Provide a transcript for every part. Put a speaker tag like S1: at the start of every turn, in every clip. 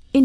S1: verscheen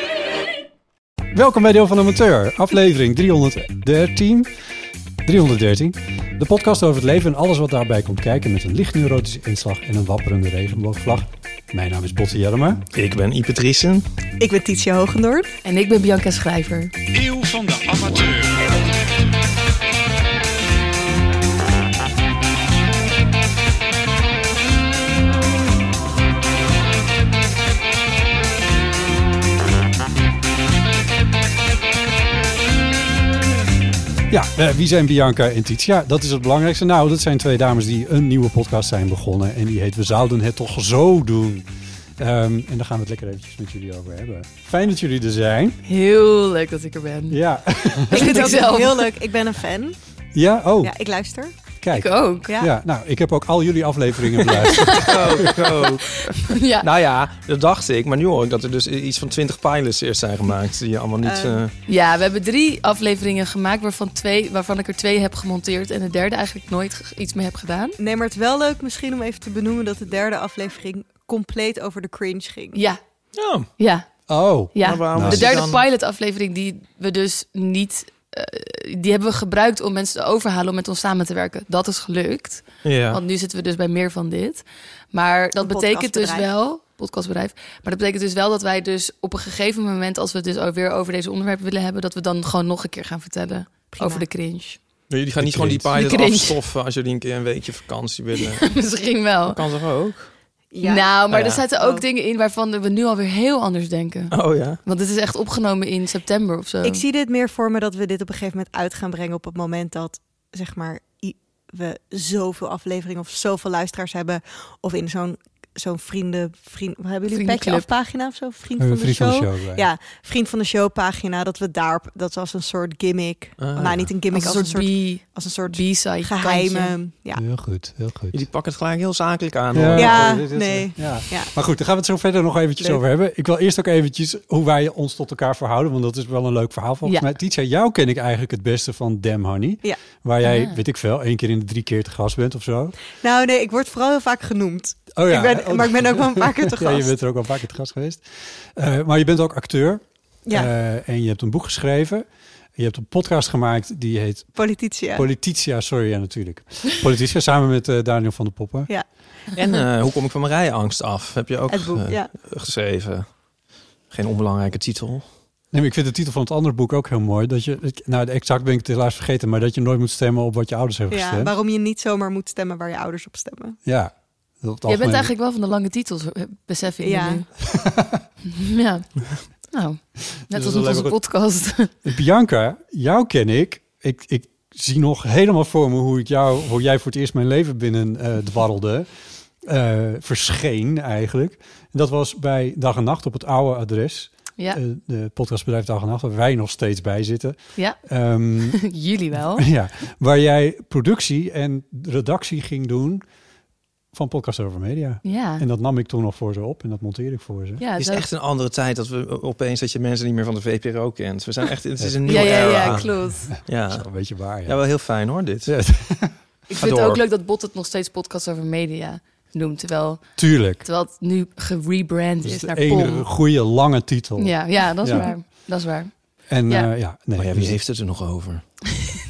S2: Welkom bij Deel van de Amateur, aflevering 313. 313. De podcast over het leven en alles wat daarbij komt kijken met een licht neurotische inslag en een wapperende regenboogvlag. Mijn naam is Botte Jellema.
S3: Ik ben Ipe Driessen.
S4: Ik ben Titia Hogendorp.
S5: En ik ben Bianca Schrijver.
S6: Eeuw van de amateur.
S2: Ja, eh, wie zijn Bianca en Titia? Dat is het belangrijkste. Nou, dat zijn twee dames die een nieuwe podcast zijn begonnen. En die heet We zouden het toch zo doen. Ehm, en daar gaan we het lekker eventjes met jullie over hebben. Fijn dat jullie er zijn.
S5: Heel leuk dat ik er ben.
S2: Ja,
S4: Ik vind
S5: ik
S4: het
S5: zelf.
S4: ook heel leuk. Ik ben een fan.
S2: ja oh,
S4: Ja, ik luister.
S2: kijk.
S5: Ik ook.
S4: Ja.
S2: Ja, nou, ik heb ook al jullie afleveringen beluisterd.
S3: Ook, ook.
S5: Ja.
S3: Nou ja, dat dacht ik. Maar nu hoor ik dat er dus iets van 20 pilots eerst zijn gemaakt. Die je allemaal niet...
S4: Eh,
S3: eh,
S5: ja, we hebben drie afleveringen gemaakt waarvan, twee, waarvan ik er twee heb gemonteerd. En de derde eigenlijk nooit ge- iets mee heb gedaan.
S4: Nee, maar het is wel leuk misschien om even te benoemen dat de derde aflevering compleet over de cringe ging.
S5: Ja,
S3: ja,
S5: ja,
S2: Oh,
S5: ja.
S3: maar waarom
S5: De
S3: is het
S5: derde
S3: dan-
S5: pilotaflevering die we dus niet... eh, die hebben we gebruikt om mensen te overhalen om met ons samen te werken. Dat is gelukt.
S3: Ja.
S5: Want nu zitten we dus bij meer van dit. Maar dat
S4: Een
S5: betekent dus
S4: podcastbedrijf.
S5: wel... Podcastbedrijf. Maar dat betekent dus wel dat wij dus op een gegeven moment... als we het dus weer over deze onderwerpen willen hebben... dat we dan gewoon nog een keer gaan vertellen
S4: Prima.
S5: over de cringe.
S3: Jullie gaan niet gewoon die pilot
S5: De cringe.
S3: afstoffen als jullie een keer een weekje vakantie willen.
S5: Misschien wel.
S3: Dat kan toch ook?
S4: Ja.
S5: Nou, maar
S3: Ja.
S5: er zaten ook
S4: Oh.
S5: dingen in waarvan we nu alweer heel anders denken.
S3: Oh ja.
S5: Want dit is echt opgenomen in september of zo.
S4: Ik zie dit meer voor me dat we dit op een gegeven moment uit gaan brengen op het moment dat, zeg maar, i- we zoveel afleveringen of zoveel luisteraars hebben. Of in zo'n zo'n vrienden, vriend, wat hebben jullie een petje
S5: Vriendenclub.
S4: afpagina of zo? Vriend
S2: een
S4: van,
S2: vriend
S4: de
S2: van de
S4: show.
S2: show. eh. erbij.
S4: Ja, vriend van de show pagina, dat we daar, dat was een soort gimmick.
S3: Ah,
S4: nou,
S3: ja.
S4: niet een gimmick,
S5: als een soort B-
S4: als een soort
S5: B-side. kantje.
S4: geheime. Ja,
S2: Heel goed, heel goed.
S3: Jullie pakken het gelijk heel zakelijk aan.
S2: Ja,
S3: hoor.
S4: Ja,
S2: Oh, dit is-
S4: nee.
S2: Ja.
S4: Ja.
S2: Maar goed, daar gaan we het zo verder nog eventjes
S4: Leuk.
S2: over hebben. Ik wil eerst ook eventjes hoe wij ons tot elkaar verhouden, want dat is wel een leuk verhaal volgens
S5: Ja.
S2: mij. Titia, jou ken ik eigenlijk het beste van Damn Honey.
S4: Ja.
S2: Waar jij,
S5: Ah.
S2: weet ik veel, één keer in de drie keer te gast bent of zo.
S4: Nou nee, ik word vooral heel vaak genoemd.
S2: Oh ja.
S4: ik ben,
S2: Oh,
S4: maar ik ben ook wel een paar keer te
S2: ja,
S4: gast.
S2: je bent er ook al vaak te gast geweest. Eh, maar je bent ook acteur
S4: Ja,
S2: eh, en je hebt een boek geschreven. Je hebt een podcast gemaakt die heet
S4: politici.
S2: Polititia, sorry, ja natuurlijk. Polititia, samen met eh, Daniel van der Poppen.
S4: Ja,
S3: En eh, hoe kom ik van mijn rijangst af? Heb je ook
S4: het boek.
S3: eh,
S4: ja.
S3: geschreven. Geen onbelangrijke titel.
S2: Nee, maar ik vind de titel van het andere boek ook heel mooi. Dat je, ik- nou, exact ben ik het helaas vergeten, maar dat je nooit moet stemmen op wat je ouders hebben
S4: ja,
S2: gestemd.
S4: waarom je niet zomaar moet stemmen waar je ouders op stemmen.
S2: Ja. dat het
S5: Jij bent
S2: algemeen-
S5: eigenlijk wel van de lange titels, eh, besef ik
S4: Ja.
S5: me nu. ja. Nou, net
S2: is wel
S5: als met onze
S2: even goed.
S5: podcast.
S2: Bianca, jou ken ik. Ik, ik zie nog helemaal voor me hoe, ik jou, hoe jij voor het eerst mijn leven binnen eh dwarrelde. Eh, verscheen eigenlijk. En dat was bij Dag en Nacht op het oude adres.
S5: ja,
S2: Eh, de podcastbedrijf Dag en Nacht, waar wij nog steeds bij zitten.
S5: ja.
S2: Ehm,
S5: jullie wel.
S2: ja, waar jij productie en redactie ging doen van Podcast Over Media.
S5: Ja,
S2: En dat nam ik toen nog voor ze op en dat monteerde ik voor ze.
S5: ja
S3: Het is
S5: dat-
S3: echt een andere tijd dat we opeens dat je mensen niet meer van de VPRO kent. We zijn echt, het is een nieuwe
S5: ja, ja,
S3: era.
S5: ja, klopt.
S2: Dat is
S3: Ja.
S2: wel een beetje waar, ja.
S3: ja, wel heel fijn hoor dit.
S2: Ja,
S5: Ik
S3: Ga
S5: vind het
S3: door.
S5: ook leuk dat Bot het nog steeds podcast over media noemt. Terwijl,
S2: tuurlijk.
S5: terwijl het nu gerebrand
S2: Dat is
S5: is
S2: Dus de
S5: naar
S2: enige
S5: Pom.
S2: goede lange titel.
S5: Ja, ja, dat is
S2: Ja.
S5: waar. Dat is waar.
S2: En
S5: Ja.
S2: ja, ja nee.
S3: maar ja,
S2: dus-
S3: wie heeft het er nog over?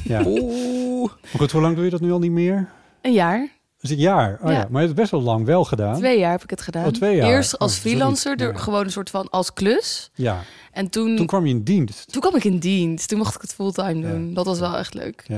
S2: ja.
S3: Oeh.
S2: Maar goed, hoe lang doe je dat nu al niet meer?
S5: Een jaar.
S2: is een jaar. Oh ja.
S5: Ja.
S2: Maar je hebt het best wel lang wel gedaan.
S5: Twee jaar heb ik het gedaan.
S2: Oh, twee jaar.
S5: Eerst als
S2: Oh, zoiets.
S5: freelancer, er
S2: Ja.
S5: gewoon een soort van als klus.
S2: Ja.
S5: En toen,
S2: Toen
S5: toen,
S2: kwam je in dienst.
S5: kwam ik in dienst. Toen mocht ik het fulltime
S2: Ja.
S5: doen. Dat was wel echt leuk.
S2: Ja.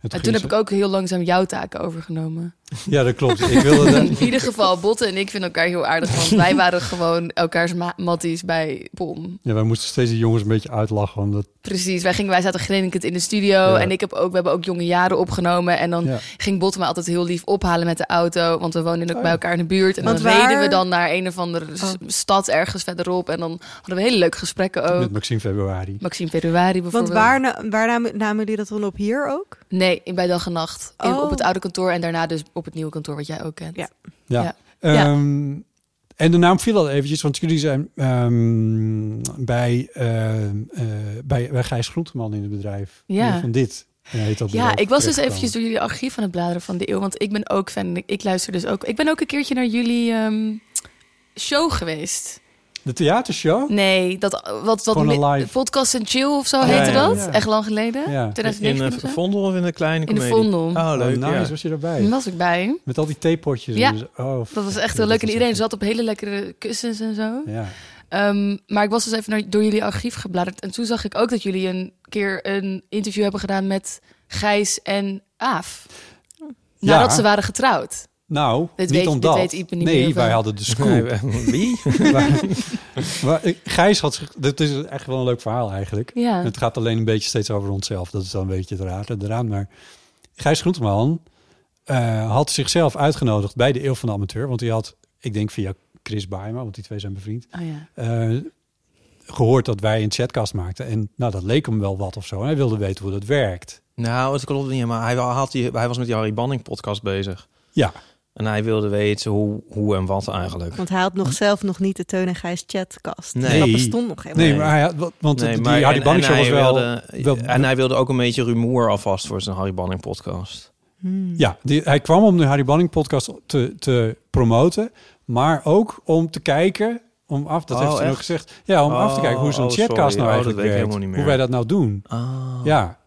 S2: En toen,
S5: En
S2: ging
S5: toen heb
S2: ze-
S5: ik ook heel langzaam jouw taken overgenomen.
S2: Ja, dat klopt. Ik wilde
S5: In
S2: dat...
S5: ieder geval, Botte en ik vinden elkaar heel aardig. Want wij waren gewoon elkaars ma- matties bij POM.
S2: Ja, wij moesten steeds die jongens een beetje uitlachen. Omdat...
S5: Precies, wij, gingen, wij zaten grinnikend in de studio. En ik heb ook, we hebben ook jonge jaren opgenomen. En dan
S2: Ja. Oh
S5: ging Botte me altijd heel lief ophalen met de auto. Want we woonden ook bij elkaar in de buurt. En
S4: Want
S5: dan reden
S4: waar- Oh.
S5: we dan naar een of andere s- stad ergens verderop. En dan hadden we hele leuke gesprekken ook.
S2: Met Maxime Februari.
S5: Maxime Februari
S4: Want
S5: bijvoorbeeld.
S4: waar, na- waar namen, namen jullie dat dan op hier ook?
S5: Nee, in bij dag en nacht. In-
S4: Oh.
S5: op het oude kantoor en daarna dus op het nieuwe kantoor, wat jij ook kent.
S4: Ja.
S2: Ja.
S5: Ja.
S2: Ehm, En de naam viel al eventjes, want jullie zijn ehm, bij, ehm, eh, bij, bij Gijs Groenteman in het bedrijf.
S5: Ja.
S2: Van dit eh, heet dat
S5: Ja,
S2: bedrijf
S5: ik was dus
S2: terechtgekomen.
S5: eventjes door jullie archief aan het bladeren van de eeuw. Want ik ben ook fan. Ik, ik luister dus ook. Ik ben ook een keertje naar jullie ehm, show geweest.
S2: De theatershow?
S5: Nee, dat wat, wat
S2: Gewoon een
S5: mi-
S2: live.
S5: podcast en chill of zo
S2: Oh,
S5: heette
S3: ja, ja,
S5: dat.
S2: ja.
S5: Echt lang geleden.
S2: Ja.
S3: In
S5: 2019
S3: de
S5: of zo?
S3: Vondel of in een kleine
S5: In de
S3: comedie?
S5: Vondel.
S3: Oh, leuk.
S2: Oh, nice,
S3: ja.
S2: was je
S5: Daar
S2: erbij.
S5: was ik bij.
S2: Met al die theepotjes.
S5: Ja.
S2: en zo. Oh,
S5: Dat was
S2: fuck,
S5: echt
S2: ja,
S5: heel leuk.
S2: dat
S5: En
S2: is
S5: iedereen
S2: echt-
S5: zat op hele lekkere kussens en zo.
S2: Ja.
S5: Ehm, maar ik was dus even naar, door jullie archief gebladerd. En toen zag ik ook dat jullie een keer een interview hebben gedaan met Gijs en Aaf.
S2: Ja.
S5: Nadat ze waren getrouwd.
S2: Nou,
S5: Dit
S2: niet
S5: weet- dit
S2: omdat.
S5: weet Ipe niet
S2: nee,
S5: meer
S2: wij
S5: van.
S2: hadden de
S3: Nee,
S2: scoop.
S3: we- Wie?
S2: Maar- maar, eh, Gijs had zich... Dit is echt wel een leuk verhaal eigenlijk.
S5: Ja.
S2: Het gaat alleen een beetje steeds over onszelf. Dat is dan een beetje het raar eraan. Maar Gijs Groenteman eh, had zichzelf uitgenodigd bij de Eeuw van de Amateur. Want hij had, ik denk via Chris Baima, want die twee zijn bevriend...
S5: Oh ja.
S2: eh, gehoord dat wij een chatcast maakten. En nou, dat leek hem wel wat of zo. En hij wilde weten hoe dat werkt.
S3: Nou, het klopt niet, maar hij, had die, hij was met die Harry Banning podcast bezig.
S2: Ja,
S3: En hij wilde weten hoe, hoe en wat eigenlijk.
S4: Want hij had nog zelf nog niet de Teun en Gijs chatkast.
S3: Nee.
S4: Dat bestond nog helemaal
S2: nee,
S4: niet.
S2: maar hij had, want
S3: Nee,
S2: die
S3: maar-
S2: Harry
S3: en-
S2: Banning
S3: en
S2: was
S3: hij
S2: wel...
S3: wilde-
S2: wel-
S3: En hij wilde ook een beetje rumoer alvast voor zijn Harry Banning podcast.
S4: Hmm.
S2: Ja, die, hij kwam om de Harry Banning podcast te, te promoten, maar ook om te kijken, om af, dat
S3: Oh,
S2: heeft ze ook
S3: echt?
S2: gezegd, ja, om af te
S3: Oh,
S2: kijken hoe zo'n
S3: oh, sorry.
S2: chatcast nou
S3: Oh, dat
S2: eigenlijk
S3: weet ik
S2: werkt,
S3: helemaal niet
S2: hoe
S3: meer.
S2: wij dat nou doen.
S3: Ah.
S2: Ja,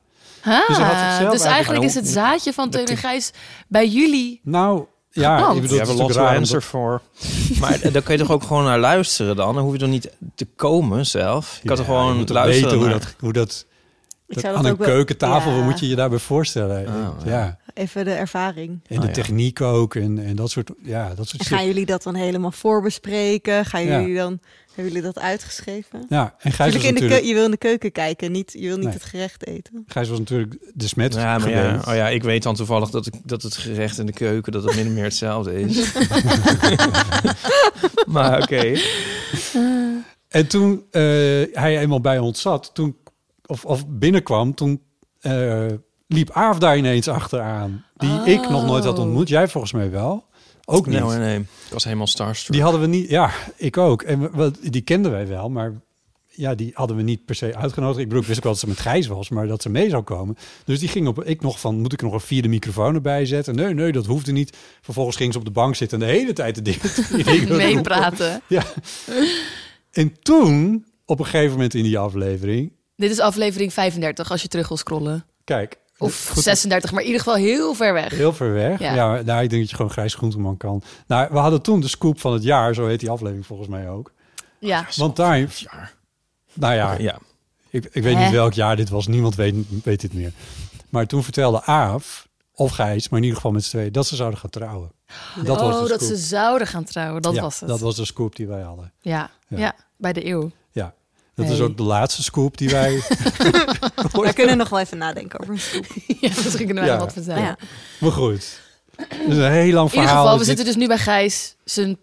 S5: Ah,
S2: Dus
S5: dus
S2: hij had zichzelf
S5: eigenlijk,
S3: eigenlijk-
S5: is het zaadje van Teun en Gijs bij jullie.
S2: nou, ja,
S5: Geplant.
S2: ik bedoel,
S3: we
S2: het is
S3: hebben
S2: natuurlijk
S3: lots
S2: raar,
S3: answer
S2: omdat-
S3: voor. Maar daar kun je toch ook gewoon naar luisteren dan? Dan hoef je toch niet te komen zelf? Je kan
S2: Ja,
S3: toch gewoon
S2: je moet
S3: luisteren
S2: weten hoe
S3: naar-
S2: dat, hoe dat,
S4: Ik
S2: dat
S4: zou
S2: aan
S4: dat
S2: een
S4: ook wel-
S2: keukentafel,
S4: Ja.
S2: wat moet je je daarbij voorstellen?
S3: Oh,
S2: ja.
S3: ja.
S4: Even de ervaring.
S2: en
S3: Oh,
S2: de
S3: ja.
S2: techniek ook en, en dat soort, ja, dat soort
S4: En gaan
S2: shit.
S4: jullie dat dan helemaal voorbespreken? Gaan
S2: Ja.
S4: jullie dan, hebben jullie dat uitgeschreven?
S2: Ja, en Gijs was
S4: Natuurlijk in de
S2: natuurlijk,
S4: keu- je wil in de keuken kijken, niet, je wil niet
S2: Nee.
S4: het gerecht eten.
S2: Gijs was natuurlijk de smet
S3: Ja, maar ja,
S2: geweest.
S3: oh ja, ik weet dan toevallig dat, ik, dat het gerecht in de keuken dat het min of meer hetzelfde is. maar oké.
S2: En toen eh, hij eenmaal bij ons zat, toen, of, of binnenkwam, toen eh, liep Aaf daar ineens achteraan. Die
S5: Oh.
S2: ik nog nooit had ontmoet. Jij volgens mij wel. Ook niet.
S3: Nee hoor, Nou, nee. Ik was helemaal starstruck.
S2: die hadden we niet. Ja, ik ook. En we- we- die kenden wij wel, maar ja, die hadden we niet per se uitgenodigd. Ik bedoel, ik wist ook wel dat ze met Gijs was, maar dat ze mee zou komen. Dus die ging op. Ik nog van, moet ik er nog een vierde microfoon erbij zetten? Nee, nee, dat hoefde niet. Vervolgens ging ze op de bank zitten en de hele tijd de dingen.
S5: Meepraten.
S2: En toen, op een gegeven moment in die aflevering,
S5: Dit is aflevering 35, als je terug wil scrollen.
S2: Kijk.
S5: Of
S2: goed,
S5: 36, maar in ieder geval heel ver weg.
S2: Heel ver weg. Ja,
S5: Ja.
S2: nou, ik denk dat je gewoon Grijs Groenteman kan. Nou, we hadden toen de scoop van het jaar, zo heet die aflevering volgens mij ook.
S5: Ja.
S2: Want daar,
S3: jaar.
S2: nou ja,
S3: Ja.
S2: ik, ik weet
S5: Hè?
S2: niet welk jaar dit was. Niemand weet, weet dit meer. Maar toen vertelde Aaf, of Gijs, maar in ieder geval met z'n tweeën, dat ze zouden gaan trouwen. Dat was de
S5: oh, dat
S2: scoop.
S5: ze zouden gaan trouwen. Dat
S2: Ja,
S5: was het.
S2: Dat was de scoop die wij hadden.
S5: Ja.
S2: Ja.
S5: Ja. bij de eeuw.
S2: Ja. Dat is
S5: Hey.
S2: ook de laatste scoop die wij... Oh,
S4: Wij kunnen nog wel even nadenken over een soep.
S5: ja, misschien kunnen wij
S2: Ja.
S5: nog wat vertellen.
S4: Ja.
S2: maar goed. Dat is een heel lang verhaal.
S5: In ieder geval, we
S2: Dit-
S5: zitten dus nu bij Gijs, zijn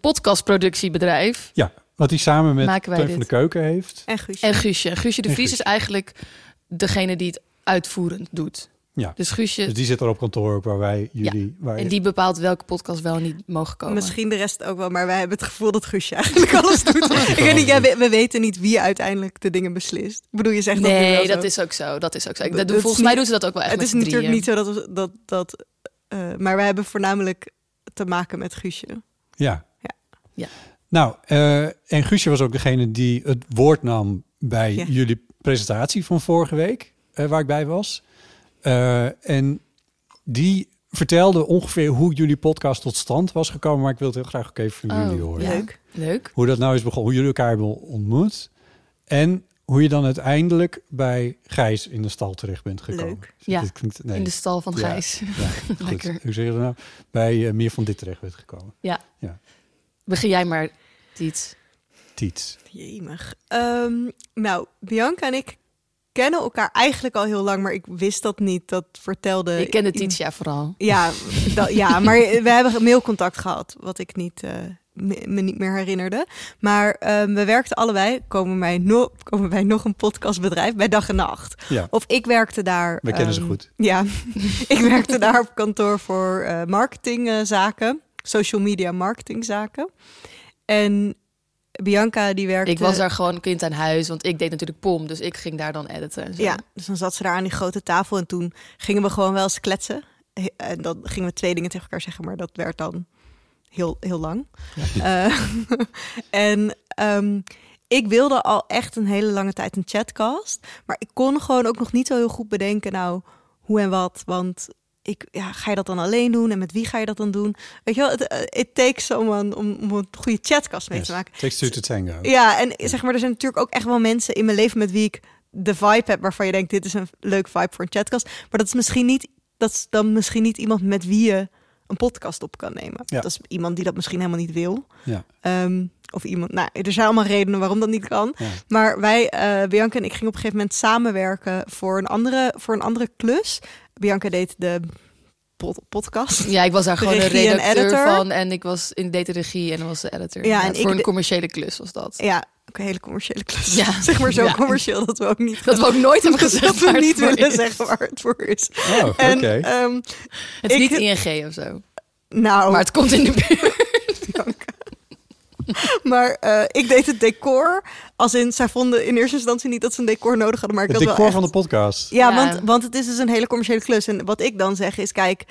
S5: podcastproductiebedrijf.
S2: Ja, wat hij samen met
S5: dus- Maken wij
S2: Teun van de
S5: dit.
S2: Keuken heeft.
S4: En Guusje.
S5: En Guusje. Guusje de
S2: En
S5: Vries
S2: Guusje.
S5: is eigenlijk degene die het uitvoerend doet.
S2: Ja.
S5: Dus Guusje,
S2: Dus die zit er op kantoor ook waar wij jullie... waar
S5: en die bepaalt welke podcast wel en niet mogen komen.
S4: Misschien de rest ook wel, maar wij hebben het gevoel dat Guusje eigenlijk alles doet. Ik weet niet, ja, we, we weten niet wie uiteindelijk de dingen beslist. Ik bedoel, je zegt dat nu wel
S5: Nee,
S4: zo.
S5: dat is ook zo. Dat is ook zo. Ik-
S4: Dat-
S5: dat
S4: dat
S5: doen-
S4: is
S5: volgens
S4: niet-
S5: mij doen ze dat ook wel echt
S4: Het
S5: met
S4: is
S5: z'n drieën.
S4: natuurlijk niet zo dat... we- dat, dat eh, maar we hebben voornamelijk te maken met Guusje.
S2: Ja.
S4: Ja.
S5: Ja.
S2: Nou, eh, en Guusje was ook degene die het woord nam bij
S4: Ja.
S2: jullie presentatie van vorige week, eh, waar ik bij was. Eh, en die vertelde ongeveer hoe jullie podcast tot stand was gekomen. Maar ik wil het heel graag ook even van
S5: Oh,
S2: jullie horen.
S5: ja.
S4: Leuk.
S5: Leuk.
S2: Hoe dat nou is begonnen, hoe jullie elkaar hebben ontmoet. En hoe je dan uiteindelijk bij Gijs in de stal terecht bent gekomen.
S4: Leuk.
S2: Dus
S5: Ja,
S2: dit klinkt, nee,
S5: In de stal van
S2: Ja.
S5: Gijs.
S2: ja, goed.
S5: Lekker.
S2: Hoe zeg je dat nou? Bij eh, meer van dit terecht bent gekomen.
S5: Begin jij maar, Tiet.
S2: Tiets.
S4: Jemig. Ehm, nou, Bianca en ik kennen elkaar eigenlijk al heel lang, maar ik wist dat niet. Dat vertelde.
S5: Ik kende
S4: iemand-
S5: Titia vooral.
S4: Ja, dat, ja, maar we hebben mailcontact gehad, wat ik niet, eh, me, me niet meer herinnerde. Maar ehm, we werkten allebei, komen wij, no, komen wij nog een podcastbedrijf, bij dag en nacht.
S2: Ja.
S4: Of ik werkte daar.
S2: Wij kennen ze
S4: ehm,
S2: goed.
S4: Ja, ik werkte daar op kantoor voor eh, marketingzaken, social media marketingzaken. En Bianca die werkte...
S5: Ik was daar gewoon kind aan huis, want ik deed natuurlijk POM, dus ik ging daar dan editen. En zo.
S4: Ja, dus dan zat ze daar aan die grote tafel en toen gingen we gewoon wel eens kletsen. He- En dan gingen we twee dingen tegen elkaar zeggen, maar dat werd dan heel, heel lang. Eh, en ehm, ik wilde al echt een hele lange tijd een chatcast, maar ik kon gewoon ook nog niet zo heel goed bedenken, nou, hoe en wat, want... Ik, ja, ga je dat dan alleen doen en met wie ga je dat dan doen? Weet je wel, het eh, it takes someone om, om een goede chatcast mee
S2: Yes.
S4: te maken.
S2: Takes two to tango.
S4: Ja, en zeg maar, er zijn natuurlijk ook echt wel mensen in mijn leven met wie ik de vibe heb waarvan je denkt, dit is een leuk vibe voor een chatcast. Maar dat is misschien niet, dat is dan misschien niet iemand met wie je een podcast op kan nemen.
S2: Ja.
S4: Dat is iemand die dat misschien helemaal niet wil.
S2: Ja.
S4: Ehm, of iemand, nou, er zijn allemaal redenen waarom dat niet kan.
S2: Ja.
S4: Maar wij, eh, Bianca en ik, gingen op een gegeven moment samenwerken voor een andere, voor een andere klus. Bianca deed de pod- podcast.
S5: Ja, ik was daar gewoon de
S4: Regie en
S5: redacteur
S4: editor.
S5: van en ik was in deed de regie en was de editor.
S4: Ja, en
S5: Inderdaad,
S4: ik
S5: voor een
S4: de-
S5: commerciële klus was dat.
S4: Ja, ook een hele commerciële klus.
S5: Ja.
S4: Zeg maar zo
S5: Ja.
S4: commercieel dat we ook niet
S5: Dat we ook nooit hebben gezegd
S4: dat
S5: waar
S4: we
S5: het
S4: niet
S5: voor
S4: willen
S5: is.
S4: zeggen waar het voor is.
S2: Oh, oké.
S4: En ehm,
S5: Het is
S4: Ik-
S5: niet ING of zo,
S4: nou,
S5: maar
S4: maar,
S5: het komt in de buurt.
S4: eh, ik deed het decor. Als in, zij vonden in eerste instantie niet dat ze een decor nodig hadden, maar ik
S2: Het
S4: had wel
S2: decor
S4: echt-
S2: van de podcast.
S4: Ja,
S5: Ja.
S4: Want, want het is dus een hele commerciële klus. En wat ik dan zeg is, kijk,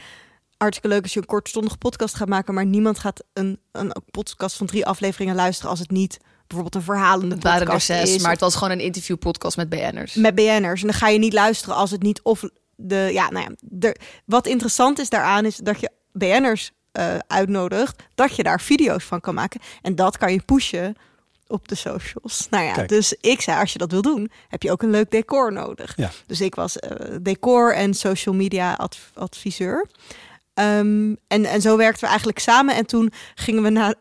S4: hartstikke leuk als je een kortstondige podcast gaat maken, maar niemand gaat een, een podcast van drie afleveringen luisteren als het niet bijvoorbeeld een verhalende
S5: Het waren er
S4: podcast
S5: zes,
S4: is.
S5: maar het was gewoon een interviewpodcast met BN'ers.
S4: Met BN'ers. En dan ga je niet luisteren als het niet of de. Ja, nou ja. De, wat interessant is daaraan is dat je BN'ers eh, uitnodigt. Dat je daar video's van kan maken. En dat kan je pushen op de socials. Nou ja,
S2: Kijk.
S4: dus ik zei, als je dat wil doen, heb je ook een leuk decor nodig.
S2: Ja.
S4: Dus ik was eh, decor en social media adv- adviseur. Ehm, en, en zo werkten we eigenlijk samen. En toen gingen we na,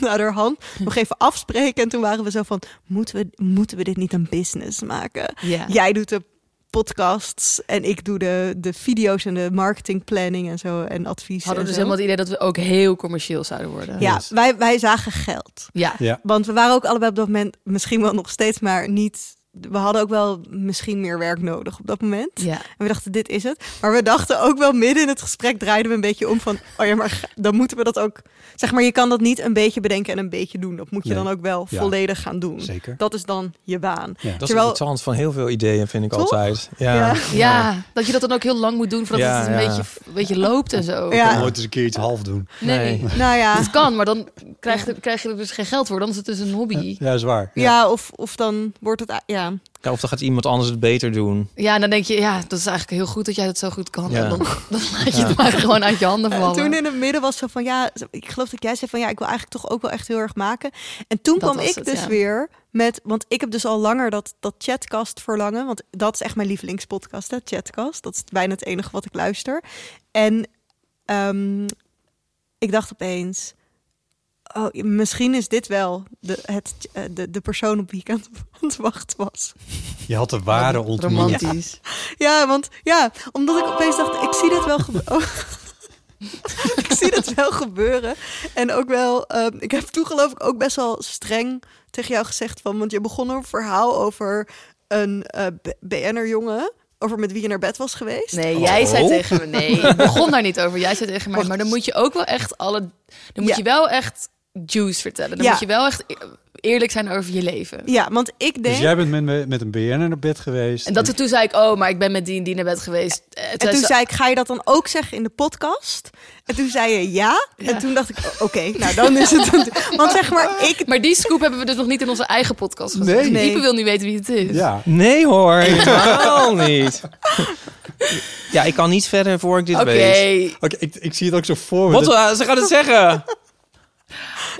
S4: naar haar hand nog even afspreken. En toen waren we zo van, moeten we, moeten we dit niet een business maken?
S5: Ja.
S4: Jij doet de podcasts en ik doe de, de video's en de marketingplanning en zo en advies.
S5: Hadden
S4: en zo.
S5: we dus helemaal het idee dat we ook heel commercieel zouden worden.
S4: Ja,
S2: Yes.
S4: wij, wij zagen geld.
S5: Ja.
S2: Ja.
S4: Want we waren ook allebei op dat moment, misschien wel nog steeds, maar niet... We hadden ook wel misschien meer werk nodig op dat moment.
S5: Ja.
S4: En we dachten, dit is het. Maar we dachten ook wel midden in het gesprek draaiden we een beetje om van... oh ja, maar ga- dan moeten we dat ook... Zeg maar, je kan dat niet een beetje bedenken en een beetje doen. Dat moet je
S2: Nee.
S4: dan ook wel
S2: Ja.
S4: volledig gaan doen.
S2: Zeker.
S4: Dat is dan je baan.
S2: Ja.
S3: Dat is
S4: Terwijl-
S3: het interessant van heel veel ideeën, vind ik
S4: Toch?
S3: altijd. Ja.
S4: Ja.
S5: Ja, dat je dat dan ook heel lang moet doen voordat
S3: Ja,
S5: het een
S3: ja.
S5: beetje, een beetje loopt en zo.
S4: Ja.
S2: Kan nooit eens een keer iets half doen.
S5: Nee.
S3: Nee.
S4: Nou ja,
S5: Het kan, maar dan krijg, je- krijg je er dus geen geld voor. Dan is het dus een hobby.
S2: Ja, is waar.
S4: ja. Eh, of, of dan wordt het... a- Ja,
S3: Ja, of dan gaat iemand anders het beter doen.
S5: Ja, en dan denk je, ja, dat is eigenlijk heel goed dat jij dat zo goed kan.
S3: Ja.
S5: En dan, dan laat je het maar gewoon uit je handen vallen.
S4: toen in het midden was zo van ja, ik geloof dat jij zei van ja, ik wil eigenlijk toch ook wel echt heel erg maken. En toen
S5: Dat
S4: kwam
S5: was
S4: ik
S5: het,
S4: dus
S5: ja.
S4: weer met, want ik heb dus al langer dat, dat chatcast verlangen, want dat is echt mijn lievelingspodcast, hè, chatcast. Dat is bijna het enige wat ik luister. En ehm, ik dacht opeens, oh, misschien is dit wel de, het, eh, de, de persoon op wie ik aan het- aan het wachten was.
S2: Je had de ware ontmoet.
S5: Romantisch.
S4: Ja, want ja, omdat ik opeens dacht, ik zie dit wel gebeuren. ik zie dit wel gebeuren. En ook wel, ehm, ik heb toen geloof ik ook best wel streng tegen jou gezegd van, want je begon een verhaal over een eh, B- BN'er jongen, over met wie je naar bed was geweest.
S5: Nee, jij zei
S3: Oh.
S5: tegen me, nee, ik begon daar niet over. Jij zei tegen mij, maar dan moet je ook wel echt alle... Dan moet
S4: Ja.
S5: je wel echt juice vertellen. Dan
S4: Ja.
S5: moet je wel echt eerlijk zijn over je leven.
S4: Ja, want ik denk...
S2: Dus jij bent met, met een BN'er naar bed geweest.
S5: En dat, toen zei ik, oh, maar ik ben met die en die naar bed geweest. Eh,
S4: En toen
S5: ze-
S4: zei ik, ga je dat dan ook zeggen in de podcast? En toen zei je ja. En
S5: Ja.
S4: toen dacht ik, oké, nou dan is het... een- Want zeg maar, ik...
S5: Maar die scoop hebben we dus nog niet in onze eigen podcast gezet.
S2: Nee.
S5: Dus
S4: Nee.
S5: Diepe wil nu weten wie het is.
S2: Ja.
S3: Nee hoor, helemaal niet. Ja, ik kan niet verder voor ik dit
S5: Oké.
S3: weet.
S2: Oké, ik, ik zie het ook zo voor me.
S3: Wat,
S2: Dat-
S3: eh, ze gaat het zeggen.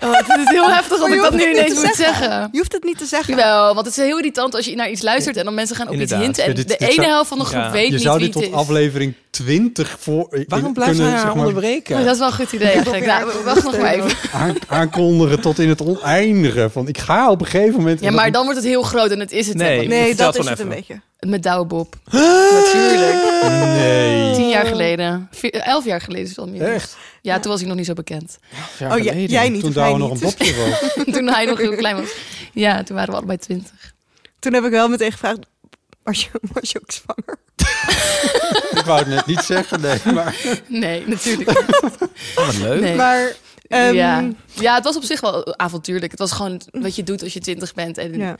S5: Oh, het is heel heftig dat
S4: Maar je
S5: ik dat
S4: hoeft
S5: nu
S4: het niet
S5: ineens
S4: te
S5: moet zeggen.
S4: Je hoeft het niet te zeggen.
S5: Jawel, want het is heel irritant als je naar iets luistert en dan mensen gaan op
S3: Inderdaad.
S5: iets hinten. En
S2: Ja, dit-
S5: de
S2: dit
S5: ene
S2: zou-
S5: helft van de groep
S3: Ja.
S5: weet
S2: je
S5: niet
S2: zou
S5: wie
S2: dit
S5: het
S2: tot
S5: is.
S2: aflevering 20 voor. eh,
S3: Waarom
S2: in-
S3: blijft hij
S2: kunnen,
S3: haar
S2: zeg maar,
S3: onderbreken?
S5: Oh, dat is wel een goed idee eigenlijk.
S4: probeer
S5: Nou,
S4: het
S5: wacht nog maar
S4: ondersteunen.
S5: even.
S2: aan- aankondigen tot in het oneindige? Van ik ga op een gegeven moment.
S5: Ja, maar dan wordt het heel groot en het is het
S3: Nee.
S5: helemaal niet.
S4: Nee,
S3: vertel
S4: dat is
S3: gewoon
S4: het een
S3: even.
S4: beetje.
S5: Met Douwebob. Natuurlijk.
S2: Nee.
S5: Tien jaar geleden. Vier- elf jaar geleden is het al meer.
S2: Echt?
S5: Ja, toen was hij nog niet zo bekend.
S3: Ja,
S4: Oh, jij,
S3: geleden.
S4: jij niet,
S2: Toen
S4: of hij
S2: daar nog een
S4: niet.
S2: dopje was.
S5: toen hij nog heel klein was. Ja, toen waren we allebei twintig.
S4: Toen heb ik wel meteen gevraagd, was je, was je ook zwanger?
S2: ik wou het net niet zeggen, nee. Maar
S5: Nee, natuurlijk niet.
S3: Oh, wat leuk.
S5: Nee.
S4: Maar... ehm,
S5: ja. ja, het was op zich wel avontuurlijk. Het was gewoon wat je doet als je twintig bent. En,
S4: ja.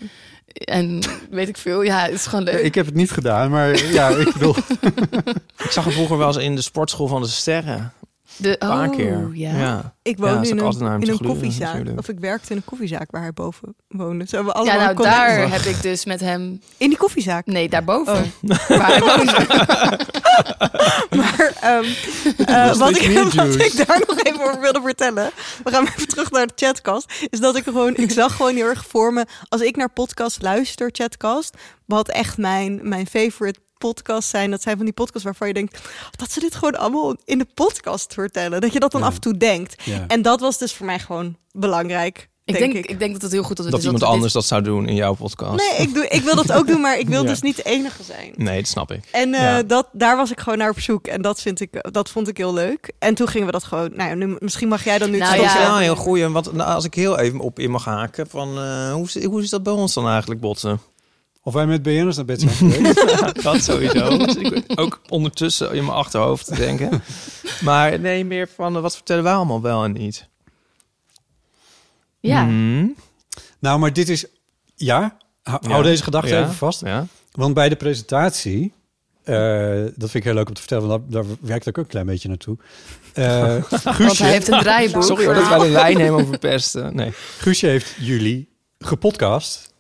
S5: en weet ik veel. Ja, het is gewoon leuk.
S2: ik heb het niet gedaan, maar ja, ik bedoel.
S3: Ik zag hem vroeger wel eens in de sportschool van de sterren.
S5: De,
S3: Een paar keer.
S5: Oh, Ja.
S4: Ik
S3: Ja,
S4: woon
S3: is
S4: in
S3: ook altijd naar hem
S4: een, in
S3: te
S4: een
S3: gluren,
S4: koffiezaak.
S3: natuurlijk.
S4: Of ik werkte in een koffiezaak waar hij boven woonde. Zo hebben we
S5: Ja,
S4: allemaal
S5: nou
S4: een connectie.
S5: daar heb ik dus met hem...
S4: In die koffiezaak.
S5: Nee, daarboven.
S4: Oh.
S5: Waar hij woonde.
S4: Maar ehm, eh,
S2: was
S4: wat,
S2: steeds
S4: ik,
S2: meer
S4: wat
S2: juice.
S4: ik daar nog even over wilde vertellen. We gaan even terug naar de chatcast. Is dat ik gewoon, ik zag gewoon heel erg voor me. Als ik naar podcast luister, chatcast. Wat echt mijn, mijn favorite podcasts zijn. Dat zijn van die podcasts waarvan je denkt. Dat ze dit gewoon allemaal in de podcast vertellen. Dat je dat dan af en toe denkt.
S2: Ja.
S4: En dat was dus voor mij gewoon belangrijk.
S5: ik,
S4: denk
S5: denk, ik denk dat het heel goed dat
S3: Dat,
S5: het is
S3: iemand
S5: we dit-
S3: anders dat zou doen in jouw podcast.
S4: Nee, ik, doe, ik wil dat ook doen, maar ik wil
S3: Ja.
S4: dus niet de enige zijn.
S3: Nee, dat snap ik.
S4: En eh,
S3: Ja.
S4: dat, daar was ik gewoon naar op zoek. En dat, vind ik, dat vond ik heel leuk. En toen gingen we dat gewoon... Nou ja, nu, misschien mag jij dan nu... het
S5: Nou
S3: dat
S4: slot
S3: is
S5: ja.
S4: zeggen.
S3: wel een heel goeie. Want nou, als ik heel even op in mag haken. Van, eh, hoe, is- hoe is dat bij ons dan eigenlijk, botsen?
S2: Of wij met BN'ers naar bed zijn geweest.
S3: Dat sowieso. Dus ik ook ondertussen in mijn achterhoofd te denken. Maar nee, meer van eh, wat vertellen wij allemaal wel en niet.
S5: Ja.
S3: Mhm.
S2: nou, maar dit is. Ja, hou
S3: Ja.
S2: hou deze gedachte
S3: Ja.
S2: even vast.
S3: Ja.
S2: Want bij de presentatie, eh, dat vind ik heel leuk om te vertellen, want daar, daar werkt ik ook een klein beetje naartoe. Eh
S5: Want
S2: Guusje,
S5: hij heeft een draaiboek.
S3: Sorry hoor dat wij de lijn helemaal verpesten. Nee.
S2: Guusje heeft jullie gepodcast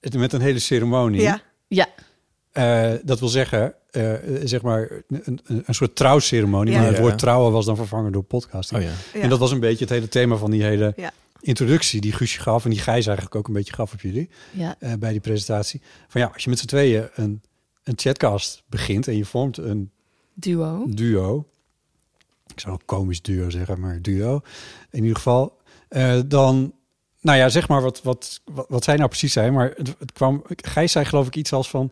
S2: Het- met een hele ceremonie.
S4: Ja.
S5: Ja.
S2: Eh, dat wil zeggen, eh, eh, zeg maar, een, een, een soort trouwceremonie.
S4: Ja.
S2: Maar het
S3: Ja. Oh
S2: woord trouwen was dan vervangen door podcasting.
S3: ja.
S4: Ja.
S2: En dat was een beetje het hele thema van die hele
S4: Ja.
S2: introductie die Guusje gaf. En die Gijs eigenlijk ook een beetje gaf op jullie.
S5: ja.
S2: eh, bij die presentatie. Van ja, als je met z'n tweeën een, een chatcast begint en je vormt een
S5: Duo.
S2: duo. Ik zou een komisch duo zeggen, maar duo. In ieder geval. eh, dan, nou ja, zeg maar wat, wat, wat, wat zij nou precies zijn. Maar het, het kwam, Gijs zei geloof ik iets als van...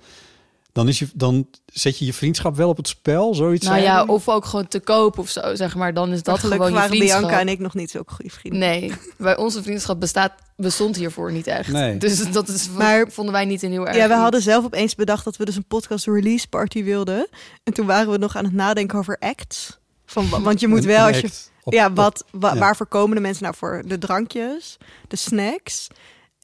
S2: Dan, is je, dan zet je je vriendschap wel op het spel, zoiets.
S5: Nou
S2: zei
S5: ja,
S2: hij.
S5: of ook gewoon te koop of zo, zeg maar. Dan is
S4: Maar
S5: dat
S4: gelukkig
S5: gewoon je
S4: waren
S5: vriendschap.
S4: Bianca en ik nog niet zo goede vrienden.
S5: Nee, bij onze vriendschap bestaat, bestond hiervoor niet echt.
S2: Nee.
S5: Dus dat is,
S4: Maar-
S5: vonden wij niet een heel erg.
S4: Ja, we
S5: iets.
S4: hadden zelf opeens bedacht dat we dus een podcast release party wilden. En toen waren we nog aan het nadenken over acts. Van, wa- want je moet
S2: Een-
S4: wel
S2: een
S4: als je...
S2: act op-
S4: ja,
S2: op-
S4: wat, wa-
S2: ja.
S4: waarvoor komen de mensen nou voor? De drankjes, de snacks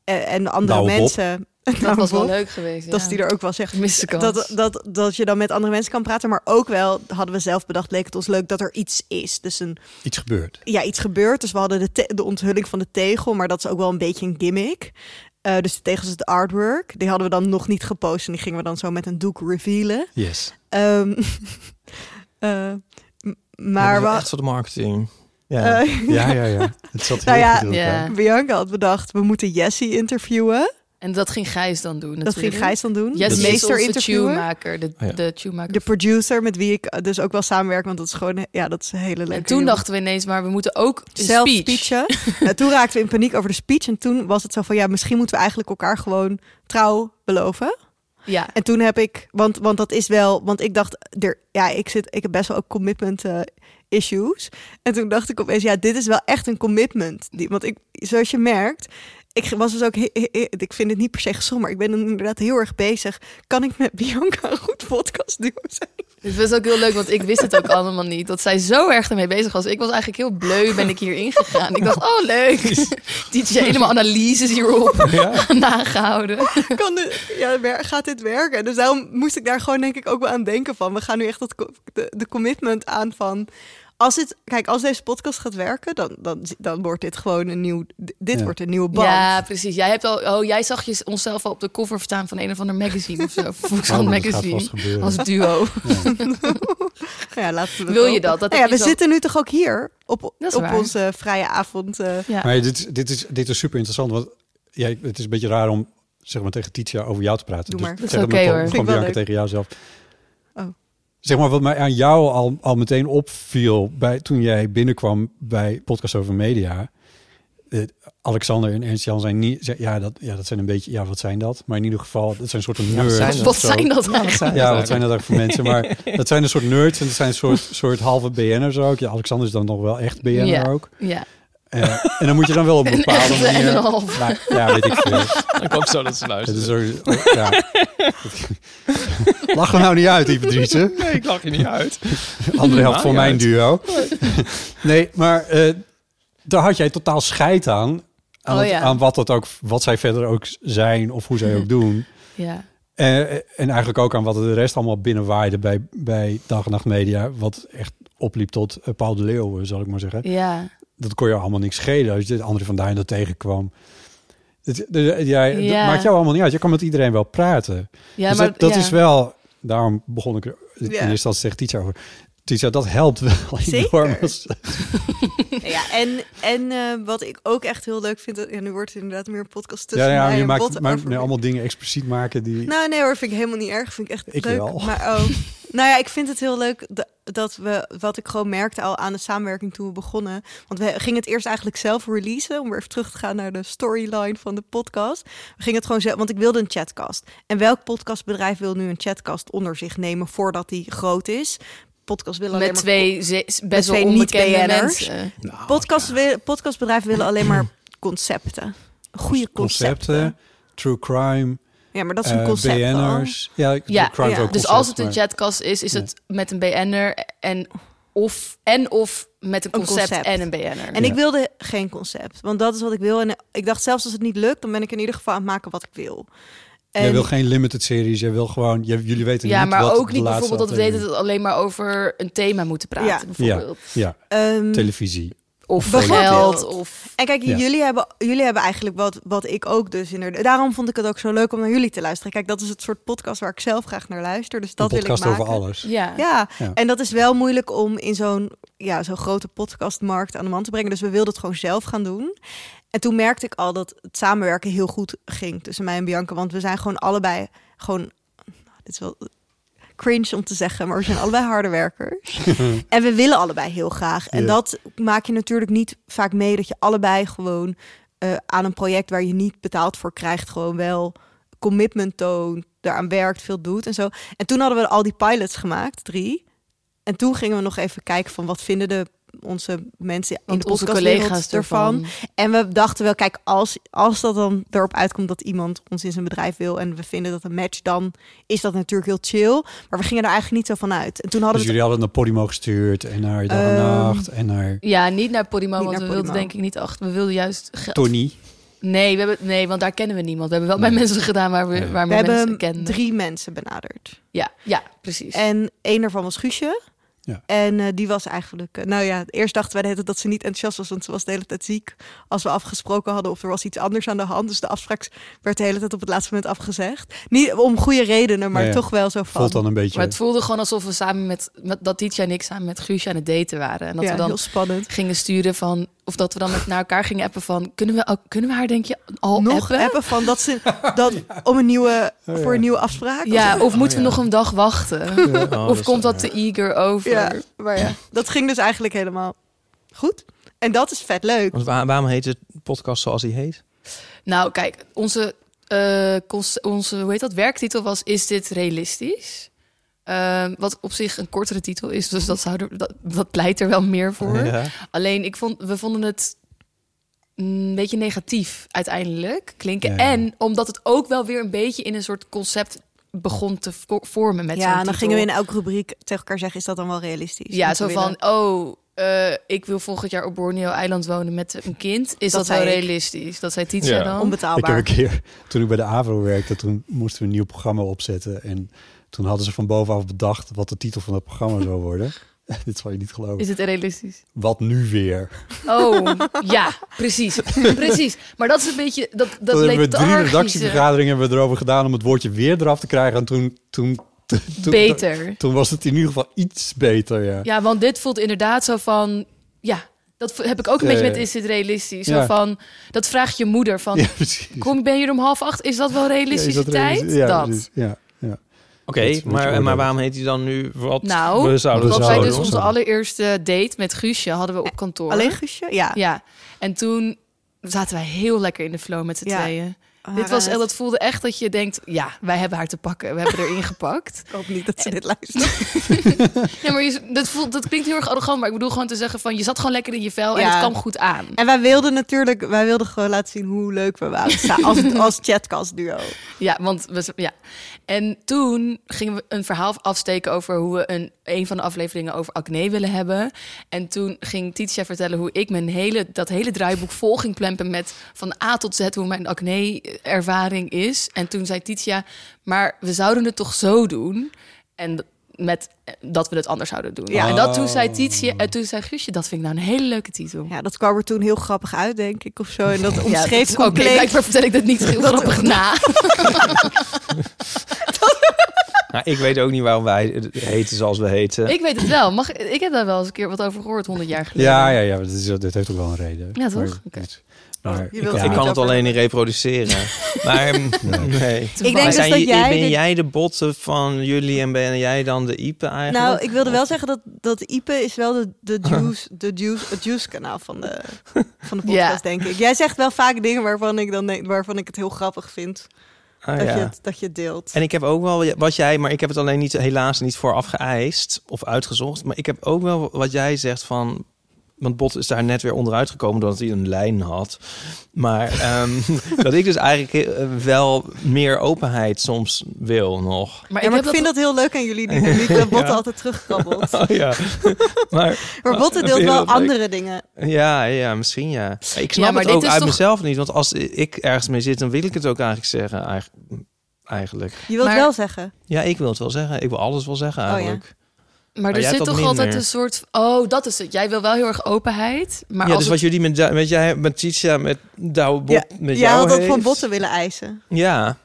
S4: eh, en de andere
S2: Nou, Bob.
S4: mensen.
S5: Dat was wel
S4: Bob.
S5: leuk geweest.
S4: Dat
S5: ja.
S4: die er ook wel zegt.
S5: Gemiste kans.
S4: Dat, dat, dat je dan met andere mensen kan praten. Maar ook wel, hadden we zelf bedacht, leek het ons leuk dat er iets is. Dus een,
S2: Iets gebeurt.
S4: ja, iets gebeurt. Dus we hadden de, te- de onthulling van de tegel. Maar dat is ook wel een beetje een gimmick. Eh, dus de tegels is het artwork. Die hadden we dan nog niet gepost. En die gingen we dan zo met een doek revealen.
S2: Yes.
S4: Ehm, eh, m-
S3: Maar
S4: maar we,
S3: echt voor de marketing. Ja.
S4: eh,
S2: Ja, ja, ja. Het zat heel
S4: Nou ja,
S2: goed in elkaar.
S5: Ja.
S4: Bianca had bedacht, we moeten Jessie interviewen.
S5: En dat ging Gijs dan doen.
S4: Dat ging Gijs dan doen.
S5: Yes,
S4: de
S5: de
S4: meester
S5: is onze
S4: interviewen.
S5: tunemaker. De,
S3: Oh ja.
S5: de tunemaker.
S4: De producer met wie ik eh, dus ook wel samenwerk. Want dat is gewoon, ja, dat is een hele leuke
S5: en toen
S4: jongen.
S5: dachten we ineens, maar we moeten ook een
S4: zelf
S5: speech.
S4: speechen. Nou, toen raakten we in paniek over de speech. En toen was het zo van, ja, misschien moeten we eigenlijk elkaar gewoon trouw beloven.
S5: Ja.
S4: En toen heb ik, want, want dat is wel, want ik dacht, er, ja, ik, zit, ik heb best wel ook commitment eh, issues. En toen dacht ik opeens, ja, dit is wel echt een commitment. Die, want ik, zoals je merkt, ik was dus ook, he- he- he- ik vind het niet per se gezond, maar ik ben inderdaad heel erg bezig. Kan ik met Bianca een goed podcast duo zijn?
S5: Het was ook heel leuk, want ik wist het ook allemaal niet. Dat zij zo erg ermee bezig was. Ik was eigenlijk heel bleu, ben ik hier ingegaan. Ik dacht, oh leuk. DJ helemaal analyses hierop
S2: Ja.
S5: nagehouden.
S4: kan dit- ja, wer- gaat dit werken? Dus daarom moest ik daar gewoon denk ik ook wel aan denken van. We gaan nu echt dat, co- de, de commitment aan van... Als dit, kijk, als deze podcast gaat werken, dan, dan, dan wordt dit gewoon een nieuw... d- Dit
S2: Ja.
S4: wordt een nieuwe band.
S5: Ja, precies. Jij, hebt al, oh, jij zag je onszelf al op de cover staan van een of ander magazine of zo. Volkskrant
S2: Oh, dat gaat
S5: magazine.
S2: vast gebeuren.
S5: Als duo.
S4: Nou ja, laten we
S5: Wil je
S4: hopen.
S5: dat? Dat
S4: Nou ja,
S5: heb
S4: we
S5: je zo-
S4: zitten nu toch ook hier op,
S5: is
S4: op
S5: waar.
S4: onze vrije avond. eh,
S5: Ja.
S2: Maar dit, is- dit, is, dit is super interessant, want ja, ik- het is een beetje raar om zeg maar, tegen Titia over jou te praten. Dus
S4: Doe maar.
S5: Dat is
S2: zeg
S5: oké,
S2: gewoon-
S5: hoor.
S4: Vind
S2: Gewoon
S4: ik wel
S2: Bianca
S4: leuk.
S2: tegen jou zelf.
S4: Oh.
S2: Zeg maar wat mij aan jou al, al meteen opviel bij, toen jij binnenkwam bij Podcast Over Media. Eh, Alexander en Ernst Jan zijn niet... zijn- ja, dat, ja, dat zijn een beetje... Ja, wat zijn dat? Maar in ieder geval, dat zijn soorten nerds.
S3: zijn
S2: of
S3: dat?
S5: Wat
S2: zo.
S5: zijn dat eigenlijk?
S2: Ja, wat zijn dat ook voor mensen? Maar dat zijn een soort nerds en dat zijn een soort, soort halve BN'ers ook. Ja, Alexander is dan nog wel echt BN'er
S5: Ja.
S2: ook.
S5: Ja.
S2: Eh, en dan moet je dan wel op een bepaalde
S5: echte en
S2: manier...
S5: een halve.
S2: Nou, ja, weet ik veel.
S3: Ik hoop zo dat ze
S2: Het is
S3: luisteren.
S2: ook, ook- ja. Lach er nou niet uit, die Driesen.
S3: Nee, ik lach je niet uit.
S2: Andere helft
S3: Nou,
S2: voor
S3: niet
S2: mijn
S3: uit.
S2: duo. Nee, maar eh, daar had jij totaal scheid aan. Aan,
S5: Oh,
S2: het-
S5: ja. Hm.
S2: aan wat, dat ook, wat zij verder ook zijn of hoe zij ook doen.
S5: ja.
S2: Eh, en eigenlijk ook aan wat de rest allemaal binnenwaaide bij, bij Dag en Nacht Media. Wat echt opliep tot eh, Paul de Leeuw, eh, zal ik maar zeggen.
S5: Ja.
S2: Dat kon je allemaal niks schelen als je dit andere van daar dat tegenkwam. Het, de- jij, dat
S5: Ja.
S2: maakt jou allemaal niet uit. Je kan met iedereen wel praten.
S5: Ja,
S2: dus
S5: maar
S2: dat, dat
S5: ja.
S2: is wel, daarom begon ik er in
S4: Ja.
S2: eerste instantie tegen Tietja over. Tietja, dat helpt wel
S4: Zeker.
S2: enorm. als-
S4: Ja, en, en eh, wat ik ook echt heel leuk vind... dat- Ja, nu wordt het inderdaad meer een podcast
S2: Ja,
S4: tussen
S2: ja,
S4: mij
S2: je
S4: en
S2: maakt
S4: Botte
S2: maar,
S4: over-
S2: nee, allemaal dingen expliciet maken die...
S4: Nou, nee hoor, vind ik helemaal niet erg. Vind ik echt
S2: Ik
S4: leuk.
S2: wel.
S4: Maar oh, nou ja, ik vind het heel leuk da- dat we, wat ik gewoon merkte al aan de samenwerking toen we begonnen. Want we gingen het eerst eigenlijk zelf releasen, om weer even terug te gaan naar de storyline van de podcast. We gingen het gewoon zelf, want ik wilde een chatcast. En welk podcastbedrijf wil nu een chatcast onder zich nemen voordat die groot is? Podcast willen alleen
S5: Met
S4: maar
S5: twee ze- best wel
S4: twee niet
S5: onbekende
S4: BN'ers.
S5: mensen.
S4: podcast wil- podcastbedrijven willen alleen maar concepten. Goede concepten.
S2: concepten, true crime,
S4: Ja, maar dat is een
S2: eh
S4: concept. al.
S2: BN'ers. Ja, true
S5: Ja,
S2: crime is
S4: ja.
S2: ook concept,
S5: Dus als het een
S2: maar-
S5: chatcast is, is het met een BN'er en of, en of met een
S4: Een
S5: concept,
S4: concept.
S5: en een BN'er.
S4: En
S2: Ja.
S4: ik wilde geen concept, want dat is wat ik wil. En ik dacht zelfs als het niet lukt, dan ben ik in ieder geval aan het maken wat ik wil. En
S2: Jij wil geen limited series, jij wil gewoon... jij- jullie weten
S5: Ja,
S2: niet
S5: maar
S2: wat
S5: ook
S2: de
S5: niet
S2: laatste
S5: bijvoorbeeld dat we weten dat
S2: aflevering-
S5: we alleen maar over een thema moeten praten.
S4: Ja.
S5: Bijvoorbeeld.
S2: Ja, ja,
S4: ehm,
S2: televisie.
S5: Of
S4: Bijvoorbeeld.
S5: geld. Of,
S4: en kijk,
S2: Ja.
S4: jullie, hebben, jullie hebben eigenlijk wat, wat ik ook dus inderdaad. Daarom vond ik het ook zo leuk om naar jullie te luisteren. Kijk, dat is het soort podcast waar ik zelf graag naar luister. Dus dat
S2: een
S4: wil ik
S2: podcast
S4: maken.
S2: over alles.
S5: ja.
S4: Ja.
S2: Ja.
S4: en dat is wel moeilijk om in zo'n ja, zo'n grote podcastmarkt aan de man te brengen. Dus we wilden het gewoon zelf gaan doen. En toen merkte ik al dat het samenwerken heel goed ging tussen mij en Bianca. Want we zijn gewoon allebei gewoon... nou, dit is wel cringe om te zeggen, maar we zijn allebei harde werkers. en we willen allebei heel graag. En
S2: Ja.
S4: dat maak je natuurlijk niet vaak mee dat je allebei gewoon eh, aan een project waar je niet betaald voor krijgt, gewoon wel commitment toont, daaraan werkt, veel doet en zo. En toen hadden we al die pilots gemaakt, drie. En toen gingen we nog even kijken van wat vinden de, onze mensen in
S5: Want
S4: de
S5: onze
S4: podcastwereld
S5: collega's
S4: ervan.
S5: ervan.
S4: En we dachten wel, kijk, als, als dat dan erop uitkomt dat iemand ons in zijn bedrijf wil en we vinden dat een match, dan is dat natuurlijk heel chill. Maar we gingen er eigenlijk niet zo van uit. En toen hadden
S2: Dus
S4: we het-
S2: jullie hadden het naar Podimo gestuurd en naar Dag en
S4: Ehm,
S2: Nacht en naar
S5: Ja, niet naar Podimo,
S4: Niet
S5: want
S4: naar
S5: we wilden
S4: Podimo.
S5: denk ik niet achter. We wilden juist geld.
S2: Tony.
S5: Nee, we hebben, nee, want daar kennen we niemand. We hebben wel bij mensen gedaan waar we,
S2: Nee.
S4: we
S5: waar we, mensen
S4: hebben
S5: kennen.
S4: drie mensen benaderd.
S5: Ja, ja, precies.
S4: En één daarvan was Guusje.
S2: Ja.
S4: En eh, die was eigenlijk... eh, nou ja, eerst dachten wij de hele tijd dat ze niet enthousiast was... want ze was de hele tijd ziek. Als we afgesproken hadden of er was iets anders aan de hand. Dus de afspraak werd de hele tijd op het laatste moment afgezegd. Niet om goede redenen, maar
S2: Ja, ja.
S4: toch wel zo van...
S2: Voelt dan een beetje...
S5: maar het voelde gewoon alsof we samen met, met dat Tietje en ik samen met Guusje aan het daten waren. En dat
S4: ja,
S5: we dan
S4: heel spannend.
S5: gingen sturen van... Of dat we dan met naar elkaar gingen appen van... Kunnen we, al- kunnen we haar denk je al
S4: Nog
S5: appen?
S4: hebben van dat ze... Dat, om een nieuwe,
S2: Oh, ja.
S4: voor een nieuwe afspraak.
S5: Ja, of moeten
S3: ja.
S4: Oh,
S5: we nog een dag wachten?
S3: Oh,
S5: of
S3: is-
S5: komt dat te eager over?
S4: Ja, maar ja, dat ging dus eigenlijk helemaal goed. En dat is vet leuk.
S3: Want waar- waarom heet het podcast zoals die heet?
S5: Nou, kijk, onze, eh, cons- onze hoe heet dat, werktitel was Is dit realistisch? Ehm, wat op zich een kortere titel is, dus dat, zou er, dat, dat pleit er wel meer voor.
S3: Ja.
S5: Alleen, ik vond, we vonden het een beetje negatief uiteindelijk klinken.
S2: Ja, ja.
S5: En omdat het ook wel weer een beetje in een soort concept begon te vo- vormen met zo'n
S4: ja, en dan
S5: titel.
S4: gingen we in elke rubriek tegen elkaar zeggen, is dat dan wel realistisch?
S5: Ja,
S4: Moeten
S5: zo
S4: we
S5: van,
S4: willen-
S5: oh, eh, ik wil volgend jaar op Borneo-eiland wonen met een kind. Is
S4: Dat
S5: dat, wel
S4: zei ik.
S5: realistisch? Dat zei Tietze
S6: Ja.
S5: dan?
S2: Ik heb
S4: onbetaalbaar.
S2: een keer, toen ik bij de AVRO werkte, toen moesten we een nieuw programma opzetten. En toen hadden ze van bovenaf bedacht wat de titel van dat programma zou worden. Dit zal je niet geloven.
S5: Is het realistisch?
S2: Wat nu weer?
S5: Oh, ja, precies. Precies. Maar dat is een beetje dat, dat
S2: toen hebben we drie
S5: lethargische-
S2: redactievergaderingen hebben we erover gedaan om het woordje weer eraf te krijgen. En toen, toen, toen, toen-
S5: Beter.
S2: toen was het in ieder geval iets beter, ja.
S5: Ja, want dit voelt inderdaad zo van... Ja, dat v- heb ik ook een
S2: Ja,
S5: beetje
S2: ja.
S5: met is dit realistisch? Zo
S2: Ja.
S5: van, dat vraagt je moeder van...
S2: Ja, precies.
S5: Kom, ben je er om half acht? Is dat wel
S2: Ja, is
S5: realistische
S2: dat
S5: tijd?
S2: realistisch? Ja,
S5: dat.
S2: precies. Ja, ja.
S3: Oké,
S2: Dat moet je
S3: maar, eh, maar
S2: oordelen.
S3: waarom heet hij dan nu wat
S5: Nou,
S3: we zouden
S2: dat
S5: Want
S2: zou
S5: wij
S3: zouden
S5: dus
S2: ik
S3: doen?
S5: onze
S2: zeggen.
S5: allereerste date met Guusje hadden we op kantoor.
S4: Alleen Guusje? Ja.
S5: Ja. En toen zaten wij heel lekker in de flow met z'n
S4: Ja.
S5: tweeën.
S4: Maar,
S5: Dit was,
S4: eh,
S5: en dat voelde echt dat je denkt, ja, wij hebben haar te pakken. We hebben erin gepakt.
S4: Ik hoop niet dat
S5: Eh,
S4: ze dit luistert.
S5: Ja, maar je, dat, voelt, dat klinkt heel erg arrogant, maar ik bedoel gewoon te zeggen van... je zat gewoon lekker in je vel en
S4: Ja.
S5: het kwam goed aan.
S4: En wij wilden natuurlijk, wij wilden gewoon laten zien hoe leuk we waren sa- als, als chatcast duo.
S5: Ja, want we, ja. En toen gingen we een verhaal afsteken over hoe we een, een van de afleveringen over acne willen hebben. En toen ging Titia vertellen hoe ik mijn hele, dat hele draaiboek vol ging plempen met van A tot Z hoe mijn acne-ervaring is. En toen zei Titia, maar we zouden het toch zo doen? En met dat we het anders zouden doen.
S4: Ja.
S5: En dat toen zei Titia, en toen zei Guusje, dat vind ik nou een hele leuke titel.
S4: Ja, dat kwam er toen heel grappig uit, denk ik, of zo. En dat
S5: Ja,
S4: omschreef
S5: dat- Oké,
S4: compleet.
S5: blijkbaar vertel ik dat niet heel grappig na.
S3: Nou, ik weet ook niet waarom wij het heten zoals we heten.
S5: Ik weet het wel. Mag, ik heb daar wel eens een keer wat over gehoord, 100 jaar geleden.
S2: Ja, ja, ja. maar Dit, is, dit heeft ook wel een reden.
S5: Ja, toch?
S2: Maar-
S5: Oké.
S2: maar
S4: Je wilt
S2: ja.
S4: het
S3: ik
S4: niet
S3: kan het
S4: over-
S3: alleen niet reproduceren. maar mm, nee.
S5: Toen
S4: Ik
S5: was-
S4: denk
S3: Zijn
S4: dus dat
S3: je-
S4: jij
S3: ben
S4: dit-
S3: jij de botten van jullie en ben jij dan de Ipe eigenlijk?
S4: Nou, ik wilde wel zeggen dat, dat Ipe is wel de, de juice, de juice, het juice kanaal van de, van de
S5: Ja.
S4: podcast, denk ik. Jij zegt wel vaak dingen waarvan ik, dan denk, waarvan ik het heel grappig vind
S3: Ah,
S4: dat,
S3: ja.
S4: je het, dat je het deelt.
S3: En ik heb ook wel wat jij, maar ik heb het alleen niet, helaas niet vooraf geëist of uitgezocht. Maar ik heb ook wel wat jij zegt van. Want Bot is daar net weer onderuit gekomen doordat hij een lijn had. Maar ehm, dat ik dus eigenlijk eh, wel meer openheid soms wil nog.
S5: maar
S4: ja, maar ik, vind
S5: dat...
S4: dat... heel leuk aan jullie dynamiek, dat Botte altijd terugkrabbelt.
S3: Oh ja. maar
S4: Maar Botte
S3: dat
S4: deelt
S3: vind je
S4: wel
S3: heel leuk.
S4: andere dingen.
S3: ja, ja, misschien ja. Maar Ik snap
S5: Ja, maar
S3: het
S5: dit
S3: ook
S5: is
S3: uit
S5: toch-
S3: mezelf niet. Want als ik ergens mee zit, dan wil ik het ook eigenlijk zeggen. eigenlijk- Eigenlijk.
S4: Je wilt
S5: Maar-
S4: wel zeggen.
S3: Ja, ik wil het wel zeggen. Ik wil alles wel zeggen
S4: Oh ja.
S3: eigenlijk.
S5: maar
S3: jij
S5: er
S3: hebt
S5: zit toch
S3: dat
S5: altijd
S3: minder.
S5: een soort... Oh, dat is het. Jij wil wel heel erg openheid. Maar
S3: ja,
S5: als
S3: dus wat
S5: het-
S3: jullie met, met jij, met Titia, met Douwe Bob,
S4: Ja,
S3: met
S4: jij
S3: jou
S4: had dat
S3: heeft.
S4: van Botte willen eisen.
S3: Ja.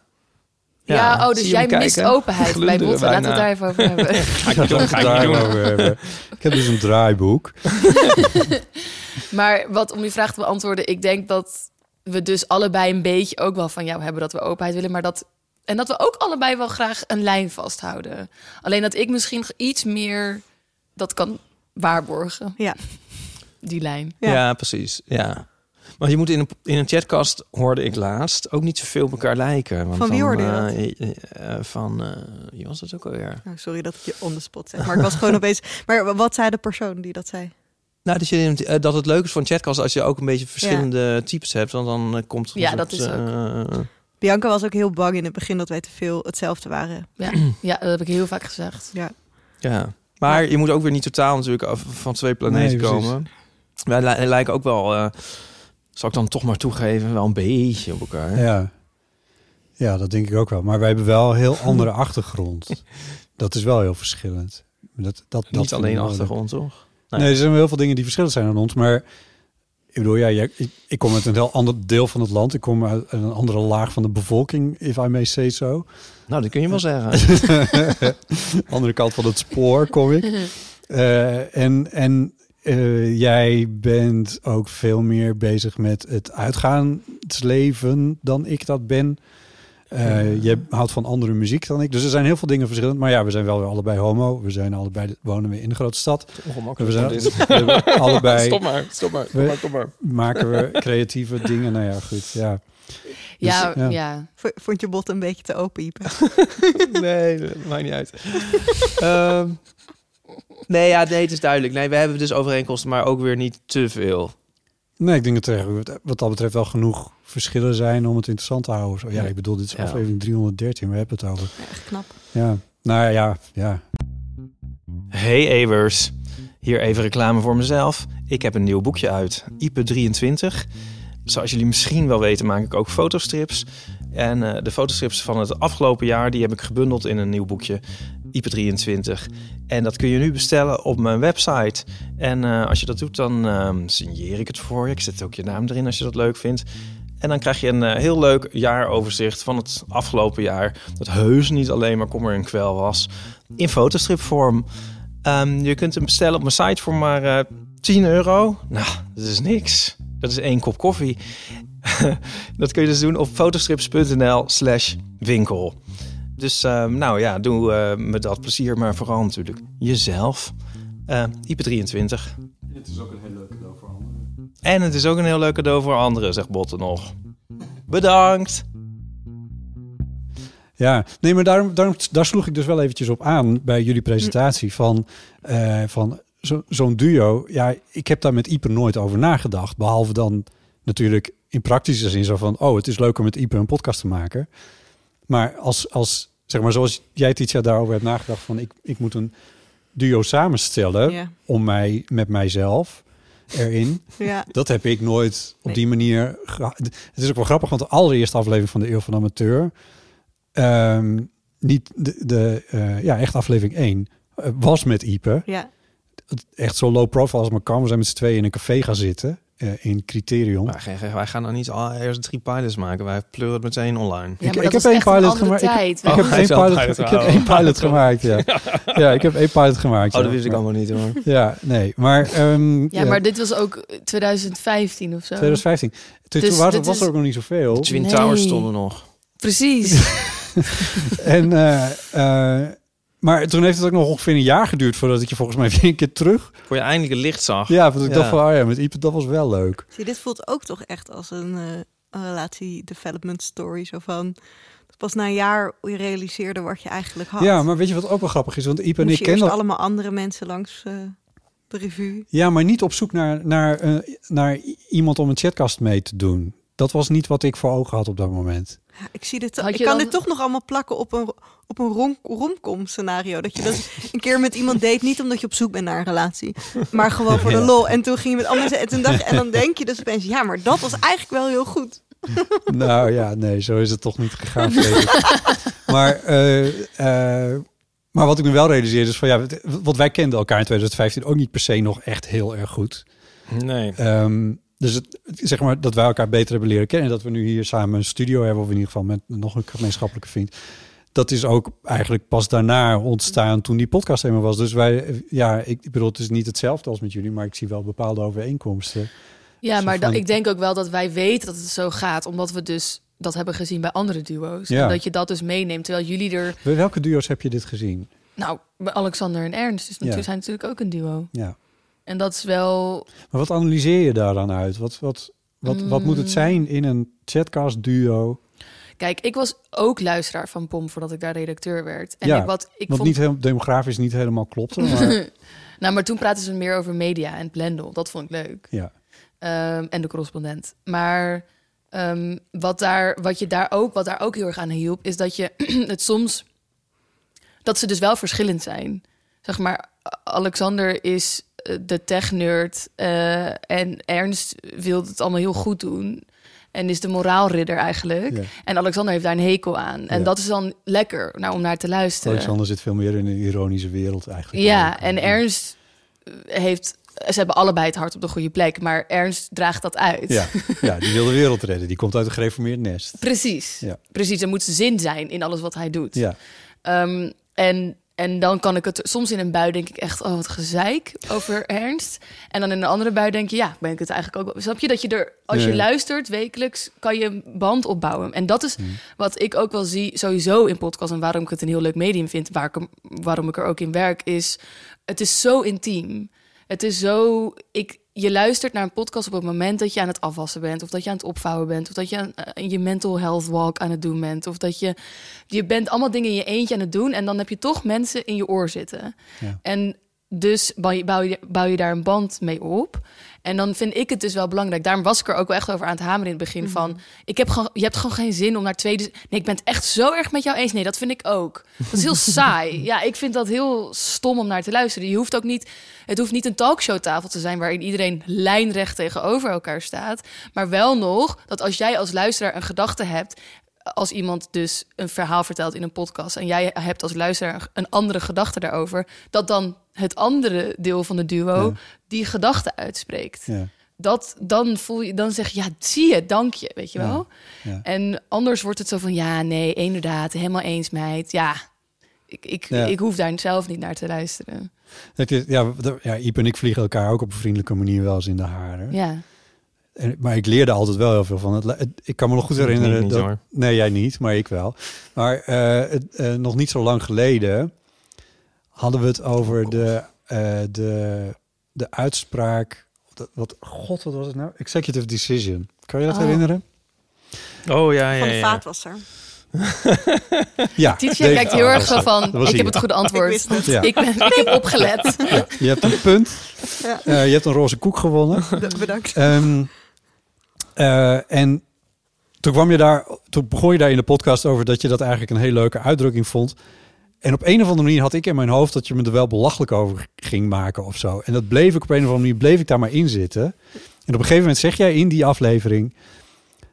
S5: ja, oh, dus
S3: Zie je
S5: jij
S3: hem
S5: mist
S3: kijken?
S5: openheid bij
S3: Glunderen
S5: Botten. Laten we het
S3: bijna.
S5: daar even over hebben.
S2: Ik ga het ook daarover hebben. Ik heb dus een draaiboek.
S5: maar wat, om je vraag te beantwoorden... Ik denk dat we dus allebei een beetje ook wel van jou hebben... dat we openheid willen, maar dat... En dat we ook allebei wel graag een lijn vasthouden. Alleen dat ik misschien iets meer dat kan waarborgen,
S4: Ja.
S5: die lijn.
S4: Ja.
S3: Ja. precies. Ja. Want je moet in een, in een chatcast, hoorde ik laatst, ook niet zoveel op elkaar lijken. Want
S4: Van wie
S3: dan,
S4: hoorde je
S3: eh, eh, eh, van, eh, wie was dat ook alweer?
S4: Oh, sorry dat ik je on the spot zeg, maar ik was gewoon opeens... Maar wat zei de persoon die dat zei?
S3: Nou, dat, je, in- eh, dat het leuk is van chatcast als je ook een beetje verschillende types hebt. Want dan eh, komt er een
S5: Ja,
S3: soort,
S5: dat is ook.
S3: eh,
S4: Bianca was ook heel bang in het begin dat wij te veel hetzelfde waren.
S5: Ja, ja, dat heb ik heel vaak gezegd.
S4: Ja.
S3: Ja, maar je moet ook weer niet totaal natuurlijk af- van twee planeten
S2: Nee, precies.
S3: komen. Wij li- lijken ook wel, eh, zal ik dan toch maar toegeven, wel een beetje op elkaar.
S2: Ja. ja, dat denk ik ook wel. Maar wij hebben wel een heel andere achtergrond. Dat is wel heel verschillend. Dat, dat, dat
S3: niet
S2: vind ik
S3: alleen
S2: wel leuk.
S3: achtergrond, toch?
S2: Nee. er zijn wel heel veel dingen die verschillend zijn aan ons. Maar ik bedoel, ja, jij- ik, ik kom uit een heel ander deel van het land. Ik kom uit een andere laag van de bevolking, if I may say so.
S3: Nou, dat kun je wel zeggen.
S2: andere kant van het spoor kom ik. Eh, en en eh, jij bent ook veel meer bezig met het uitgaansleven dan ik dat ben. Eh, Je houdt van andere muziek dan ik. Dus er zijn heel veel dingen verschillend. Maar ja, we zijn wel weer allebei homo. We zijn allebei, wonen we in een grote stad. We zijn we hebben allebei.
S3: Stop maar, stop maar,
S2: We-
S3: kom maar, kom maar.
S2: Maken we creatieve dingen. Nou ja, goed. Ja.
S5: Ja,
S2: Dus, ja.
S5: ja.
S4: V- Vond je bot een beetje te open, Ipe?
S3: Nee, dat maakt niet uit. Ehm, nee, ja, nee, het is duidelijk. Nee, we hebben dus overeenkomsten, maar ook weer niet te veel.
S2: Nee, ik denk dat er wat dat betreft wel genoeg verschillen zijn om het interessant te houden. Zo, ja,
S3: Ja.
S2: ik bedoel, dit is
S3: Ja.
S2: aflevering 313, we hebben het over.
S4: Ja, echt knap.
S2: Ja, nou ja, ja.
S3: Hey Evers, hier even reclame voor mezelf. Ik heb een nieuw boekje uit, Ipe 23. Zoals jullie misschien wel weten maak ik ook fotostrips. En eh, de fotostrips van het afgelopen jaar die heb ik gebundeld in een nieuw boekje, Ipe 23. En dat kun je nu bestellen op mijn website. En eh, als je dat doet, dan ehm, signeer ik het voor je. Ik zet ook je naam erin als je dat leuk vindt. En dan krijg je een eh, heel leuk jaaroverzicht van het afgelopen jaar. Dat heus niet alleen maar kommer en kwel was. In fotostripvorm. Ehm, je kunt hem bestellen op mijn site voor maar eh, 10 euro. Nou, dat is niks. Dat is één kop koffie. dat kun je dus doen op fotostrips.nl slash winkel. Dus ehm, nou ja, doe eh, me dat plezier, maar vooral natuurlijk jezelf. Eh IP23. En het is ook een heel leuk cadeau voor anderen, zegt Botten nog. Bedankt!
S2: Ja, nee, maar daarom, daarom, daar sloeg ik dus wel eventjes op aan bij jullie presentatie van, eh, van zo- zo'n duo. Ja, ik heb daar met Ieper nooit over nagedacht. Behalve dan natuurlijk in praktische zin zo van, oh, het is leuk om met Ieper een podcast te maken. Maar als, als zeg maar, zoals jij Titia daarover hebt nagedacht van, ik, ik moet een duo
S3: Oh.
S2: samenstellen
S4: Ja.
S2: om mij met mijzelf erin.
S4: Ja.
S2: Dat heb ik nooit op
S4: Nee.
S2: die manier. geha- Het is ook wel grappig, want de allereerste aflevering van de Eeuw van de Amateur. ehm, niet de, de eh, ja, echt aflevering 1. eh, was met Ipe.
S4: ja.
S2: Het- Echt zo low profile als maar kan. We zijn met z'n tweeën in een café gaan zitten. eh, in Criterion.
S3: Maar geen- geen- wij gaan dan niet al eerst drie pilots maken. Wij pleuren het meteen online.
S5: Ja, maar
S2: ik
S5: dat
S2: heb
S5: was
S2: één
S5: echt een
S2: pilot
S5: andere
S2: gemaakt.
S5: tijd.
S2: ik, heb
S3: hij
S2: één
S3: is wel
S2: pilot,
S3: pilot,
S2: ge- ik heb
S3: oh.
S2: één pilot gemaakt. Ja. ja, ik heb één pilot gemaakt.
S3: Oh,
S2: ja.
S3: dat wist ik allemaal niet hoor.
S2: Ja, nee. Maar, ehm,
S5: Ja, maar dit was ook 2015 of zo.
S2: 2015. Toen,
S5: Dus
S2: toen was,
S5: dit
S2: was
S5: is-
S2: er ook nog niet zoveel.
S3: Twin
S5: Nee.
S3: Towers stonden nog.
S5: Precies.
S2: En, eh, eh, maar toen heeft het ook nog ongeveer een jaar geduurd voordat ik je volgens mij weer een keer terug.
S3: Voor je eindelijk het licht zag.
S2: Ja, want ik
S3: Ja.
S2: dacht van, oh ja, met Ipe, dat was wel leuk.
S4: Zie, dit voelt ook toch echt als een, eh, een relatie development story. Zo van, pas na een jaar je realiseerde wat je eigenlijk had.
S2: Ja, maar weet je wat ook wel grappig is? Want Ipe en
S4: Moest
S2: ik
S4: je
S2: ken
S4: eerst
S2: dat.
S4: allemaal andere mensen langs eh, de revue.
S2: Ja, maar niet op zoek naar, naar, eh, naar i- iemand om een chatkast mee te doen. Dat was niet wat ik voor ogen had op dat moment.
S4: Ja, Ik, zie dit,
S5: Had
S4: ik
S5: je
S4: kan
S5: dan-
S4: dit toch nog allemaal plakken op een, op een rom, romcom scenario. Dat je dat een keer met iemand date, niet omdat je op zoek bent naar een relatie, maar gewoon voor de lol. En toen ging je met andere mensen en toen dacht, en dan denk je dus opeens, ja, maar dat was eigenlijk wel heel goed.
S2: nou ja, nee, zo is het toch niet gegaan. vrees ik. maar, eh, eh, maar wat ik me wel realiseerde is van ja, wat- wat wij kenden elkaar in 2015 ook niet per se nog echt heel erg goed.
S3: Nee.
S2: Ehm, dus het, zeg maar dat wij elkaar beter hebben leren kennen. En dat we nu hier samen een studio hebben, of in ieder geval met nog een gemeenschappelijke vriend. Dat is ook eigenlijk pas daarna ontstaan toen die podcast helemaal was. Dus wij, eh, ja, ik, ik bedoel, het is niet hetzelfde als met jullie, maar ik zie wel bepaalde overeenkomsten.
S5: Ja,
S2: Zo
S5: maar
S2: van-
S5: dat, ik denk ook wel dat wij weten dat het zo gaat. Omdat we dus dat hebben gezien bij andere duo's.
S2: Ja.
S5: En dat je dat dus meeneemt. Terwijl jullie er...
S2: Bij welke duo's heb je dit gezien?
S5: Nou, bij Alexander en Ernst dus natuurlijk
S2: Ja.
S5: zijn natuurlijk ook een duo.
S2: Ja.
S5: En dat is wel...
S2: Maar wat analyseer je daaraan uit? Wat, wat, wat, wat moet
S5: Mm.
S2: het zijn in een chatcast duo?
S5: Kijk, ik was ook luisteraar van POM voordat ik daar redacteur werd. En
S2: Ja,
S5: ik, wat, ik
S2: Want
S5: vond...
S2: niet heel, demografisch niet helemaal klopt. Maar,
S5: Nou, maar toen praten ze meer over media en Blendel. Dat vond ik leuk.
S2: ja.
S5: Ehm, en de correspondent. Maar ehm, wat, daar, wat, je daar ook, wat daar ook heel erg aan hielp, is dat je het soms. dat ze dus wel verschillend zijn. Zeg maar, A- Alexander is eh, de tech-nerd. eh, en Ernst wil het allemaal heel goed doen. En is de moraalridder eigenlijk.
S2: Ja.
S5: En Alexander heeft daar een hekel aan. En
S2: Ja.
S5: dat is dan lekker nou, om naar te luisteren.
S2: Alexander zit veel meer in een ironische wereld eigenlijk.
S5: Ja,
S2: Ook.
S5: en Ernst eh, heeft. Ze hebben allebei het hart op de goede plek, maar Ernst draagt dat uit.
S2: Ja, ja, die wil de wereld redden. Die komt uit een gereformeerd nest.
S5: Precies.
S2: Ja.
S5: Precies. Er moet zin zijn in alles wat hij doet.
S2: Ja,
S5: Ehm, en, en dan kan ik het soms in een bui denk ik echt, oh wat gezeik over Ernst. En dan in een andere bui denk je, ja, ben ik het eigenlijk ook wel. Snap je dat je er, als
S2: Ja. Hmm.
S5: je luistert wekelijks, kan je een band opbouwen. En dat is wat ik ook wel zie sowieso in podcasts en waarom ik het een heel leuk medium vind, waar ik, hem- waarom ik er ook in werk, is het is zo intiem. Het is zo, ik, je luistert naar een podcast op het moment dat je aan het afwassen bent, of dat je aan het opvouwen bent, of dat je aan, eh, je mental health walk aan het doen bent, of dat je je bent allemaal dingen in je eentje aan het doen en dan heb je toch mensen in je oor zitten.
S2: Ja.
S5: En dus bouw je, bouw, je, bouw je daar een band mee op. En dan vind ik het dus wel belangrijk. Daarom was ik er ook wel echt over aan het hameren in het begin. Van, ik heb gewoon, je hebt gewoon geen zin om naar tweede... Nee, ik ben het echt zo erg met jou eens. Nee, dat vind ik ook. Dat is heel saai. Ja, ik vind dat heel stom om naar te luisteren. Je hoeft ook niet... Het hoeft niet een talkshowtafel te zijn... waarin iedereen lijnrecht tegenover elkaar staat. Maar wel nog dat als jij als luisteraar een gedachte hebt als iemand dus een verhaal vertelt in een podcast en jij hebt als luisteraar een andere gedachte daarover, dat dan het andere deel van de duo
S2: Ja.
S5: die gedachte uitspreekt.
S2: Ja.
S5: Dat dan voel je, dan zeg je ja, zie je, dank je, weet je
S2: Ja,
S5: wel.
S2: ja.
S5: En anders wordt het zo van ja, nee, inderdaad, helemaal eens, meid. Ja, ik, ik,
S2: Ja.
S5: ik hoef daar zelf niet naar te luisteren.
S2: Het is, ja, d- ja, Iep en ik vliegen elkaar ook op een vriendelijke manier wel eens in de haren.
S5: Ja,
S2: En- maar ik leerde altijd wel heel veel van. Het, le- het- ik kan me nog goed herinneren.
S3: Ik niet,
S2: dat,
S3: hoor.
S2: Nee, jij niet, maar ik wel. Maar eh, het, eh, nog niet zo lang geleden hadden we het
S3: Oh,
S2: over de, eh, de, de uitspraak. dat- Wat, God, wat was het nou? Executive decision. Kan je dat
S5: Oh.
S2: herinneren?
S3: Oh ja, ja,
S4: Van de
S3: ja.
S4: vaatwasser.
S2: Ja.
S5: Tietje
S2: Dave-
S5: kijkt heel
S2: oh,
S5: erg zo
S2: dat
S5: van,
S2: was
S5: ik
S2: hij.
S5: heb het goede
S4: Ik
S5: antwoord.
S4: wist het.
S2: Ja.
S5: Ik, ben, ik heb opgelet.
S2: Je hebt een punt.
S4: Ja.
S2: Eh, je hebt een roze koek gewonnen.
S4: D- Bedankt.
S2: Ehm, eh, en toen, kwam je daar, toen begon je daar in de podcast over dat je dat eigenlijk een hele leuke uitdrukking vond. En op een of andere manier had ik in mijn hoofd dat je me er wel belachelijk over ging maken of zo. En dat bleef ik op een of andere manier, bleef ik daar maar in zitten. En op een gegeven moment zeg jij in die aflevering,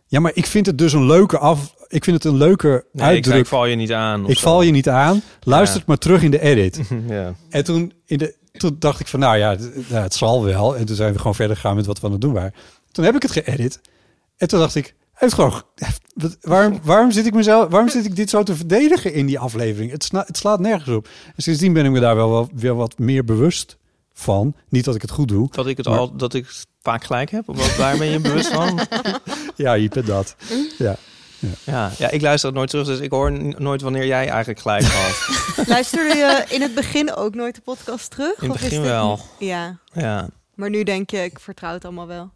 S2: ja, maar ik vind het dus een leuke af, ik vind het een leuke
S3: Nee, ik, zei,
S2: uitdruk.
S3: ik val je niet aan. of
S2: Ik
S3: zo.
S2: val je niet aan, luister
S3: Ja.
S2: het maar terug in de edit.
S3: Ja.
S2: En toen, in de, toen dacht ik van, nou ja, d- nou, het zal wel. En toen zijn we gewoon verder gegaan met wat we aan het doen waren. Toen heb ik het geëdit. En toen dacht ik, hij heeft gewoon, ge- hij heeft- wat- waarom, waarom, zit ik mezelf, waarom zit ik dit zo te verdedigen in die aflevering? Het, sna- het slaat nergens op. En sindsdien ben ik me daar wel, wel weer wat meer bewust van. Niet dat ik het goed doe.
S3: Dat ik het
S2: Maar-
S3: al, dat ik vaak gelijk heb. Of wat, daar ben je bewust van?
S2: Ja, je bent dat. Ja.
S3: Ja, ja, ik luister het nooit terug, dus ik hoor n- nooit wanneer jij eigenlijk gelijk had.
S4: Luisterde je in het begin ook nooit de podcast terug?
S3: In het
S4: of is
S3: begin
S4: dit-
S3: wel.
S4: Ja,
S3: Ja,
S4: maar nu denk je, ik vertrouw het allemaal wel.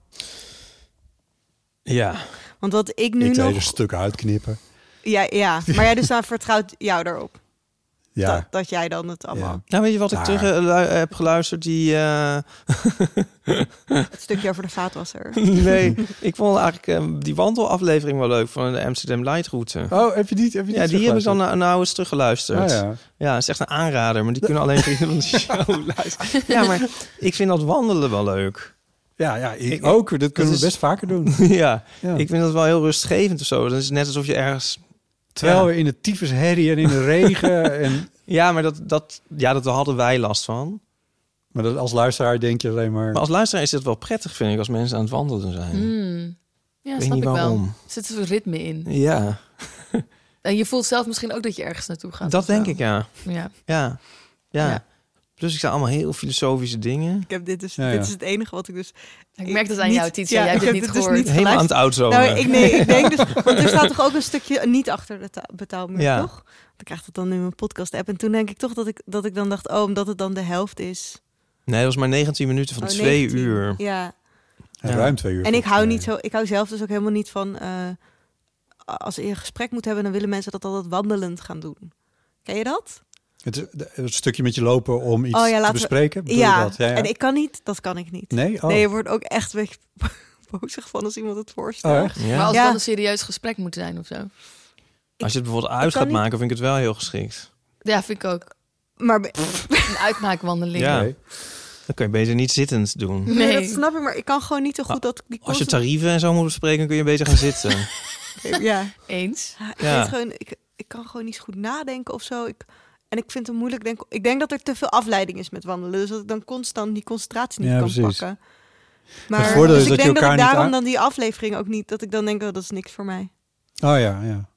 S3: ja.
S4: Want wat ik nu
S2: Ik deed een
S4: nog...
S2: stuk uitknippen.
S4: Ja, ja, maar jij dus dan vertrouwt jou daarop.
S2: Ja.
S4: Dat, dat jij dan het allemaal...
S3: Nou, weet je wat ik
S2: Maar-
S3: terug eh, lu- heb geluisterd? Die. eh,
S4: Het stukje over de vaatwasser.
S3: nee, ik vond eigenlijk eh, die wandelaflevering wel leuk van de Amsterdam Light Route.
S2: Oh, heb je niet? Heb je
S3: Ja,
S2: niet
S3: die heb ik
S2: teruggeluisterd?
S3: dan nou, nou eens teruggeluisterd.
S2: Ah,
S3: ja.
S2: ja.
S3: is echt een aanrader, maar die kunnen alleen vrienden van de show luisteren. Ja, maar ik vind dat wandelen wel leuk.
S2: Ja, ja, ik,
S3: Ik-
S2: ook. Dat kunnen
S3: is-
S2: we best vaker doen.
S3: ja,
S2: Ja.
S3: ik vind dat wel heel rustgevend of zo. Dan is het net alsof je ergens...
S2: Terwijl
S3: Ja.
S2: we in de tyfus herrie en in de regen en
S3: Ja, maar dat, dat, ja, dat hadden wij last van.
S2: Maar dat, als luisteraar denk je alleen maar...
S3: Maar als luisteraar is het wel prettig, vind ik, als mensen aan het wandelen zijn.
S4: Mm.
S5: Hmm. Ja,
S3: Weet
S5: snap
S3: niet
S5: ik wel.
S3: waarom.
S5: Er zit een ritme in.
S3: Ja,
S5: En je voelt zelf misschien ook dat je ergens naartoe gaat.
S3: dat
S5: of zo.
S3: denk ik, ja.
S5: Ja.
S3: Ja, ja.
S5: Ja.
S3: Plus ik zei allemaal heel filosofische dingen.
S4: Ik heb dit dus...
S2: Ja, ja.
S4: Dit is het enige wat ik dus...
S5: Ik merk dat aan
S4: niet-
S5: jou, Tietje.
S4: ja,
S5: Jij hebt
S4: ik
S5: het
S4: heb dit
S5: niet
S4: dus
S5: gehoord.
S4: niet-
S3: Helemaal aan het
S4: geluisterd.
S2: Oh,
S3: oudzomen.
S4: Nou, ik, nee, ik denk dus... Want er staat toch ook een stukje niet achter de ta- betaalmuur,
S3: Ja.
S4: toch? Want ik krijg dat dan in mijn podcast-app. En toen denk ik toch dat ik, dat ik dan dacht... Oh, omdat het dan de helft is.
S3: Nee, dat was maar 19 minuten van
S4: Oh,
S3: twee
S4: 19.
S3: uur.
S4: Ja.
S2: Ja,
S3: Ja.
S2: Ruim twee uur.
S4: En ik hou
S2: volgens
S4: niet zo, ik hou zelf dus ook helemaal niet van. eh, als je een gesprek moet hebben, dan willen mensen dat altijd wandelend gaan doen. Ken je dat?
S2: mij. Het, is- het stukje met je lopen om iets
S4: Oh ja,
S2: te
S4: laten we-
S2: bespreken? bedoel je dat? Ja, ja.
S4: En ik kan niet, dat kan ik niet.
S2: Nee? Oh.
S4: Nee, je wordt ook echt een beetje bozig van als iemand het voorstelt.
S2: Oh, echt?
S3: Ja.
S5: Maar als
S4: Ja.
S5: het dan een serieus gesprek moet zijn of zo.
S3: Als je het bijvoorbeeld uit
S4: kan
S3: gaat
S4: niet-
S3: maken, vind ik het wel heel geschikt.
S5: Ja, vind ik ook.
S4: Maar be-
S5: Een uitmaakwandeling.
S3: Ja.
S2: Nee.
S3: Dan kun je beter niet zittend doen.
S4: nee.
S5: Nee.
S4: dat snap ik, maar ik kan gewoon niet zo
S2: Oh,
S4: goed dat ik
S3: Als
S4: die
S3: je
S4: concept-
S3: tarieven en zo moet bespreken, kun je beter gaan zitten.
S4: Ja,
S5: Eens.
S4: ik,
S3: Ja.
S4: weet gewoon, ik, ik kan gewoon niet zo goed nadenken of zo. Ik, en ik vind het moeilijk. Denk, ik denk dat er te veel afleiding is met wandelen. Dus dat ik dan constant die concentratie niet
S2: Ja,
S4: kan
S2: precies.
S4: pakken.
S2: Het
S4: Maar
S2: voordeel
S4: dus
S2: is
S4: ik
S2: dat je
S4: denk dat ik
S2: elkaar niet
S4: daarom
S2: aan-
S4: dan die aflevering ook niet. Dat ik dan denk, oh, dat is niks voor mij.
S2: Oh ja, ja.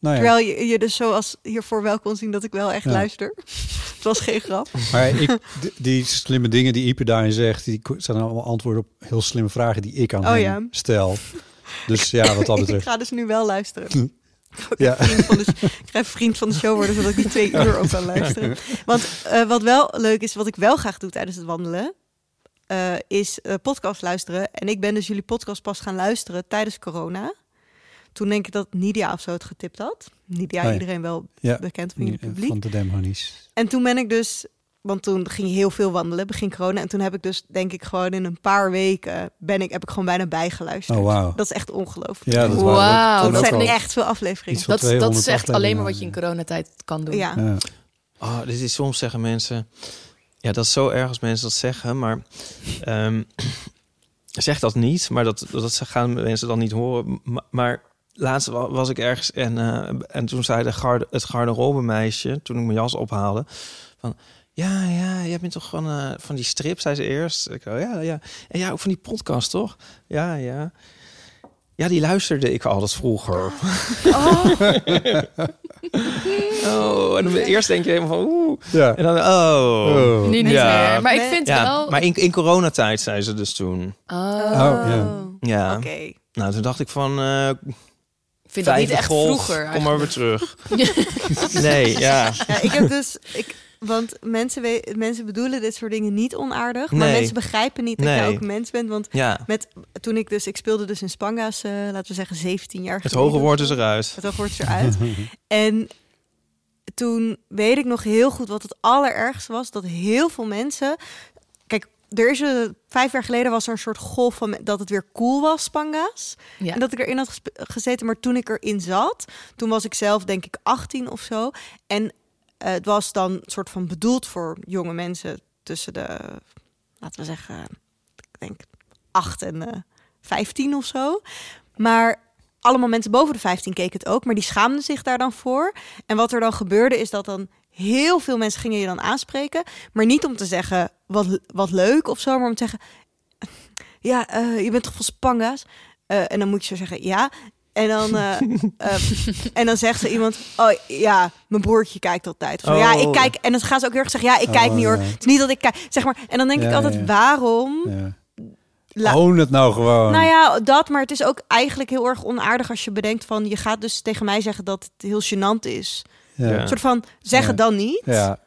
S2: Nou ja,
S4: Terwijl je, je dus zoals hiervoor wel kon zien dat ik wel echt
S2: Ja.
S4: luister. het was geen grap.
S2: maar ik, d- die slimme dingen die Ipe daarin zegt, die ko- zijn allemaal antwoorden op heel slimme vragen die ik aan
S4: Oh
S2: hem
S4: ja.
S2: stel. Dus ja, wat dat
S4: ik
S2: betreft. Hm.
S4: ga dus nu wel luisteren. Ik ga ook
S2: Ja.
S4: echt vriend van de, ik ga even vriend van de show worden, zodat ik die twee uur ook kan luisteren. Want eh, wat wel leuk is, wat ik wel graag doe tijdens het wandelen, eh, is eh, podcast luisteren. En ik ben dus jullie podcast pas gaan luisteren tijdens corona. Toen denk ik dat Nidia of zo het getipt had. Nidia,
S2: Nee.
S4: iedereen wel
S2: Ja.
S4: bekend van jullie
S2: Eh,
S4: publiek.
S2: Van de Demhonies.
S4: En toen ben ik dus want toen ging je heel veel wandelen, begin corona. En toen heb ik dus, denk ik, gewoon in een paar weken ben ik, heb ik gewoon bijna bijgeluisterd.
S2: Oh, wauw.
S4: Dat is echt ongelooflijk.
S2: Ja, dat waren ook- dat
S5: Wauw,
S4: dat
S2: ook
S4: zijn
S2: wel
S4: echt veel afleveringen.
S2: iets van
S5: Dat, dat is
S2: 200
S5: echt alleen
S2: afleveringen.
S5: maar wat je in coronatijd kan doen.
S4: Ja.
S2: Ja.
S3: Ah, dit is soms zeggen mensen. Ja, dat is zo erg als mensen dat zeggen, maar ehm, zeg dat niet. Maar dat, dat ze- gaan mensen dan niet horen. Maar, maar laatst wa- was ik ergens en, eh, en toen zei de garde, het garderobemeisje, toen ik mijn jas ophaalde, van. Ja, ja, jij bent toch van, eh, van die strip, zei ze eerst. Ik, oh, ja, ja. En ja, ook van die podcast, toch? Ja, ja. Ja, die luisterde ik altijd vroeger. Oh, en dan eerst denk je helemaal van oeh.
S2: Ja.
S3: En dan, oh.
S2: Oh.
S5: Nu niet
S3: Ja.
S5: meer. Maar ik
S4: Nee.
S5: vind
S3: Ja,
S5: wel...
S3: maar in, in coronatijd zei ze dus toen.
S5: Oh,
S2: ja.
S3: Ja.
S4: Oké.
S3: Nou, toen dacht ik van, eh
S5: ik vind dat niet
S3: vijfde
S5: echt
S3: golf,
S5: vroeger.
S3: kom
S5: eigenlijk.
S3: maar weer terug. nee, ja.
S4: Ja, ik heb dus. Ik, want mensen, we- mensen bedoelen dit soort dingen niet onaardig. Maar
S3: Nee.
S4: mensen begrijpen niet dat jij
S3: Nee.
S4: ook mens bent. Want
S3: Ja,
S4: met, toen ik dus. Ik speelde dus in Spanga's, eh, laten we zeggen, 17 jaar
S3: het
S4: geleden
S3: hoge
S4: of
S3: woord
S4: zo.
S3: is eruit.
S4: Het hoge woord is eruit. en toen weet ik nog heel goed wat het allerergste was. Dat heel veel mensen. Kijk, er is een, vijf jaar geleden was er een soort golf van me- dat het weer cool was, Spanga's.
S5: Ja.
S4: En dat ik erin had gespe- gezeten. Maar toen ik erin zat, toen was ik zelf denk ik 18 of zo. En eh, het was dan soort van bedoeld voor jonge mensen tussen de, laten we zeggen, ik denk 8 en eh 15 of zo. Maar allemaal mensen boven de 15 keken het ook, maar die schaamden zich daar dan voor. En wat er dan gebeurde is dat dan heel veel mensen gingen je dan aanspreken, maar niet om te zeggen wat, wat leuk of zo, maar om te zeggen, ja, eh, je bent toch van Spanga's? Eh, en dan moet je zo zeggen, ja. En dan, eh, eh, en dan zegt ze iemand, oh ja, mijn broertje kijkt altijd. Of zo, Ja, ik
S3: Oh.
S4: kijk. En dan gaan ze ook heel erg zeggen, ja, ik kijk
S2: Oh,
S4: niet hoor.
S2: ja.
S4: Het is niet dat ik kijk. Zeg maar. En dan denk
S2: Ja,
S4: ik altijd,
S2: ja.
S4: waarom?
S3: Oh.
S2: Ja.
S4: La-
S2: Own het nou gewoon.
S4: Nou ja, dat, maar het is ook eigenlijk heel erg onaardig als je bedenkt van je gaat dus tegen mij zeggen dat het heel gênant is.
S2: Ja.
S3: Ja.
S4: Een soort van zeg het
S2: Ja.
S4: dan niet
S2: Ja.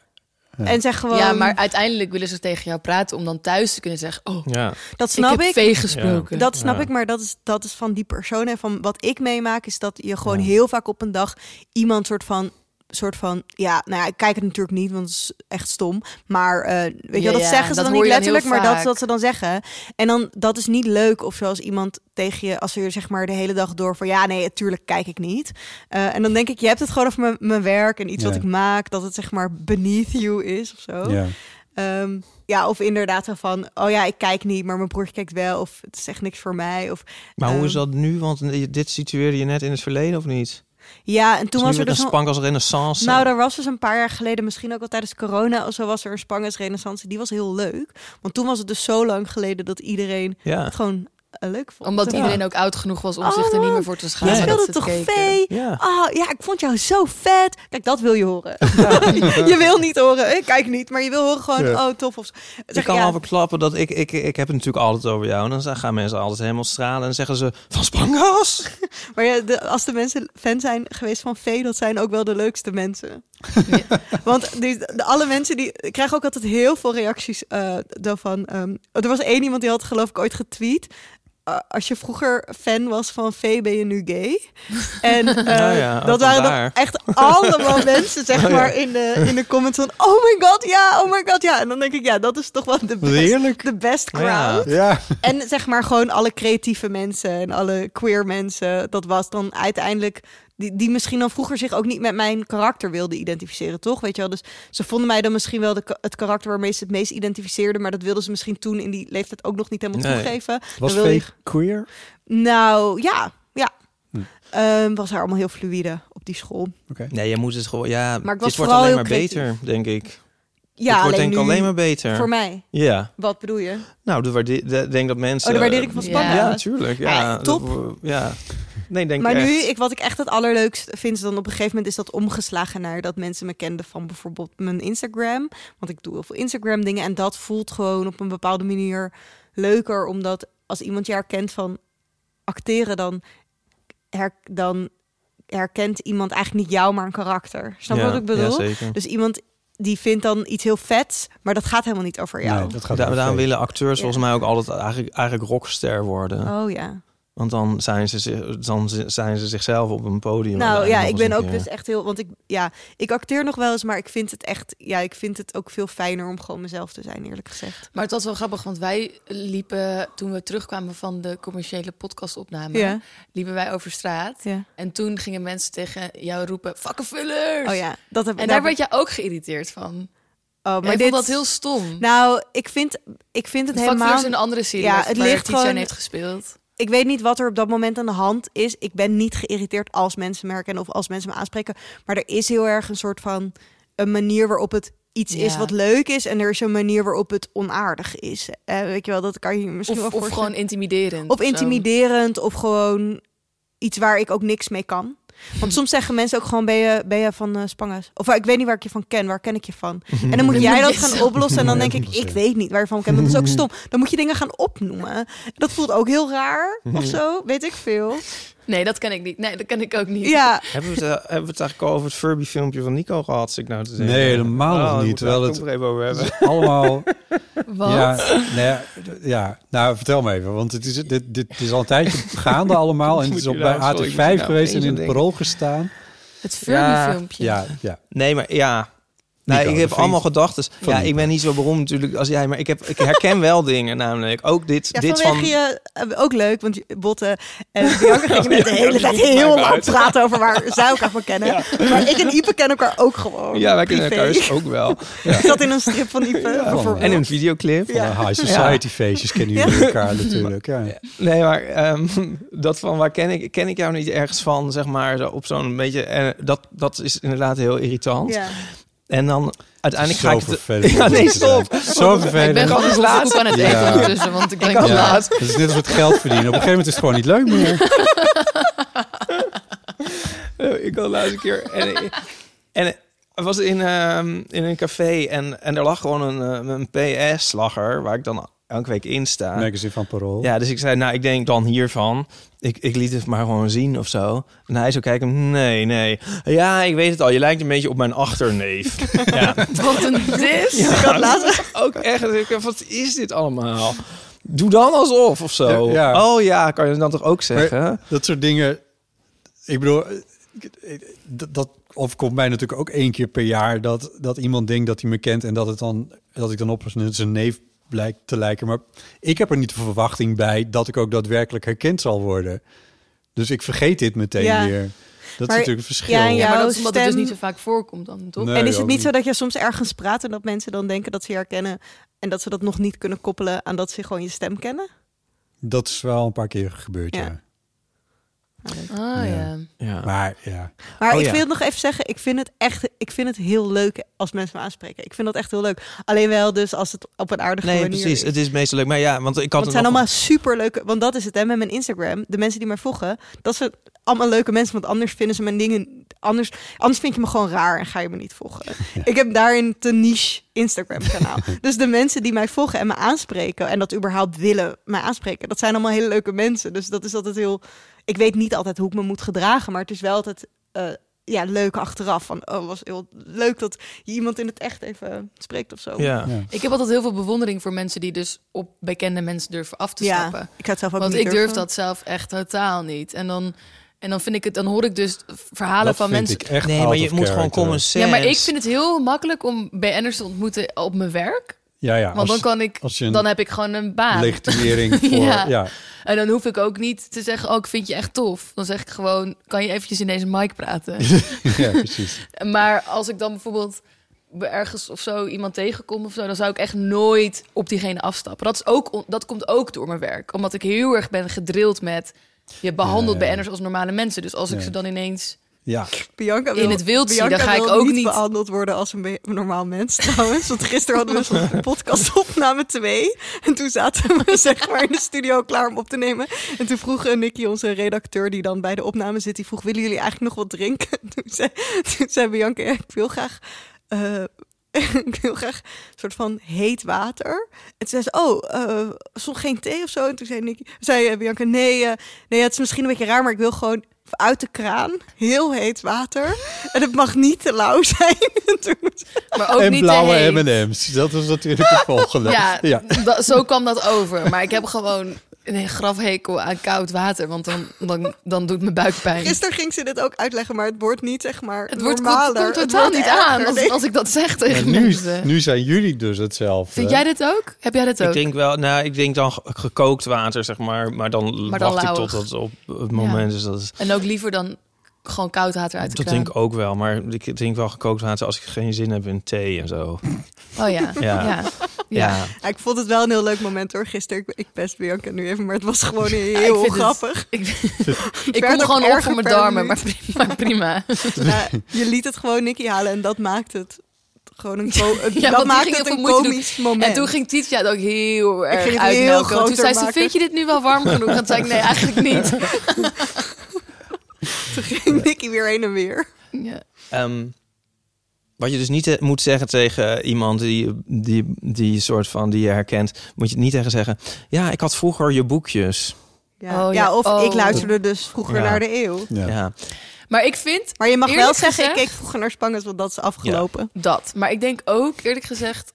S2: Ja.
S4: en zeg gewoon.
S5: Ja, maar uiteindelijk willen ze tegen jou praten om dan thuis te kunnen zeggen... Oh,
S3: Ja,
S4: dat snap
S5: ik heb
S4: ik.
S5: vee gesproken.
S4: Dat snap
S3: Ja.
S4: ik, maar dat is, dat is van die persoon. En van wat ik meemaak is dat je gewoon
S2: Ja.
S4: heel vaak op een dag iemand soort van soort van ja nou ja ik kijk het natuurlijk niet want het is echt stom maar eh, weet je
S5: Ja,
S4: wel, dat
S5: ja,
S4: zeggen ze
S5: dat
S4: dan niet
S5: hoor je dan heel
S4: letterlijk maar dat is
S5: vaak.
S4: wat ze dan zeggen en dan dat is niet leuk of zoals iemand tegen je als je zeg maar de hele dag door van ja nee natuurlijk kijk ik niet Eh, en dan denk ik je hebt het gewoon over mijn, mijn werk en iets
S2: Ja.
S4: wat ik maak dat het zeg maar beneath you is of zo
S2: Ja.
S4: Ehm, ja, of inderdaad zo van, oh ja, ik kijk niet, maar mijn broertje kijkt wel. Of het is echt niks voor mij. Of,
S3: maar hoe is
S4: ehm,
S3: dat nu? Want je- dit situeerde je net in het verleden of niet?
S4: Ja, en toen
S3: Toen was
S4: was
S3: nu
S4: er
S3: weer een
S4: dus nog-
S3: spank als renaissance.
S4: Nou, daar was dus een paar jaar geleden, misschien ook al tijdens corona, of zo was er een Spangens Renaissance. Die was heel leuk. Want toen was het dus zo lang geleden dat iedereen
S3: ja.
S4: het gewoon eh, leuk vond.
S5: Omdat
S4: En-
S5: iedereen ook oud genoeg was om
S4: Oh,
S5: zich er niet
S4: man.
S5: meer voor te
S4: Je
S5: schamen. dat
S4: speelde
S5: ze
S4: toch
S5: het keken.
S4: vee?
S3: Ja.
S4: Oh ja, ik vond jou zo vet. Kijk, dat wil je horen. je wil niet horen, ik kijk niet, maar je wil horen gewoon,
S2: Ja.
S4: oh tof. Of, zo.
S3: Ik
S4: Zeg,
S3: kan
S4: ja,
S3: al verklappen dat ik, ik, ik heb het natuurlijk altijd over jou. En dan gaan mensen altijd helemaal stralen en zeggen ze van Spangas.
S4: Maar ja, de, als de mensen fan zijn geweest van Vee, dat zijn ook wel de leukste mensen. Want die, de, alle mensen die ik krijg ook altijd heel veel reacties eh daarvan. ehm, er was één iemand die had geloof ik ooit getweet. eh, als je vroeger fan was van Vee, ben je nu gay? En eh,
S3: Nou ja,
S4: dat waren dan
S3: vandaar.
S4: echt allemaal mensen, zeg maar, in de, in de comments van... Oh my god, ja, oh my god, ja. En dan denk ik, ja, dat is toch wel de best,
S2: Heerlijk.
S4: de best crowd.
S3: Ja.
S2: Ja.
S4: En zeg maar gewoon alle creatieve mensen en alle queer mensen. Dat was dan uiteindelijk. Die, die misschien dan vroeger zich ook niet met mijn karakter wilden identificeren, toch? Weet je wel, dus ze vonden mij dan misschien wel de, ka- het karakter waarmee ze het meest identificeerden. Maar dat wilden ze misschien toen in die leeftijd ook nog niet helemaal
S3: Nee.
S4: toegeven.
S2: Was
S4: Dan wilde
S2: fake queer?
S4: je- Nou ja, ja.
S2: Hm.
S4: Ehm, was haar allemaal heel fluïde op die school.
S3: Nee, je moet het gewoon. Ja,
S5: Maar ik was
S3: dit wordt
S4: vooral
S3: alleen
S4: heel
S3: maar beter, denk ik.
S4: Ja,
S3: het wordt denk ik
S4: nu
S3: alleen maar beter.
S4: Voor mij.
S3: Ja.
S4: Wat bedoel je?
S3: Nou, de waarde- de- denk dat mensen.
S4: Oh, de waardering van
S5: Ja.
S4: Spanga's.
S3: Ja, natuurlijk. Ja,
S4: Ja,
S3: dat
S4: top.
S3: we- ja. Nee, denk
S4: maar
S3: ik
S4: nu,
S3: echt.
S4: ik, wat ik echt het allerleukst vind, is dan op een gegeven moment is dat omgeslagen naar dat mensen me kenden van bijvoorbeeld mijn Instagram. Want ik doe heel veel Instagram dingen en dat voelt gewoon op een bepaalde manier leuker, omdat als iemand je herkent van acteren, dan, her, dan herkent iemand eigenlijk niet jou, maar een karakter. Snap je
S3: Ja,
S4: wat ik bedoel?
S3: Ja, zeker.
S4: dus iemand die vindt dan iets heel vets, maar dat gaat helemaal niet over jou.
S2: Nee, dat gaat
S3: Da-
S2: over
S3: daarom
S2: fake.
S3: willen acteurs volgens mij ook altijd eigenlijk, eigenlijk rockster worden.
S4: Oh ja.
S3: Want dan zijn ze, zich- dan zi- zijn ze zichzelf op een podium.
S4: Nou
S3: alleen
S4: ja,
S3: nog
S4: ik
S3: eens
S4: ben
S3: een
S4: ook
S3: keer.
S4: dus echt heel. Want ik, ja, ik acteer nog wel eens, maar ik vind het echt. Ja, ik vind het ook veel fijner om gewoon mezelf te zijn, eerlijk gezegd.
S5: Maar het was wel grappig, want wij liepen toen we terugkwamen van de commerciële podcastopname,
S4: Ja.
S5: liepen wij over straat.
S4: Ja.
S5: En toen gingen mensen tegen jou roepen, vakkenvullers!
S4: Oh ja, dat heb
S5: En daar werd je ook geïrriteerd van.
S4: Oh,
S5: Maar ik vond dat heel stom.
S4: Nou, ik vind, ik vind het
S5: Het helemaal...
S4: helemaal.
S5: is een andere serie
S4: Ja,
S5: waar-
S4: het
S5: waar
S4: ligt
S5: Tietjen
S4: gewoon-
S5: heeft gespeeld.
S4: Ik weet niet wat er op dat moment aan de hand is. Ik ben niet geïrriteerd als mensen me herkennen of als mensen me aanspreken. Maar er is heel erg een soort van een manier waarop het iets is
S5: Ja.
S4: wat leuk is. En er is een manier waarop het onaardig is. Eh, weet je wel, dat kan je misschien wel
S5: Of, of
S4: voorstellen.
S5: gewoon intimiderend.
S4: Of
S5: zo.
S4: intimiderend, of gewoon iets waar ik ook niks mee kan. Want soms zeggen mensen ook gewoon, ben je, ben je van eh Spanges? Of eh, ik weet niet waar ik je van ken, waar ken ik je van? En dan moet jij dat gaan oplossen en dan denk ik, ik weet niet waar je van kent. Dat is ook stom. Dan moet je dingen gaan opnoemen. Dat voelt ook heel raar, of zo, weet ik veel.
S5: Nee, dat ken ik niet. Nee, dat ken ik ook niet.
S4: Ja,
S3: Hebben we, het, eh, hebben we het eigenlijk al over het Furby-filmpje van Nico gehad? Zit ik nou te zeggen?
S2: Nee, helemaal nog niet, terwijl het-
S3: Terwijl het ook nog even over hebben.
S2: Allemaal
S5: Want
S2: Ja, nou ja, d- ja, nou vertel me even, want het is, dit, dit is al een tijdje gaande allemaal. En het
S3: Moet
S2: is
S3: je
S2: op bij
S3: nou- sorry,
S2: AT5
S3: moet je nou
S2: geweest en
S3: opeens
S2: in
S3: aan
S2: het
S3: denken.
S2: parool gestaan.
S5: het
S3: Ja.
S5: Furby-filmpje.
S2: Ja, ja.
S3: Nee, maar ja. Nee,
S2: Nico,
S3: ik
S2: de
S3: heb
S2: vriend
S3: allemaal gedachten. Ja,
S2: Nico.
S3: ik ben niet zo beroemd natuurlijk als jij, maar ik, heb, ik herken wel dingen namelijk. Ook dit,
S4: ja
S3: dit
S4: vanwege
S3: van...
S4: je, eh, ook leuk, want je- botten en Bianca gingen net de hele tijd
S3: maakt
S4: heel
S3: uit.
S4: lang praten over waar zij elkaar van kennen. Maar ik en Ipe kennen elkaar ook gewoon.
S3: Ja, wij kennen
S4: Oh, privé.
S3: elkaar dus ook wel.
S4: Ik zat in een strip van Ipe. bijvoorbeeld.
S3: En een videoclip.
S2: Van de high society feestjes kennen jullie elkaar natuurlijk. Ja.
S3: Nee, maar ehm, dat van waar ken ik, ken ik jou niet ergens van, zeg maar, zo op zo'n beetje... eh, dat, dat is inderdaad heel irritant.
S4: Ja.
S3: En dan uiteindelijk
S2: Zo
S3: ga ik... het-
S2: vervelend.
S3: Ja, nee, stop.
S2: Zo
S5: Ik ben
S2: vervelend.
S5: gewoon
S3: Dat is
S5: op
S3: laatst.
S5: aan het eten
S2: Ja.
S5: ondertussen, want ik denk
S3: had
S5: ja.
S3: laatst-
S2: Dat is net als het geld verdienen. Op een gegeven moment is het gewoon niet leuk meer.
S3: Eh, ik had laatst een keer. En, en het was in, ehm, in een café en, en er lag gewoon een, eh, een PS-lagger waar ik dan elke week in sta.
S2: Magazine van parool.
S3: Ja, dus ik zei, nou, ik denk dan hiervan. Ik, ik liet het maar gewoon zien of zo. En hij zo kijken, nee, nee. Ja, ik weet het al, je lijkt een beetje op mijn achterneef. ja,
S5: Wat een dis.
S3: ik had laatst ook echt. ik dacht, wat is dit allemaal? Doe dan alsof of zo.
S2: Ja, ja.
S3: Oh ja, kan je dan toch ook
S2: Maar
S3: zeggen?
S2: dat soort dingen. Ik bedoel, eh, ik- ik- dat, dat overkomt mij natuurlijk ook één keer per jaar dat, dat iemand denkt dat hij me kent en dat, het dan, dat ik dan op zijn neef blijkt te lijken. Maar ik heb er niet de verwachting bij dat ik ook daadwerkelijk herkend zal worden. Dus ik vergeet dit meteen
S4: Ja.
S2: weer. Dat is
S4: Maar-
S2: natuurlijk een verschil.
S4: ja,
S5: Ja,
S4: Jouw
S5: maar dat is omdat het dus
S4: stem-
S5: niet zo vaak voorkomt dan, toch?
S2: Nee,
S4: en is het
S2: ook
S4: niet zo dat je soms ergens praat en dat mensen dan denken dat ze je herkennen en dat ze dat nog niet kunnen koppelen aan dat ze gewoon je stem kennen?
S2: Dat is wel een paar keer gebeurd, ja.
S4: Ja.
S5: Ah, ja.
S3: Ja.
S2: Maar ja,
S4: Maar
S3: Oh,
S4: ik
S3: ja.
S4: wil het nog even zeggen, ik vind het echt, ik vind het heel leuk als mensen me aanspreken. Ik vind dat echt heel leuk. Alleen wel dus als het op een aardige
S3: Nee,
S4: manier
S3: precies.
S4: is.
S3: Het is meestal leuk. Maar ja, want ik had
S4: Want het
S3: er
S4: zijn
S3: nog-
S4: allemaal super leuke, want dat is het hè, met mijn Instagram. De mensen die mij volgen, dat zijn allemaal leuke mensen, want anders vinden ze mijn dingen anders. Anders vind je me gewoon raar en ga je me niet volgen. Ik heb daarin te niche Instagram kanaal. dus de mensen die mij volgen en me aanspreken en dat überhaupt willen mij aanspreken, dat zijn allemaal hele leuke mensen. Dus dat is altijd heel. Ik weet niet altijd hoe ik me moet gedragen, maar het is wel altijd. eh, ja, leuk achteraf. Van, oh, was heel leuk dat je iemand in het echt even spreekt of zo.
S3: Ja.
S2: Ja.
S5: Ik heb altijd heel veel bewondering voor mensen die dus op bekende mensen durven af te
S4: Ja, ik
S5: stappen.
S4: had het zelf ook
S5: Want
S4: niet
S5: ik durf
S4: durven.
S5: dat zelf echt totaal niet. En dan, en dan vind ik het, dan hoor ik dus verhalen
S2: dat
S5: van
S2: vind
S5: mensen.
S2: ik echt
S3: Nee,
S2: out
S3: maar je
S2: of
S3: moet gewoon
S2: character.
S3: common
S5: Ja,
S3: sense.
S5: maar ik vind het heel makkelijk om BN'ers te ontmoeten op mijn werk.
S2: Ja, ja.
S5: Want
S2: als-
S5: dan kan ik,
S2: als je een
S5: dan heb ik gewoon een baan.
S2: legitimering voor...
S5: Ja.
S2: ja.
S5: En dan hoef ik ook niet te zeggen, oh, ik vind je echt tof. Dan zeg ik gewoon, kan je eventjes in deze mic praten?
S2: ja, precies.
S5: Maar als ik dan bijvoorbeeld be- ergens of zo iemand tegenkom of zo, dan zou ik echt nooit op diegene afstappen. Dat, is ook, on- dat komt ook door mijn werk, omdat ik heel erg ben gedrild met je behandelt
S2: Ja, ja.
S5: BN'ers als normale mensen. Dus als ik
S2: Ja.
S5: ze dan ineens
S2: Ja.
S4: Bianca
S5: In
S4: wil,
S5: het wild zie,
S4: Bianca
S5: dan ga ik
S4: wil
S5: ook
S4: niet,
S5: niet-
S4: behandeld worden als een be- normaal mens trouwens. Want gisteren hadden we zo'n podcast opname 2. En toen zaten we zeg maar in de studio klaar om op te nemen. En toen vroeg eh, Nicky, onze redacteur die dan bij de opname zit, die vroeg, willen jullie eigenlijk nog wat drinken? Toen zei, toen zei Bianca, ja, ik wil graag... eh, ik wil graag een soort van heet water. En toen zei ze, oh, eh soms geen thee of zo. En toen zei, Nicky, zei eh, Bianca, nee, eh, nee, ja, het is misschien een beetje raar, maar ik wil gewoon uit de kraan, heel heet water. En het mag niet te lauw zijn. En toen moest-
S5: Maar ook
S2: en
S5: niet te
S2: blauwe
S5: heet.
S2: M&M's. Dat was natuurlijk het volgende.
S5: Ja, da- zo kwam dat over. Maar ik heb gewoon een grafhekel aan koud water, want dan, dan, dan doet mijn buik pijn.
S4: Gisteren ging ze dit ook uitleggen, maar het wordt niet zeg maar
S5: het wordt komt,
S4: normaler.
S5: komt
S4: Het
S5: totaal
S4: wordt
S5: niet
S4: erger.
S5: aan als,
S4: Nee.
S5: als ik dat zeg tegen
S2: nu,
S5: mensen.
S2: nu zijn jullie dus hetzelfde.
S5: Vind jij dit ook? Heb jij dit dus ook?
S3: Ik denk wel, nou, ik denk dan ge- gekookt water, zeg maar. Maar dan
S5: Maar dan
S3: wacht ik
S5: lauwig.
S3: tot het op het moment. Dus dat, is-
S5: En ook liever dan gewoon koud water uit de
S3: dat
S5: kraan.
S3: denk ik ook wel. Maar ik drink wel gekookt water als ik geen zin heb in thee en zo.
S5: Oh ja.
S3: Ja.
S5: Ja. ja.
S3: Ja.
S4: Ja, ik vond het wel een heel leuk moment hoor. Gisteren, ik, ik best Bianca nu even, maar het was gewoon
S5: ik
S4: heel
S5: vind het-
S4: grappig.
S5: Ik, ik
S4: werd ook
S5: kom gewoon op
S4: erger
S5: voor mijn
S4: per
S5: darmen, maar
S4: minuut.
S5: prima. maar prima.
S4: Ja, je liet het gewoon Nicky halen en dat maakt het gewoon een, ko- het-
S5: Ja, want
S4: dat
S5: die
S4: maakt
S5: ging
S4: het
S5: heel
S4: een
S5: veel moeite
S4: komisch moment.
S5: En toen ging Tietja het ook heel erg
S4: ging het heel
S5: uitmelken. Want
S4: groter
S5: toen zei ze,
S4: maken.
S5: vind je dit nu wel warm genoeg? En toen zei ik, nee, eigenlijk niet.
S4: Toen ging Nicky weer heen en weer.
S5: Ja.
S3: Ehm, wat je dus niet eh, moet zeggen tegen iemand die, die, die soort van die je herkent, moet je het niet tegen zeggen. Ja, ik had vroeger je boekjes.
S4: Ja,
S5: Oh,
S4: ja.
S5: ja.
S4: of ik
S5: Oh.
S4: luisterde dus vroeger
S3: Ja.
S4: naar de eeuw.
S2: Ja.
S3: Ja.
S5: Maar ik vind
S4: Maar je mag wel
S5: Eerlijk
S4: zeggen, ik
S5: gezegd-
S4: keek vroeger naar Spangers, want dat is afgelopen.
S5: dat. Maar ik denk ook, eerlijk gezegd,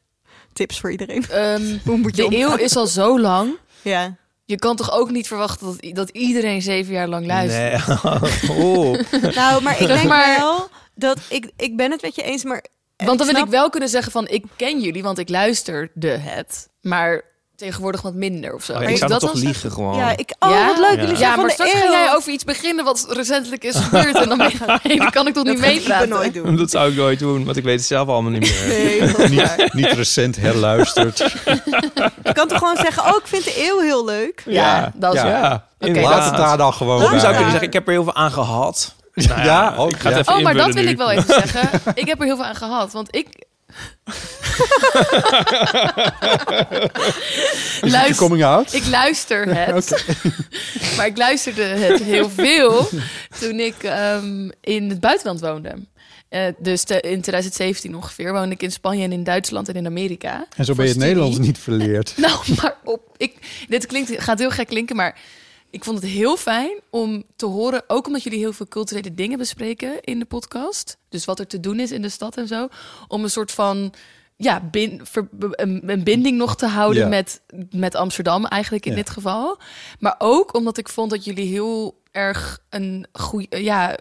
S4: Tips voor iedereen.
S5: ehm,
S4: Hoe moet je
S5: de eeuw
S4: omgaan?
S5: is al zo lang.
S4: Ja.
S5: Je kan toch ook niet verwachten dat, i- dat iedereen zeven jaar lang luistert?
S3: Nee. Oh.
S4: Nou, maar ik
S5: Zeg
S4: denk
S5: maar-
S4: wel dat ik, ik ben het met je eens, maar
S5: Want dan wil
S4: snap-
S5: ik wel kunnen zeggen van, ik ken jullie, want ik luisterde het. Maar tegenwoordig wat minder of zo.
S3: Maar
S5: Moet
S3: Oh ik zou
S5: dat
S3: dat toch
S5: dan zeggen?
S3: liegen gewoon.
S4: Ja, ik, oh, wat leuk. Jullie
S5: Ja,
S4: zijn van
S5: maar
S4: de
S5: straks ga
S4: eeuw.
S5: jij over iets beginnen wat recentelijk is gebeurd. En dan ben je- nee, dat kan ik toch niet
S4: dat ga ik liever
S5: meepraten?
S4: nooit doen.
S3: Dat zou ik nooit doen, want ik weet het zelf allemaal niet meer.
S4: Nee, dat is waar.
S2: Niet recent herluisterd.
S4: Je kan toch gewoon zeggen, oh, ik vind de eeuw heel leuk.
S5: Ja, dat is
S2: Ja.
S5: waar.
S3: Ja,
S2: Laat het daar dan gewoon
S3: Waarom
S2: bij.
S3: zou ik kunnen zeggen, ik heb er heel veel aan gehad.
S2: Ja, ja, ook,
S3: Nou ik ga het
S2: ja.
S3: even
S5: Oh, maar dat
S3: invullen
S5: wil
S3: nu.
S5: ik wel even zeggen. Ik heb er heel veel aan gehad, want ik...
S2: Is het je
S5: Luister-
S2: coming out?
S5: Ik luister het. maar ik luisterde het heel veel toen ik ehm, in het buitenland woonde. Eh, dus te- in 2017 ongeveer woonde ik in Spanje en in Duitsland en in Amerika.
S2: En zo
S5: Voor
S2: ben je het
S5: studie.
S2: Nederlands niet verleerd.
S5: Nou, maar op. Ik, dit klinkt, gaat heel gek klinken, maar ik vond het heel fijn om te horen. Ook omdat jullie heel veel culturele dingen bespreken in de podcast. Dus wat er te doen is in de stad en zo. Om een soort van. Ja, bin, ver- een, een binding nog te houden
S2: Ja.
S5: met, met Amsterdam eigenlijk in
S2: Ja.
S5: dit geval. Maar ook omdat ik vond dat jullie heel erg een goeie, ja,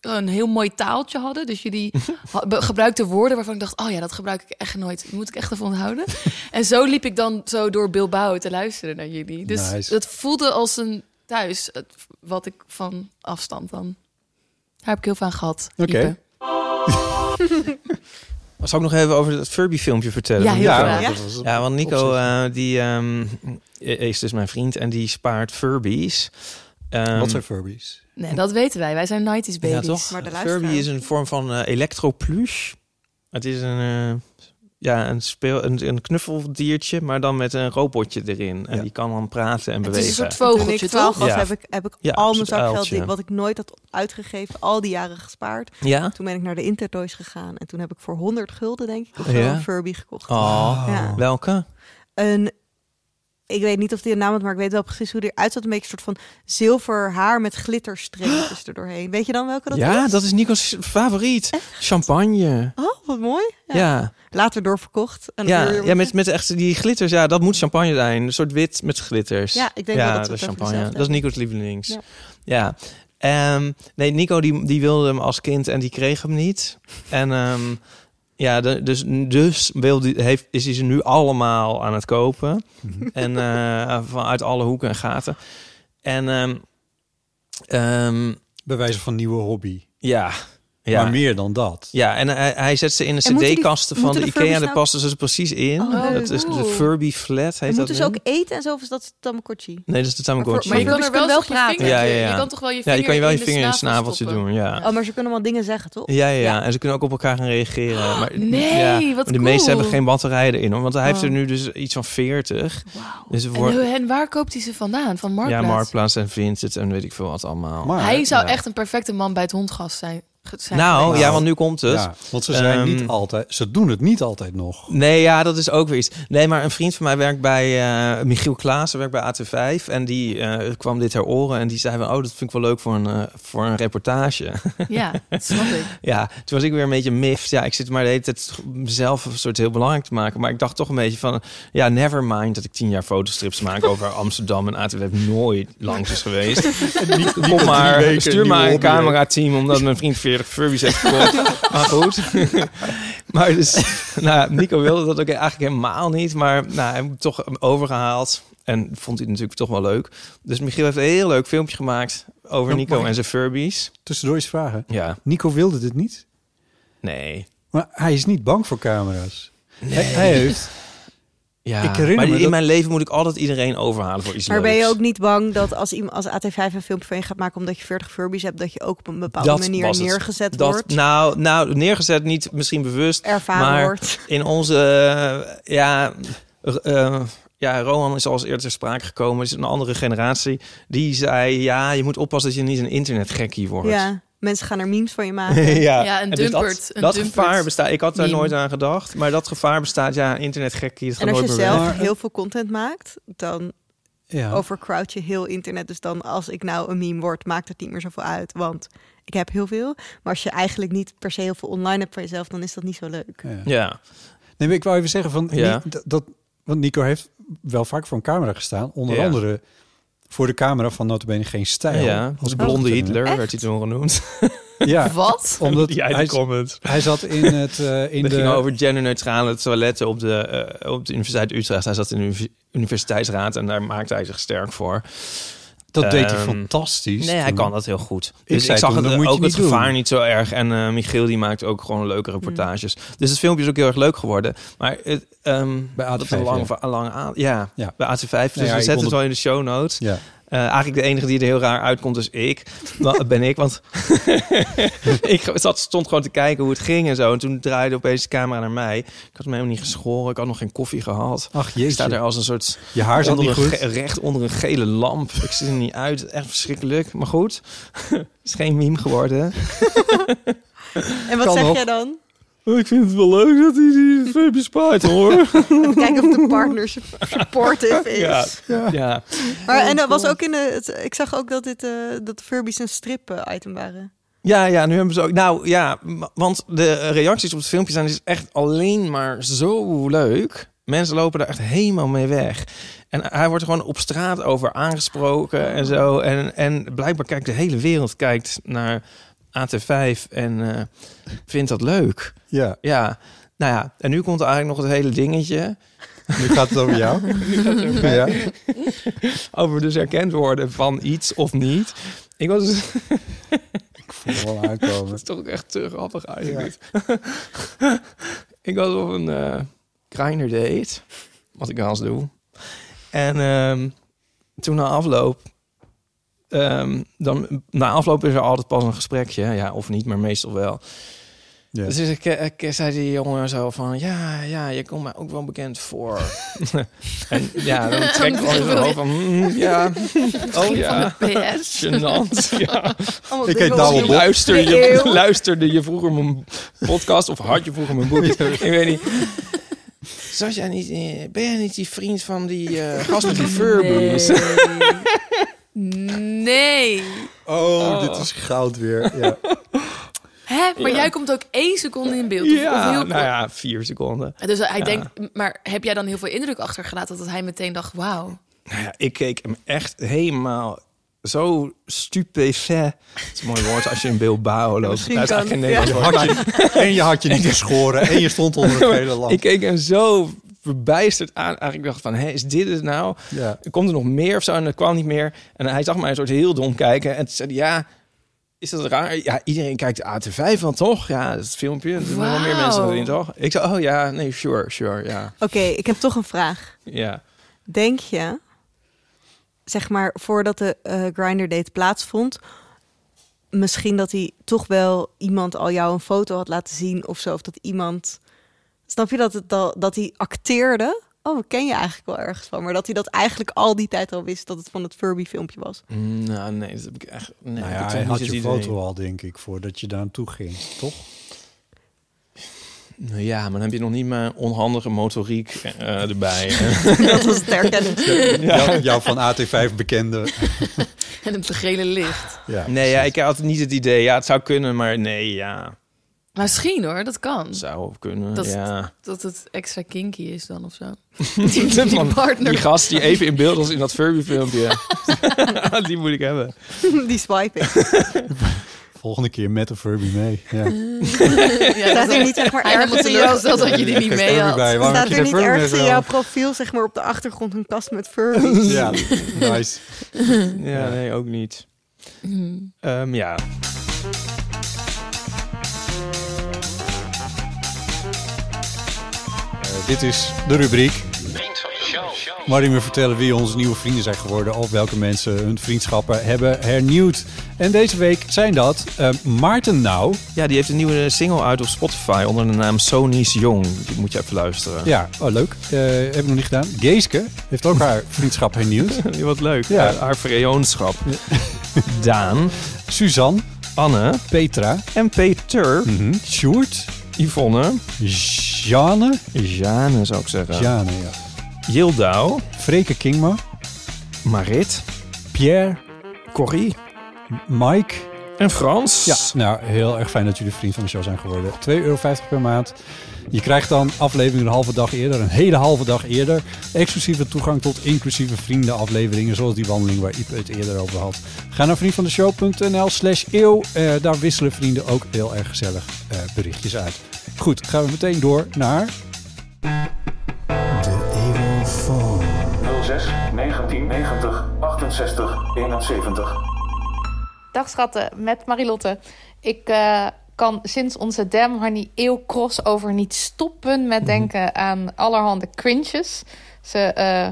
S5: een heel mooi taaltje hadden. Dus jullie ha- be- gebruikten woorden waarvan ik dacht, oh ja, dat gebruik ik echt nooit. Die moet ik echt even onthouden. en zo liep ik dan zo door Bilbao te luisteren naar jullie. Dus
S2: Nice.
S5: dat voelde als een thuis, het- wat ik van afstand dan. Daar heb ik heel veel aan gehad.
S2: Oké.
S5: Ipe.
S3: Zal ik nog even over dat Furby-filmpje vertellen?
S5: Ja,
S3: Van
S5: heel
S3: Nico?
S5: graag.
S4: Ja.
S2: dat was-
S3: Ja, want Nico eh, die, ehm, is dus mijn vriend en die spaart Furbies. Ehm,
S2: Wat zijn Furbies?
S5: Nee, dat weten wij. Wij zijn 90s
S3: ja,
S5: babies.
S3: toch?
S4: Maar de
S3: Furby
S4: luisteraar.
S3: is een vorm van eh electropluche. Het is een, eh, ja, een, speel, een, een knuffeldiertje, maar dan met een robotje erin. En
S2: Ja.
S3: die kan dan praten en
S5: Het is
S3: bewegen.
S5: een soort
S4: Toen ik
S5: vogeltje,
S4: 12
S5: toch?
S4: was,
S3: Ja.
S4: heb ik, heb ik
S3: Ja,
S4: al mijn
S3: zo'n
S4: zakgeld,
S3: uiltje.
S4: die- wat ik nooit had uitgegeven, al die jaren gespaard.
S3: Ja?
S4: Toen ben ik naar de Intertoys gegaan en toen heb ik voor 100 gulden, denk ik, of zo,
S3: Ja.
S4: een Furby gekocht.
S3: Oh,
S4: Ja.
S3: welke?
S4: Een, ik weet niet of die een naam had, maar ik weet wel precies hoe die eruit zat. Een beetje een soort van zilver haar met glitterstreepjes erdoorheen. Weet je dan welke dat
S3: ja,
S4: is?
S3: dat is Nico's favoriet. Champagne.
S4: Oh, wat mooi. Ja.
S3: ja.
S4: Later doorverkocht. Een
S3: Ja,
S4: uur-
S3: ja met, met echt die glitters. Ja, dat moet champagne zijn. Een soort wit met glitters.
S4: Ja, ik denk wel dat we het
S3: is
S4: over
S3: champagne.
S4: dezelfde
S3: Dat is Nico's lievelings.
S4: Ja.
S3: Ja. Ehm, nee, Nico die, die wilde hem als kind en die kreeg hem niet. En ehm, ja, de- dus, dus wil die, heeft, is hij ze nu allemaal aan het kopen. En eh, vanuit alle hoeken en gaten. En ehm, ehm,
S2: Bij wijze van nieuwe hobby.
S3: ja, ja.
S2: Maar meer dan dat.
S3: Ja, en hij, hij zet ze in de
S4: En moeten die-
S3: cd-kasten van
S4: moeten
S3: de,
S4: de
S3: IKEA.
S4: Furbies
S3: en Daar
S4: nou-
S3: passen ze ze precies in.
S4: Oh, leuk.
S3: dat is de
S5: Oeh.
S3: Furby Flat. Heet
S4: En
S3: dat
S4: moeten ze
S3: nu?
S4: dus ook eten en zo, of is dat Tamagotchi?
S3: Nee, dat is de Tamagotchi.
S5: dus Maar je kan
S4: Furbies
S5: er
S4: kunnen wel
S5: wel, eens op je
S4: praten.
S5: vingertje.
S3: Ja, ja, ja.
S5: Je kan toch wel je
S3: ja,
S5: vinger,
S3: je kan je wel je vinger in
S5: de
S3: het snaveltje
S5: stoppen?
S3: doen. Ja.
S4: Oh, maar ze kunnen wel dingen zeggen, toch?
S3: Ja, ja, ja.
S4: Ja.
S3: En ze kunnen ook op elkaar gaan reageren. Maar,
S5: Ah, nee,
S3: ja.
S5: wat
S3: maar de
S5: cool.
S3: meesten hebben geen batterijen erin. Hoor, want hij heeft
S4: Oh.
S3: er nu dus iets van 40.
S5: Wauw.
S3: Dus voor,
S5: En, en waar koopt hij ze vandaan? Van
S3: ja,
S5: Marktplaats?
S3: Marktplaats en Vinted en weet ik veel wat allemaal.
S2: Maar
S5: Hij zou
S3: Ja.
S5: echt een perfecte man bij het hondgast zijn. ge- zijn
S3: Nou,
S5: geweest.
S3: ja, want nu komt het.
S2: Ja, want ze zijn niet
S3: Ehm,
S2: altijd, ze doen het niet altijd nog.
S3: Nee, ja, dat is ook weer iets. Nee, maar een vriend van mij werkt bij eh, Michiel Klaassen, werkt bij AT5. En die eh, kwam dit ter oren en die zei van... oh, dat vind ik wel leuk voor een, eh, voor een reportage.
S5: Ja, dat snap ik.
S3: ja, toen was ik weer een beetje miffed. Ja, ik zit maar de hele tijd mezelf een soort heel belangrijk te maken. Maar ik dacht toch een beetje van... ja, never mind dat ik tien jaar fotostrips maak over Amsterdam... en AT5 nooit langs is geweest. Kom maar, stuur maar een camerateam omdat mijn vriend 40 Furbies heeft gekocht. maar goed. maar dus, nou, Nico wilde dat ook eigenlijk helemaal niet. Maar nou, hij heeft toch overgehaald. En vond hij natuurlijk toch wel leuk. Dus Michiel heeft een heel leuk filmpje gemaakt over
S2: Ja,
S3: Nico
S2: maar-
S3: en zijn Furbies.
S2: Tussendoor eens vragen.
S3: Ja,
S2: Nico wilde dit niet,
S3: nee.
S2: maar hij is niet bang voor camera's. Hij, hij heeft,
S3: Ja,
S2: Ik herinner
S3: maar
S2: me
S3: in
S2: dat-
S3: mijn leven moet ik altijd iedereen overhalen voor iets
S4: Maar ben
S3: leuks.
S4: je ook niet bang dat als, iemand, als AT5 een filmpje van je gaat maken omdat je 40 Furbies hebt, dat je ook op een bepaalde
S3: Dat
S4: manier
S3: was het.
S4: neergezet
S3: dat,
S4: wordt,
S3: Nou, nou, neergezet niet misschien bewust.
S4: ervaren
S3: maar
S4: wordt?
S3: in onze, eh, ja, r- eh, ja, Rohan is al eens eerder ter sprake gekomen, is een andere generatie, die zei, ja, je moet oppassen dat je niet een internetgekkie wordt.
S4: Ja, mensen gaan er memes van je maken.
S5: Ja, een
S3: En dus
S5: dumpert,
S3: dat
S5: een
S3: dat
S5: dumpert
S3: gevaar bestaat. Ik had daar
S5: meme.
S3: nooit aan gedacht. Maar dat gevaar bestaat. Ja, internetgekkie. Dat gaat
S4: en als
S3: nooit
S4: je
S3: meer weg.
S4: zelf
S2: Maar-
S4: heel veel content maakt, dan
S2: ja.
S4: overcrowd je heel internet. Dus dan als ik nou een meme word, maakt het niet meer zoveel uit. Want ik heb heel veel. Maar als je eigenlijk niet per se heel veel online hebt van jezelf, dan is dat niet zo leuk.
S2: ja.
S3: Ja.
S2: Nee, maar ik wou even zeggen van
S3: Ja.
S2: Ni- dat- dat, want Nico heeft wel vaak voor een camera gestaan, onder
S3: Ja.
S2: andere voor de camera van notabene geen
S3: Ja.
S2: stijl.
S3: Als blonde Hitler werd hij
S4: Echt?
S3: toen genoemd.
S2: Ja,
S5: Wat?
S2: omdat
S3: ja,
S2: hij,
S3: die comment.
S2: hij zat in het eh, in
S3: Het ging
S2: de
S3: over genderneutrale toiletten op de, eh, op de Universiteit Utrecht. Hij zat in de univ- universiteitsraad en daar maakte hij zich sterk voor.
S2: dat deed hij
S3: Ehm,
S2: fantastisch.
S3: Nee, hij
S2: toen.
S3: kan dat heel goed.
S2: Ik
S3: Dus ik,
S2: zei
S3: zag
S2: toen,
S3: het,
S2: dat moet je
S3: ook het
S2: niet doen. Hmm.
S3: gevaar niet zo erg. En eh, Michiel die maakt ook gewoon leuke reportages. Dus het filmpje is ook heel erg leuk geworden. Maar het, ehm,
S2: Bij
S3: dat is een
S2: AT5,
S3: lange,
S2: ja.
S3: va- een lange aan. Ja,
S2: Ja. Nou
S3: bij AT5. Dus
S2: ja,
S3: we
S2: ik
S3: zetten
S2: onder-
S3: het wel in de show notes.
S2: Ja.
S3: Eh, eigenlijk de enige die er heel raar uitkomt is ik. Wa- ben ik, want ik zat, stond gewoon te kijken hoe het ging en zo. En toen draaide opeens de camera naar mij. Ik had me helemaal niet geschoren. Ik had nog geen koffie gehad.
S2: Ach
S3: Ik sta
S2: jeetje,
S3: daar als een soort
S2: je haar zat
S3: onder
S2: niet
S3: een
S2: goed.
S3: ge- recht onder een gele lamp. Ik zie er niet uit. Echt verschrikkelijk. Maar goed, is geen meme geworden.
S4: En wat
S2: Kan
S4: zeg
S2: nog.
S4: jij dan?
S3: ik vind het wel leuk dat hij die baby spijt hoor.
S4: Even kijken of de partner su- supportive is.
S3: Ja. Ja.
S4: Maar, en dat was ook in de, het- ik zag ook dat, dit, eh, dat Furbies een strip-item waren.
S3: ja, ja, nu hebben ze ook. Nou ja, m- want de reacties op het filmpje zijn dus echt alleen maar zo leuk. Mensen lopen daar echt helemaal mee weg. En hij wordt er gewoon op straat over aangesproken en zo. En, en blijkbaar kijkt de hele wereld kijkt naar AT5 en eh, vindt dat leuk.
S2: Ja,
S3: Ja, nou ja, en nu komt eigenlijk nog het hele dingetje
S2: nu gaat het over jou. ja.
S3: over dus herkend worden van iets of niet. Ik was dus
S2: Ik voel wel aankomen.
S3: toch ook echt te grappig eigenlijk. ik was op een eh kleiner date, wat ik wel eens doe. En ehm, toen na afloop, ehm, dan, na afloop is er altijd pas een gesprekje, ja of niet, maar meestal wel.
S2: Ja.
S3: Dus ik, eh, ik zei die jongen zo van, ja, ja, je komt mij ook wel bekend voor. en ja, dan trek ik gewoon zo van, mm, ja, oh ja,
S5: PS.
S3: gênant. ja.
S4: Allemaal
S2: Ik
S4: dingen
S2: heet
S4: om-
S2: Douwe Bob.
S3: Luister je,
S4: Eeuw.
S3: luisterde je vroeger mijn podcast of had je vroeger mijn boek? ik weet niet. Zat jij niet, in- ben jij niet die vriend van die eh, gast met die Furbies?
S5: Nee.
S2: Oh, dit is goud weer. Ja.
S5: Hè? Maar
S3: Ja.
S5: jij komt ook één seconde in beeld. Of, of heel
S3: Ja,
S5: kort.
S3: nou ja, vier seconden.
S5: Dus hij
S3: Ja.
S5: denkt, maar heb jij dan heel veel indruk achtergelaten dat hij meteen dacht, wauw.
S3: Nou ja, ik keek hem echt helemaal zo stupefait. Dat is een mooi woord als je in Bilbao loopt.
S4: misschien
S3: Dat is
S4: kan-
S3: eigenlijk een Nederlands
S2: Je
S3: woord,
S2: had
S3: maar-
S2: je, en je had je niet geschoren en je stond onder een hele lamp.
S3: Ik keek hem zo verbijsterd aan. Eigenlijk dacht van, hé, is dit het nou?
S2: Ja.
S3: Komt er nog meer of zo? En dat kwam niet meer. En hij zag mij een soort heel dom kijken. En toen zei hij, ja, is dat raar? Ja, iedereen kijkt AT5 wel, toch? Ja, dat filmpje. Er doen wel meer
S5: Wauw.
S3: mensen erin, toch? Ik zei, oh ja, nee, sure, sure, ja.
S4: Oké, ik heb toch een vraag.
S3: ja.
S4: Denk je, zeg maar, voordat de eh, grinder date plaatsvond, misschien dat hij toch wel iemand al jou een foto had laten zien of zo, of dat iemand, snap je dat het al, dat hij acteerde oh, we ken je eigenlijk wel ergens van. Maar dat hij dat eigenlijk al die tijd al wist dat het van het Furby-filmpje was.
S3: Nou, nee, dat heb ik echt... Nee,
S2: nou
S3: dat
S2: ja,
S3: weet
S2: hij
S3: niet
S2: had
S3: het
S2: je
S3: idee.
S2: foto al, denk ik, voordat je daar naartoe ging, toch?
S3: Nou Ja, maar dan heb je nog niet mijn onhandige motoriek eh, erbij.
S4: dat was het herkennen.
S2: Jou- jouw van AT5 bekende.
S5: En het gele licht.
S2: Ja,
S3: nee, ja, ik had niet het idee. Ja, het zou kunnen, maar nee, ja.
S5: Misschien hoor, dat kan.
S3: Het zou kunnen,
S5: Dat is-
S3: ja.
S5: Dat het extra kinky is dan of zo. Die, die
S3: Man,
S5: partner.
S3: Die gast die even in beeld was in dat Furby-filmpje. die moet ik hebben.
S4: die swiping.
S2: Volgende keer met de Furby mee. Ja.
S5: ja,
S4: Staat
S5: dat
S4: er
S5: is
S4: niet zeg maar
S5: helemaal
S4: ergens in jouw...
S5: teleurgesteld dat je die niet
S2: Geen
S5: mee
S2: Furby
S5: had.
S2: bij. Waarom heb
S4: Staat
S2: je
S4: er
S2: geen
S4: niet
S2: Furby mee
S4: ergens in jouw
S2: zelf?
S4: profiel zeg maar op de achtergrond een kast met Furby?
S2: Ja, nice.
S3: Ja, nee, ook niet.
S5: Hmm.
S3: Ehm, ja.
S2: Eh, dit is de rubriek.
S6: Vriend van de show.
S2: Waarin we vertellen wie onze nieuwe vrienden zijn geworden of welke mensen hun vriendschappen hebben hernieuwd. En deze week zijn dat eh, Maarten Nou.
S3: ja, die heeft een nieuwe single uit op Spotify onder de naam Sony's Jong. Die moet je even luisteren.
S2: Ja, oh, leuk. Eh, heb ik nog niet gedaan. Geeske heeft ook haar vriendschap hernieuwd.
S3: Wat leuk.
S2: Ja.
S3: Eh, haar vreoonschap. Daan,
S2: Suzanne,
S3: Anne
S2: Petra,
S3: en Peter,
S2: mhm, Sjoerd,
S3: Yvonne,
S2: Jeanne,
S3: Jane zou ik zeggen,
S2: Jeanne, ja.
S3: Jildau,
S2: Freke Kingma,
S3: Marit,
S2: Pierre,
S3: Corrie
S2: Mike.
S3: en Frans.
S2: Ja, nou, heel erg fijn dat jullie vriend van de show zijn geworden. 2,50 euro per maand. Je krijgt dan afleveringen een halve dag eerder, een hele halve dag eerder. Exclusieve toegang tot inclusieve vriendenafleveringen, zoals die wandeling waar Ipe het eerder over had. Ga naar vriendvandeshow.nl slash eeuw. Eh, daar wisselen vrienden ook heel erg gezellig eh, berichtjes uit. Goed, gaan we meteen door naar...
S7: 06 1990 68 71.
S8: Dag schatten, met Marilotte. Ik eh, kan sinds onze Damn Honey Eeuw crossover niet stoppen met denken aan allerhande cringes. Ze, eh,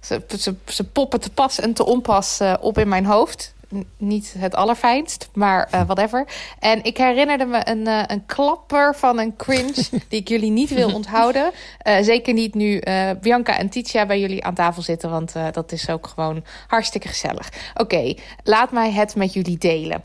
S8: ze, ze, ze poppen te pas en te onpas eh, op in mijn hoofd. N- niet het allerfijnst, maar eh, whatever. En ik herinnerde me een, eh, een klapper van een cringe die ik jullie niet wil onthouden. Eh, zeker niet nu eh, Bianca en Titia bij jullie aan tafel zitten, want eh, dat is ook gewoon hartstikke gezellig. Oké, laat mij het met jullie delen.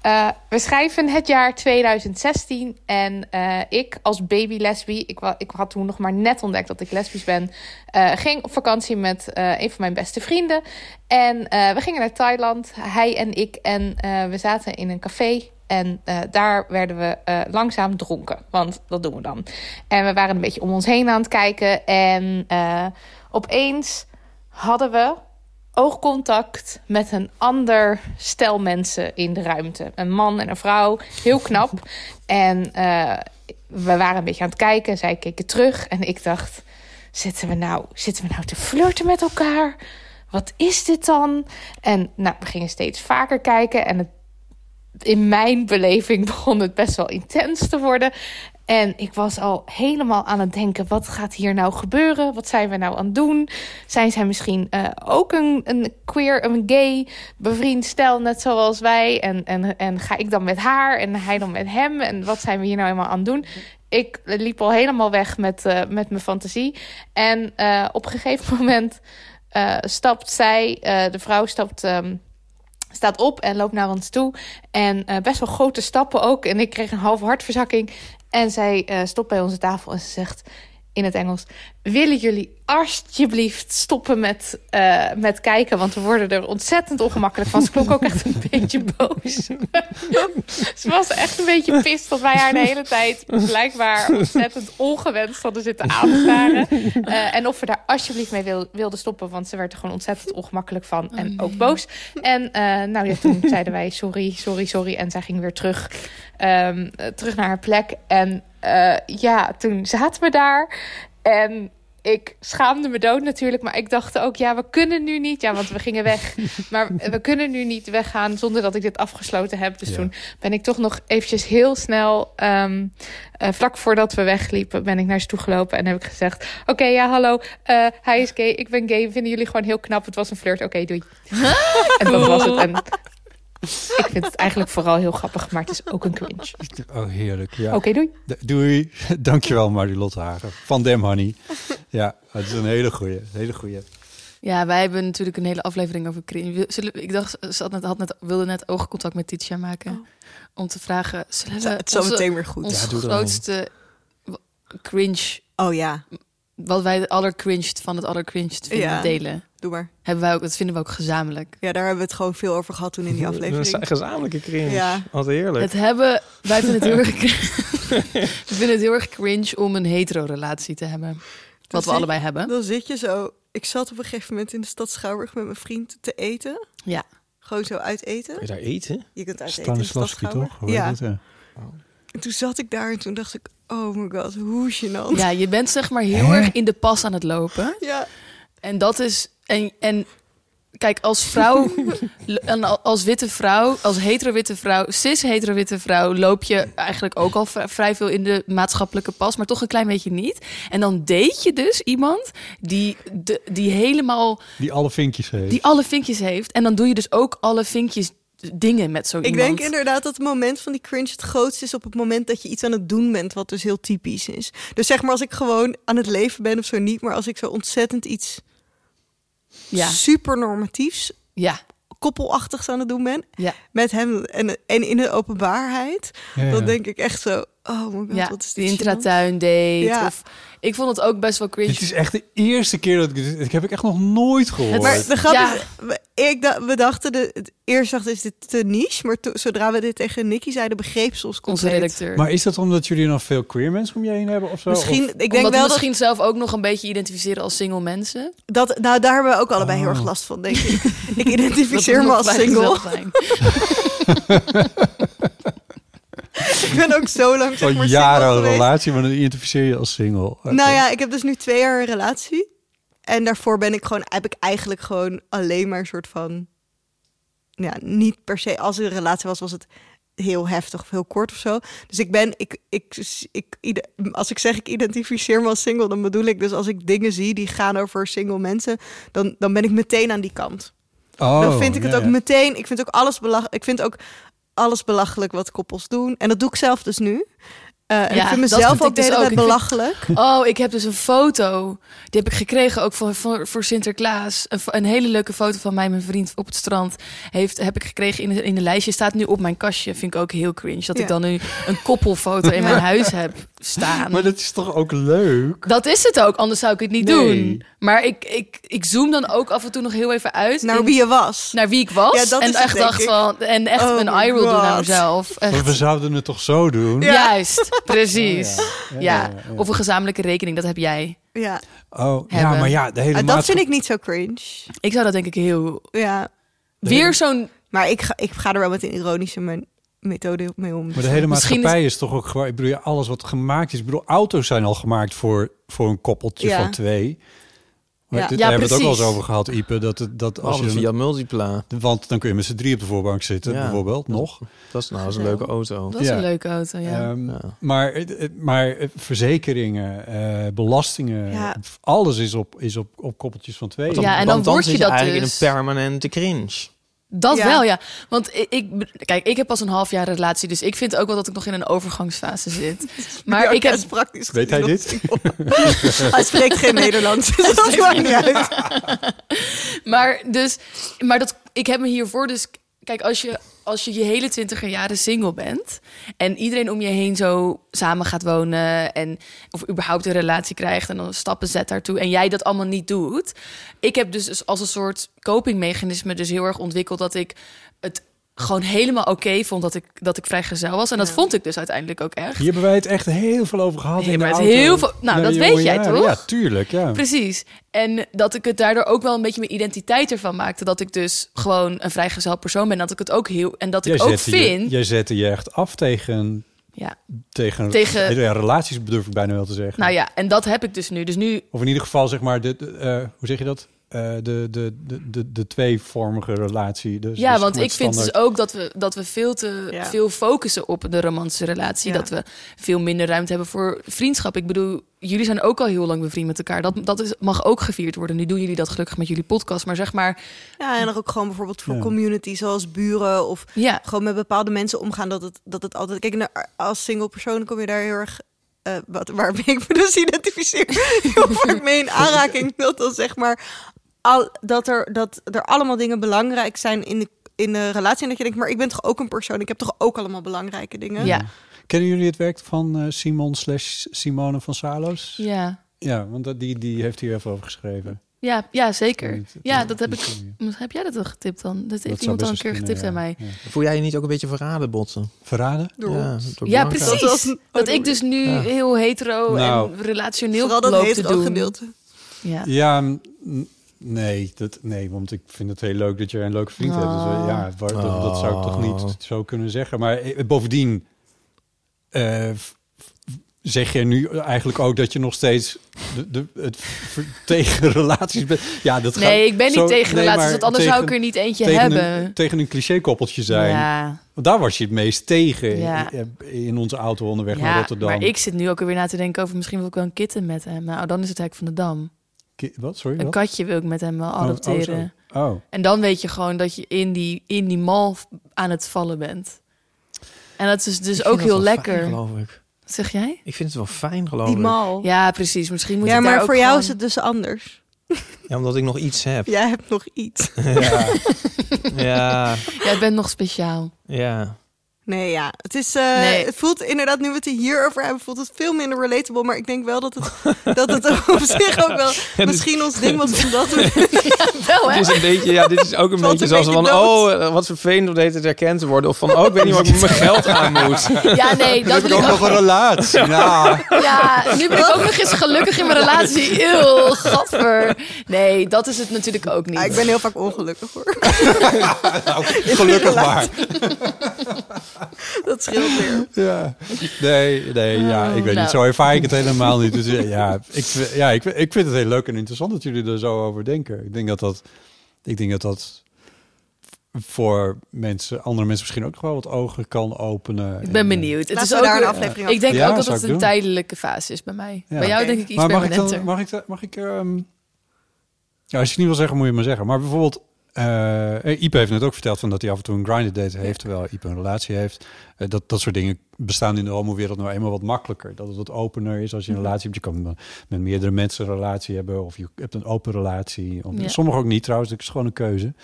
S8: Eh, we schrijven het jaar 2016 en eh, ik als baby lesbie, ik, wa- ik had toen nog maar net ontdekt dat ik lesbisch ben, eh, ging op vakantie met eh, een van mijn beste vrienden. En eh, we gingen naar Thailand, hij en ik, en eh, we zaten in een café. En eh, daar werden we eh, langzaam dronken. Want dat doen we dan. En we waren een beetje om ons heen aan het kijken. En eh, opeens hadden we oogcontact met een ander stel mensen in de ruimte. Een man en een vrouw. Heel knap. en eh, we waren een beetje aan het kijken. Zij keken terug. En ik dacht, zitten we nou, zitten we nou te flirten met elkaar? Wat is dit dan? En nou, we gingen steeds vaker kijken. En het in mijn beleving begon het best wel intens te worden. En ik was al helemaal aan het denken: wat gaat hier nou gebeuren? Wat zijn we nou aan het doen? Zijn zij misschien eh, ook een, een queer, een gay bevriend stel, net zoals wij? En, en, en ga ik dan met haar en hij dan met hem? En wat zijn we hier nou helemaal aan het doen? Ik liep al helemaal weg met, eh, met mijn fantasie. En eh, op een gegeven moment eh, stapt zij, eh, de vrouw stapt. ehm, staat op en loopt naar ons toe. En eh, best wel grote stappen ook. En ik kreeg een halve hartverzakking. En zij eh, stopt bij onze tafel en ze zegt in het Engels... willen jullie alsjeblieft stoppen met, eh, met kijken? Want we worden er ontzettend ongemakkelijk van. Ze klonk ook echt een beetje boos. ze was echt een beetje pist dat wij haar de hele tijd... blijkbaar ontzettend ongewenst hadden zitten aanstaren. Eh, en of we daar alsjeblieft mee wil- wilden stoppen. Want ze werd er gewoon ontzettend ongemakkelijk van. en ook boos. En eh, nou ja, toen zeiden wij sorry, sorry, sorry. En zij ging weer terug, ehm, eh, terug naar haar plek. En eh, ja, toen zaten we daar. En ik schaamde me dood natuurlijk. Maar ik dacht ook, ja, we kunnen nu niet. Ja, want we gingen weg. Maar we kunnen nu niet weggaan zonder dat ik dit afgesloten heb. Dus
S2: Ja.
S8: toen ben ik toch nog eventjes heel snel... ehm, eh, vlak voordat we wegliepen ben ik naar ze toe gelopen. En heb ik gezegd, oké, ja, hallo. eh, hij is gay, ik ben gay. Vinden jullie gewoon heel knap. Het was een flirt. Oké, doei. En dat was het. En Ik vind het eigenlijk vooral heel grappig, maar het is ook een cringe. Oké,
S2: Oh, heerlijk. Ja.
S8: doei.
S2: D- Doei. Dankjewel, Marilotte Hagen. Van Dem Honey. Ja, het is een hele goeie. Hele goeie.
S5: Ja, wij hebben natuurlijk een hele aflevering over cringe. Wil- Zullen, we- ik dacht, ze had net, had net, wilde net oogcontact met Titia maken. Om te vragen, zullen we
S4: Het is zo
S5: onze-
S4: meteen weer goed.
S5: ons
S3: Ja, doe dat
S5: grootste w- cringe,
S4: Oh ja,
S5: wat wij het allercringed van het allercringed vinden,
S4: Ja.
S5: delen?
S4: doe maar.
S5: Hebben wij ook, dat vinden we ook gezamenlijk.
S4: Ja, daar hebben we het gewoon veel over gehad toen in die
S3: Een
S4: aflevering.
S3: za- gezamenlijke cringe.
S4: Ja.
S3: Wat heerlijk.
S5: Het hebben, wij vinden het heel erg, we vinden het heel erg cringe om een hetero-relatie te hebben. Wat we
S4: zie-
S5: allebei hebben.
S4: Dan zit je zo. Ik zat op een gegeven moment in de stad Schouwburg met mijn vriend te eten.
S5: Ja.
S4: Gewoon zo uit eten.
S3: Kun je daar eten?
S4: Je kunt uit eten in de stad
S2: Stanislavski,
S4: Schouwburg.
S2: toch? Hoe
S4: Ja.
S2: heet het, eh? ja.
S4: En toen zat ik daar en toen dacht ik, oh my god, hoe nou gênant.
S5: ja, je bent zeg maar heel erg in de pas aan het lopen.
S4: Ja.
S5: En dat is. En, en kijk, als vrouw. l- en al- als witte vrouw. Als hetero-witte vrouw. Cis-hetero-witte vrouw. loop je eigenlijk ook al v- vrij veel in de maatschappelijke pas. maar toch een klein beetje niet. En dan date je dus iemand. die, de, die helemaal.
S2: Die alle vinkjes heeft.
S5: die alle vinkjes heeft. En dan doe je dus ook alle vinkjes dingen met zo
S4: Ik
S5: iemand.
S4: denk inderdaad dat het moment van die cringe het grootst is op het moment dat je iets aan het doen bent, wat dus heel typisch is. Dus zeg maar als ik gewoon aan het leven ben of zo niet, maar als ik zo ontzettend iets
S5: Ja,
S4: super normatiefs,
S5: ja,
S4: koppelachtigs aan het doen ben,
S5: ja.
S4: met hem en, en in de openbaarheid,
S2: Ja, ja.
S4: dan denk ik echt zo, oh my god,
S5: ja.
S4: wat is
S5: die
S4: dit gênant.
S5: intratuin date.
S4: Ja.
S5: Of, ik vond het ook best wel cringe.
S2: Dit is echt de eerste keer dat ik dit... Dit heb ik echt nog nooit gehoord.
S4: Maar de grap
S5: Ja.
S4: is, we- ik da- we dachten, de, het- eerst dacht is dit te niche, maar to- zodra we dit tegen Nicky zeiden, begreep ze ons
S5: onze
S4: compleet.
S5: redacteur.
S2: Maar is dat omdat jullie nog veel queer mensen om je heen hebben of zo?
S4: Misschien,
S2: Of-
S4: ik denk
S5: Omdat we
S4: wel dat,
S5: misschien zelf ook nog een beetje identificeren als single mensen.
S4: dat, nou daar hebben we ook allebei heel erg
S2: Oh.
S4: last van, denk ik. ik
S5: Dat
S4: identificeer
S5: we
S4: me
S5: nog
S4: als
S5: bij
S4: single.
S5: gezellig zijn.
S4: Ik ben ook zo lang zeg
S2: Zo'n
S4: maar
S2: jaren
S4: single geweest.
S2: relatie, maar dan identificeer je als single. Oké.
S4: Nou ja, ik heb dus nu twee jaar een relatie. En daarvoor ben ik gewoon, heb ik eigenlijk gewoon alleen maar een soort van. Ja, niet per se. Als er een relatie was, was het heel heftig of heel kort of zo. Dus ik ben, ik, ik, ik, ide- als ik zeg ik identificeer me als single, dan bedoel ik dus als ik dingen zie die gaan over single mensen, dan, dan ben ik meteen aan die kant.
S2: Oh,
S4: dan vind ik het
S2: ja,
S4: ook
S2: ja.
S4: meteen. Ik vind ook alles belachelijk. Ik vind ook alles belachelijk wat koppels doen. En dat doe ik zelf dus nu. Eh, en
S5: Ja,
S4: ik
S5: dat
S4: vind mezelf
S5: vind ik
S4: ook de
S5: dus
S4: hele
S5: ook.
S4: tijd
S5: Ik vind-
S4: belachelijk.
S5: Oh, ik heb dus een foto. Die heb ik gekregen ook voor, voor, voor Sinterklaas. Een, fo- een hele leuke foto van mij en mijn vriend op het strand. Heeft, heb ik gekregen in, een- in een lijstje. Staat nu op mijn kastje. Vind ik ook heel cringe. Dat
S4: Ja.
S5: ik dan nu een koppelfoto in mijn huis heb staan.
S2: Maar dat is toch ook leuk?
S5: Dat is het ook, anders zou ik het niet
S2: Nee.
S5: doen. Maar ik, ik, ik zoom dan ook af en toe nog heel even uit.
S4: naar
S5: in-
S4: wie je was.
S5: naar wie ik was.
S4: Ja, dat
S5: en
S4: is het,
S5: echt
S4: denk
S5: dacht
S4: ik.
S5: van. En echt
S4: Oh
S5: een
S4: my
S5: eye roll doen naar
S4: God.
S5: mezelf.
S2: Maar
S5: Echt.
S2: we zouden het toch zo doen?
S4: Ja.
S5: Juist, precies.
S2: Ja,
S5: ja,
S2: ja, ja.
S5: of een gezamenlijke rekening, dat heb jij.
S4: Ja,
S2: Oh, ja,
S5: Hebben.
S2: maar ja, de hele
S4: Ah, dat
S2: maatschappij-
S4: vind ik niet zo cringe.
S5: Ik zou dat denk ik heel...
S4: Ja,
S5: Weer zo'n...
S4: maar ik ga, ik ga er wel met een ironische me- methode mee om.
S2: Maar de hele
S5: Misschien is-
S2: maatschappij is... toch ook gewoon... Ik bedoel, ja, alles wat gemaakt is... Ik bedoel, auto's zijn al gemaakt voor, voor een koppeltje
S4: Ja.
S2: van twee. Maar
S4: Ja.
S2: dit-
S5: Ja,
S2: daar hebben we het ook wel
S5: precies.
S2: eens over gehad, Ipe. Dat, het- dat als
S3: Als
S2: je
S3: via Multipla.
S2: Want dan kun je met z'n drie op de voorbank zitten,
S3: Ja.
S2: bijvoorbeeld, nog.
S3: Dat is nou eens een leuke auto.
S5: Dat is
S2: Ja.
S5: een leuke auto, ja.
S2: Ehm,
S3: Ja.
S2: maar, het- het- maar eh, verzekeringen, eh, belastingen,
S4: Ja.
S2: f- alles is op, is op, op koppeltjes van twee.
S5: Ja, en dan
S3: Want dan
S5: word
S3: zit
S5: je dat
S3: eigenlijk
S5: dus.
S3: in een permanente cringe.
S5: Dat
S4: Ja.
S5: wel, ja. Want ik, ik... Kijk, ik heb pas een half jaar relatie, dus ik vind ook wel dat ik nog in een overgangsfase zit. Maar ik heb...
S4: is praktisch.
S2: Weet hij
S4: gezien
S2: dit?
S4: dat- Hij spreekt geen Nederlands. dus dat maakt niet uit.
S5: Maar dus... Maar dat... Ik heb me hiervoor dus... Kijk, als je... Als je je hele twintiger jaren single bent en iedereen om je heen zo samen gaat wonen en of überhaupt een relatie krijgt en dan stappen zet daartoe en jij dat allemaal niet doet, ik heb dus als- als een soort copingmechanisme dus heel erg ontwikkeld dat ik het gewoon helemaal oké vond dat ik dat ik vrijgezel was en dat vond ik dus uiteindelijk ook echt.
S2: Hier hebben wij het echt heel veel over gehad.
S5: Hier
S2: in de
S5: hebben we
S2: auto.
S5: het heel veel- nou,
S2: Nee,
S5: dat
S2: jongen,
S5: weet jij
S2: ja,
S5: toch?
S2: Ja, tuurlijk, ja.
S5: Precies. En dat ik het daardoor ook wel een beetje mijn identiteit ervan maakte dat ik dus gewoon een vrijgezel persoon ben, dat ik het ook heel en dat ik ook
S2: zette Je,
S5: vind.
S2: jij zette je echt af tegen...
S5: Ja.
S2: Tegen,
S5: Tegen-
S2: ja, relaties, durf ik bijna wel te zeggen.
S5: Nou ja, en dat heb ik dus nu. Dus nu
S2: Of in ieder geval, zeg maar, de, de, eh, hoe zeg je dat? eh, de, de, de, de, de tweevormige relatie. Dus,
S5: Ja,
S2: dus
S5: want
S2: met
S5: ik vind dus
S2: standaard-
S5: ook dat we, dat we veel te
S4: Ja.
S5: veel focussen op de romantische relatie.
S4: Ja.
S5: Dat we veel minder ruimte hebben voor vriendschap. Ik bedoel, jullie zijn ook al heel lang bevriend met elkaar. Dat, dat is, mag ook gevierd worden. Nu doen jullie dat gelukkig met jullie podcast. Maar zeg maar,
S4: Ja, en dan ook gewoon bijvoorbeeld voor
S2: Ja.
S4: community, zoals buren of
S5: ja,
S4: gewoon met bepaalde mensen omgaan. Dat het, dat het altijd. Kijk, nou, als single persoon kom je daar heel erg. eh, wat, waarmee ik me dus identificeer. heel vaak mee in aanraking. Dat dan zeg maar. Al, dat, er, dat er allemaal dingen belangrijk zijn in de, in de relatie. En dat je denkt, maar ik ben toch ook een persoon. Ik heb toch ook allemaal belangrijke dingen.
S5: ja,
S2: Kennen jullie het werk van eh, Simon slash Simone van Salos? Ja,
S5: ja,
S2: want dat- die, die heeft hier even over geschreven.
S5: ja, ja, zeker.
S2: Niet-
S5: Ja, dat heb
S2: niet
S5: ik.
S2: zo meer.
S5: Heb jij dat al getipt dan? Dat
S2: Dat
S5: heeft
S2: zou
S5: iemand al een
S2: best
S5: keer
S2: eens
S5: getipt aan
S2: kunnen,
S5: mij.
S2: ja.
S3: Voel jij je niet ook een beetje verraden, botten?
S2: Verraden?
S4: Door
S3: ja,
S4: ons.
S3: dat ook
S5: Ja,
S3: wel.
S5: precies.
S4: Dat was-
S5: Dat,
S4: oh,
S5: ik dus nu
S2: Ja.
S5: heel hetero
S2: Nou.
S5: en relationeel
S4: Vooral dat
S5: loop
S4: heeft
S5: te
S4: ook
S5: doen.
S4: gedeelte.
S5: Ja.
S2: Ja, mm, nee, dat, nee, want ik vind het heel leuk dat je een leuke vriend hebt. Dus, eh,
S5: Oh.
S2: ja, waar- dat, dat zou ik toch
S3: Oh.
S2: niet zo kunnen zeggen. Maar eh, bovendien eh, f- f- zeg je nu eigenlijk ook dat je nog steeds de, de, het ver- tegen relaties bent. Ja, dat
S5: Nee,
S2: gaat
S5: ik ben niet
S2: zo-
S5: tegen
S2: nee,
S5: relaties,
S2: maar
S5: want anders
S2: tegen-
S5: zou ik er niet eentje
S2: tegen
S5: hebben.
S2: Een, tegen een cliché-koppeltje zijn.
S5: Ja.
S2: Want daar was je het meest tegen
S5: Ja.
S2: in, in onze auto onderweg naar Rotterdam.
S5: maar ik zit nu ook weer na te denken over misschien wil ik wel een kitten met hem. Nou, dan is het hek van de dam.
S2: Ki- Wat? Sorry,
S5: Een
S2: wat?
S5: katje wil ik met hem wel
S2: Oh, oh, zo.
S5: adopteren.
S2: Oh,
S5: En dan weet je gewoon dat je in die, in die mal v- aan het vallen bent. En dat is dus
S3: Ik vind
S5: ook
S3: dat
S5: heel
S3: wel
S5: lekker.
S3: Fijn, geloof ik.
S5: Wat zeg jij?
S3: Ik vind het wel fijn, geloof
S4: Die
S3: ik.
S4: mal. Ja,
S5: Ja, precies. Misschien moet ik daar
S4: maar voor
S5: ook
S4: jou
S5: gewoon-
S4: is het dus anders.
S3: Ja, omdat ik nog iets heb.
S4: Jij hebt nog iets.
S2: ja.
S3: Ja,
S5: Jij bent nog speciaal.
S3: ja.
S4: Nee, ja. Het, is, eh,
S5: Nee.
S4: het voelt inderdaad, nu we het er hierover hebben, voelt het veel minder relatable. Maar ik denk wel dat het, dat het op zich ook wel
S2: dus-
S4: misschien ons ding was om dat te doen.
S5: Wel, hè?
S3: Dit is een beetje, ja, dit is ook een
S4: Valt
S3: beetje
S4: een
S3: zoals
S4: beetje
S3: van,
S4: dood.
S3: oh, eh, wat vervelend om de hele tijd herkend te worden. Of van, oh, ik weet niet waar ik met mijn geld aan moet.
S5: Ja, nee, dat wil ik ook.
S2: een relatie. Ja.
S5: Ja, nu ben ik ook nog eens gelukkig in mijn relatie. Eeuw, gadver. Nee, dat is het natuurlijk ook niet.
S4: Ja, ik ben heel vaak ongelukkig hoor.
S2: Nou, Gelukkig maar.
S4: Dat scheelt weer.
S2: Ja. Nee, nee, ja, ik weet
S5: nou.
S2: niet. Zo ervaar ik het helemaal niet. Dus eh, ja, ik, v- ja ik, ik vind het heel leuk en interessant dat jullie er zo over denken. Ik denk dat dat, ik denk dat, dat voor mensen, andere mensen misschien ook nog wel wat ogen kan openen.
S5: Ik
S2: En, eh,
S5: ben benieuwd. Het
S4: Laten
S5: is
S4: we
S5: ook
S4: daar een
S5: weer-
S4: aflevering
S5: Ik denk
S2: Ja,
S5: ook dat
S2: zou
S5: het
S2: ik
S5: een
S2: doen.
S5: tijdelijke fase is bij mij.
S2: Ja.
S5: Bij jou
S4: Oké.
S5: denk ik iets
S2: maar mag ik
S5: permanenter.
S2: dan, mag ik, dan- mag ik, ehm, ja, als je het niet wil zeggen, moet je het maar zeggen. Maar bijvoorbeeld, eh eh, Ipe heeft net ook verteld van dat hij af en toe een grinded date heeft, terwijl Ipe een relatie heeft. Eh, dat, dat soort dingen bestaan in de homo-wereld nou eenmaal wat makkelijker. Dat het wat opener is als je een relatie hebt. Je kan eh, met meerdere mensen een relatie hebben of je hebt een open relatie. Of,
S5: Ja.
S2: Sommigen ook niet trouwens, dat is gewoon een keuze.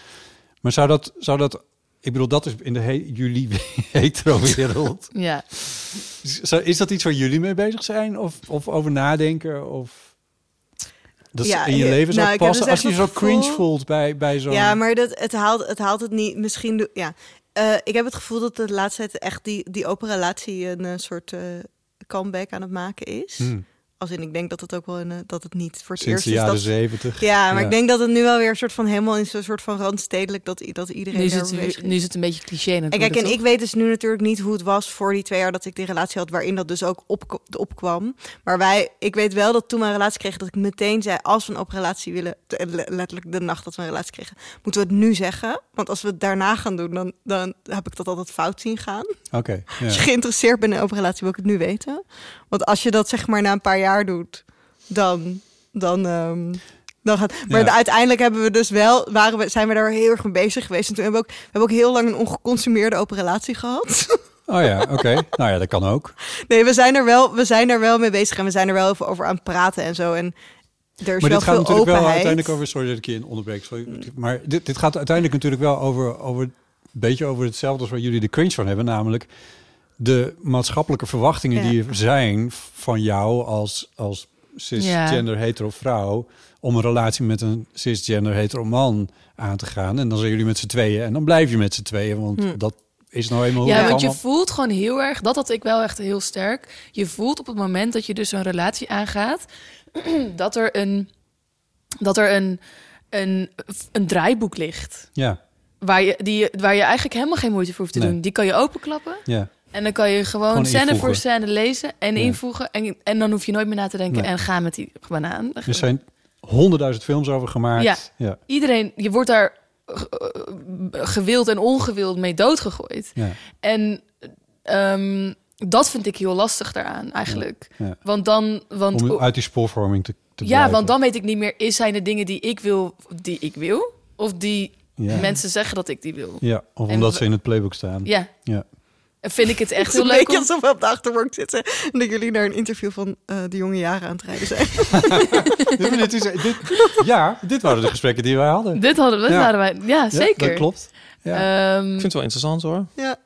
S2: Maar zou dat, zou dat ik bedoel, dat is in de he- jullie hetero-wereld.
S5: Ja.
S2: Zo, is dat iets waar jullie mee bezig zijn? Of, of over nadenken? Of dat
S4: Ja,
S2: ze in je
S4: je-
S2: leven zou
S4: nou, ik heb
S2: passen?
S4: dus
S2: als
S4: echt
S2: je zo
S4: het gevoel-
S2: cringe voelt bij, bij zo'n...
S4: Ja, maar dat, het, haalt, het haalt het niet. Misschien. doe- Ja. Eh, ik heb het gevoel dat de laatste tijd echt die, die open relatie een eh, soort eh, comeback aan het maken is.
S2: Hmm,
S4: Als in, ik denk dat het ook wel een, eh, dat het niet voor het
S2: sinds
S4: eerst
S2: de
S4: is.
S2: jaren
S4: Dat,
S2: zeventig.
S4: ja, maar
S2: Ja.
S4: ik denk dat het nu wel weer een soort van helemaal in zo'n soort van randstedelijk dat, i- dat iedereen
S5: Nu is,
S4: er
S5: het,
S4: mee bezig is.
S5: nu is het een beetje cliché
S4: En
S5: natuurlijk.
S4: kijk, en
S5: toch?
S4: ik weet dus nu natuurlijk niet hoe het was voor die twee jaar dat ik die relatie had, waarin dat dus ook op, opkwam. Maar wij, ik weet wel dat toen we een relatie kregen, dat ik meteen zei: als we een open relatie willen, te- le- letterlijk de nacht dat we een relatie kregen, moeten we het nu zeggen. Want als we het daarna gaan doen, dan, dan heb ik dat altijd fout zien gaan.
S2: Oké, ja.
S4: Als je Dus geïnteresseerd bent in een open relatie, wil ik het nu weten. Want als je dat zeg maar na een paar jaar doet, dan. dan ehm, dan gaat, maar
S2: Ja.
S4: de- uiteindelijk hebben we dus wel, waren we, zijn we daar heel erg mee bezig geweest. En toen hebben we ook, we hebben ook heel lang een ongeconsumeerde open relatie gehad.
S2: Oh ja, oké. Nou ja, dat kan ook.
S4: nee, we zijn, er wel, we zijn er wel mee bezig en we zijn er wel even over aan het praten en zo. En er
S2: Maar
S4: is wel
S2: dit gaat
S4: veel
S2: natuurlijk
S4: openheid.
S2: wel uiteindelijk over... Sorry dat ik je in onderbreek. sorry. maar dit, dit gaat uiteindelijk natuurlijk wel over, over... Een beetje over hetzelfde als waar jullie de cringe van hebben. Namelijk de maatschappelijke verwachtingen
S4: Ja.
S2: die er zijn van jou als, als cisgender hetero vrouw... om een relatie met een cisgender hetero man aan te gaan. En dan zijn jullie met z'n tweeën. En dan blijf je met z'n tweeën. Want
S4: Hm.
S2: dat is nou eenmaal hoe
S5: Ja,
S2: het
S5: want je
S2: allemaal-
S5: voelt gewoon heel erg, dat had ik wel echt heel sterk. Je voelt op het moment dat je dus een relatie aangaat, dat er een, dat er een, een, een draaiboek ligt.
S2: Ja,
S5: Waar je, die, je- waar je eigenlijk helemaal geen moeite voor hoeft te
S2: Nee.
S5: doen. Die kan je openklappen.
S2: ja.
S5: En dan kan je gewoon,
S2: Gewoon
S5: scène
S2: invoegen.
S5: voor scène lezen en
S2: Ja.
S5: invoegen. En, en dan hoef je nooit meer na te denken
S2: Nee.
S5: en ga met die banaan.
S2: Er zijn honderdduizend films over gemaakt.
S5: Ja.
S2: ja.
S5: Iedereen, je wordt daar eh, gewild en ongewild mee doodgegooid.
S2: ja.
S5: En ehm, dat vind ik heel lastig daaraan eigenlijk.
S2: Ja, ja.
S5: Want dan, want
S2: Om uit die spoorvorming te, te
S5: ja,
S2: blijven.
S5: want dan weet ik niet meer, is zijn de dingen die ik wil, die ik wil, of die
S2: Ja.
S5: mensen zeggen dat ik die wil.
S2: Ja, of
S5: En
S2: omdat
S5: we-
S2: ze in het playbook staan.
S5: Ja,
S2: Ja.
S5: en vind ik het echt
S4: Het is
S5: heel
S4: een
S5: leuk.
S4: beetje
S5: Om...
S4: alsof we op de achterbank zitten en dat jullie naar een interview van eh, de jonge jaren aan het rijden zijn.
S2: Ja, maar dit is, dit, ja, dit waren de gesprekken die wij hadden.
S5: Dit hadden we,
S2: Ja.
S5: waren wij. Ja,
S2: Ja,
S5: zeker.
S2: dat klopt. Ja.
S5: Ehm,
S3: Ik vind het wel interessant hoor.
S4: ja.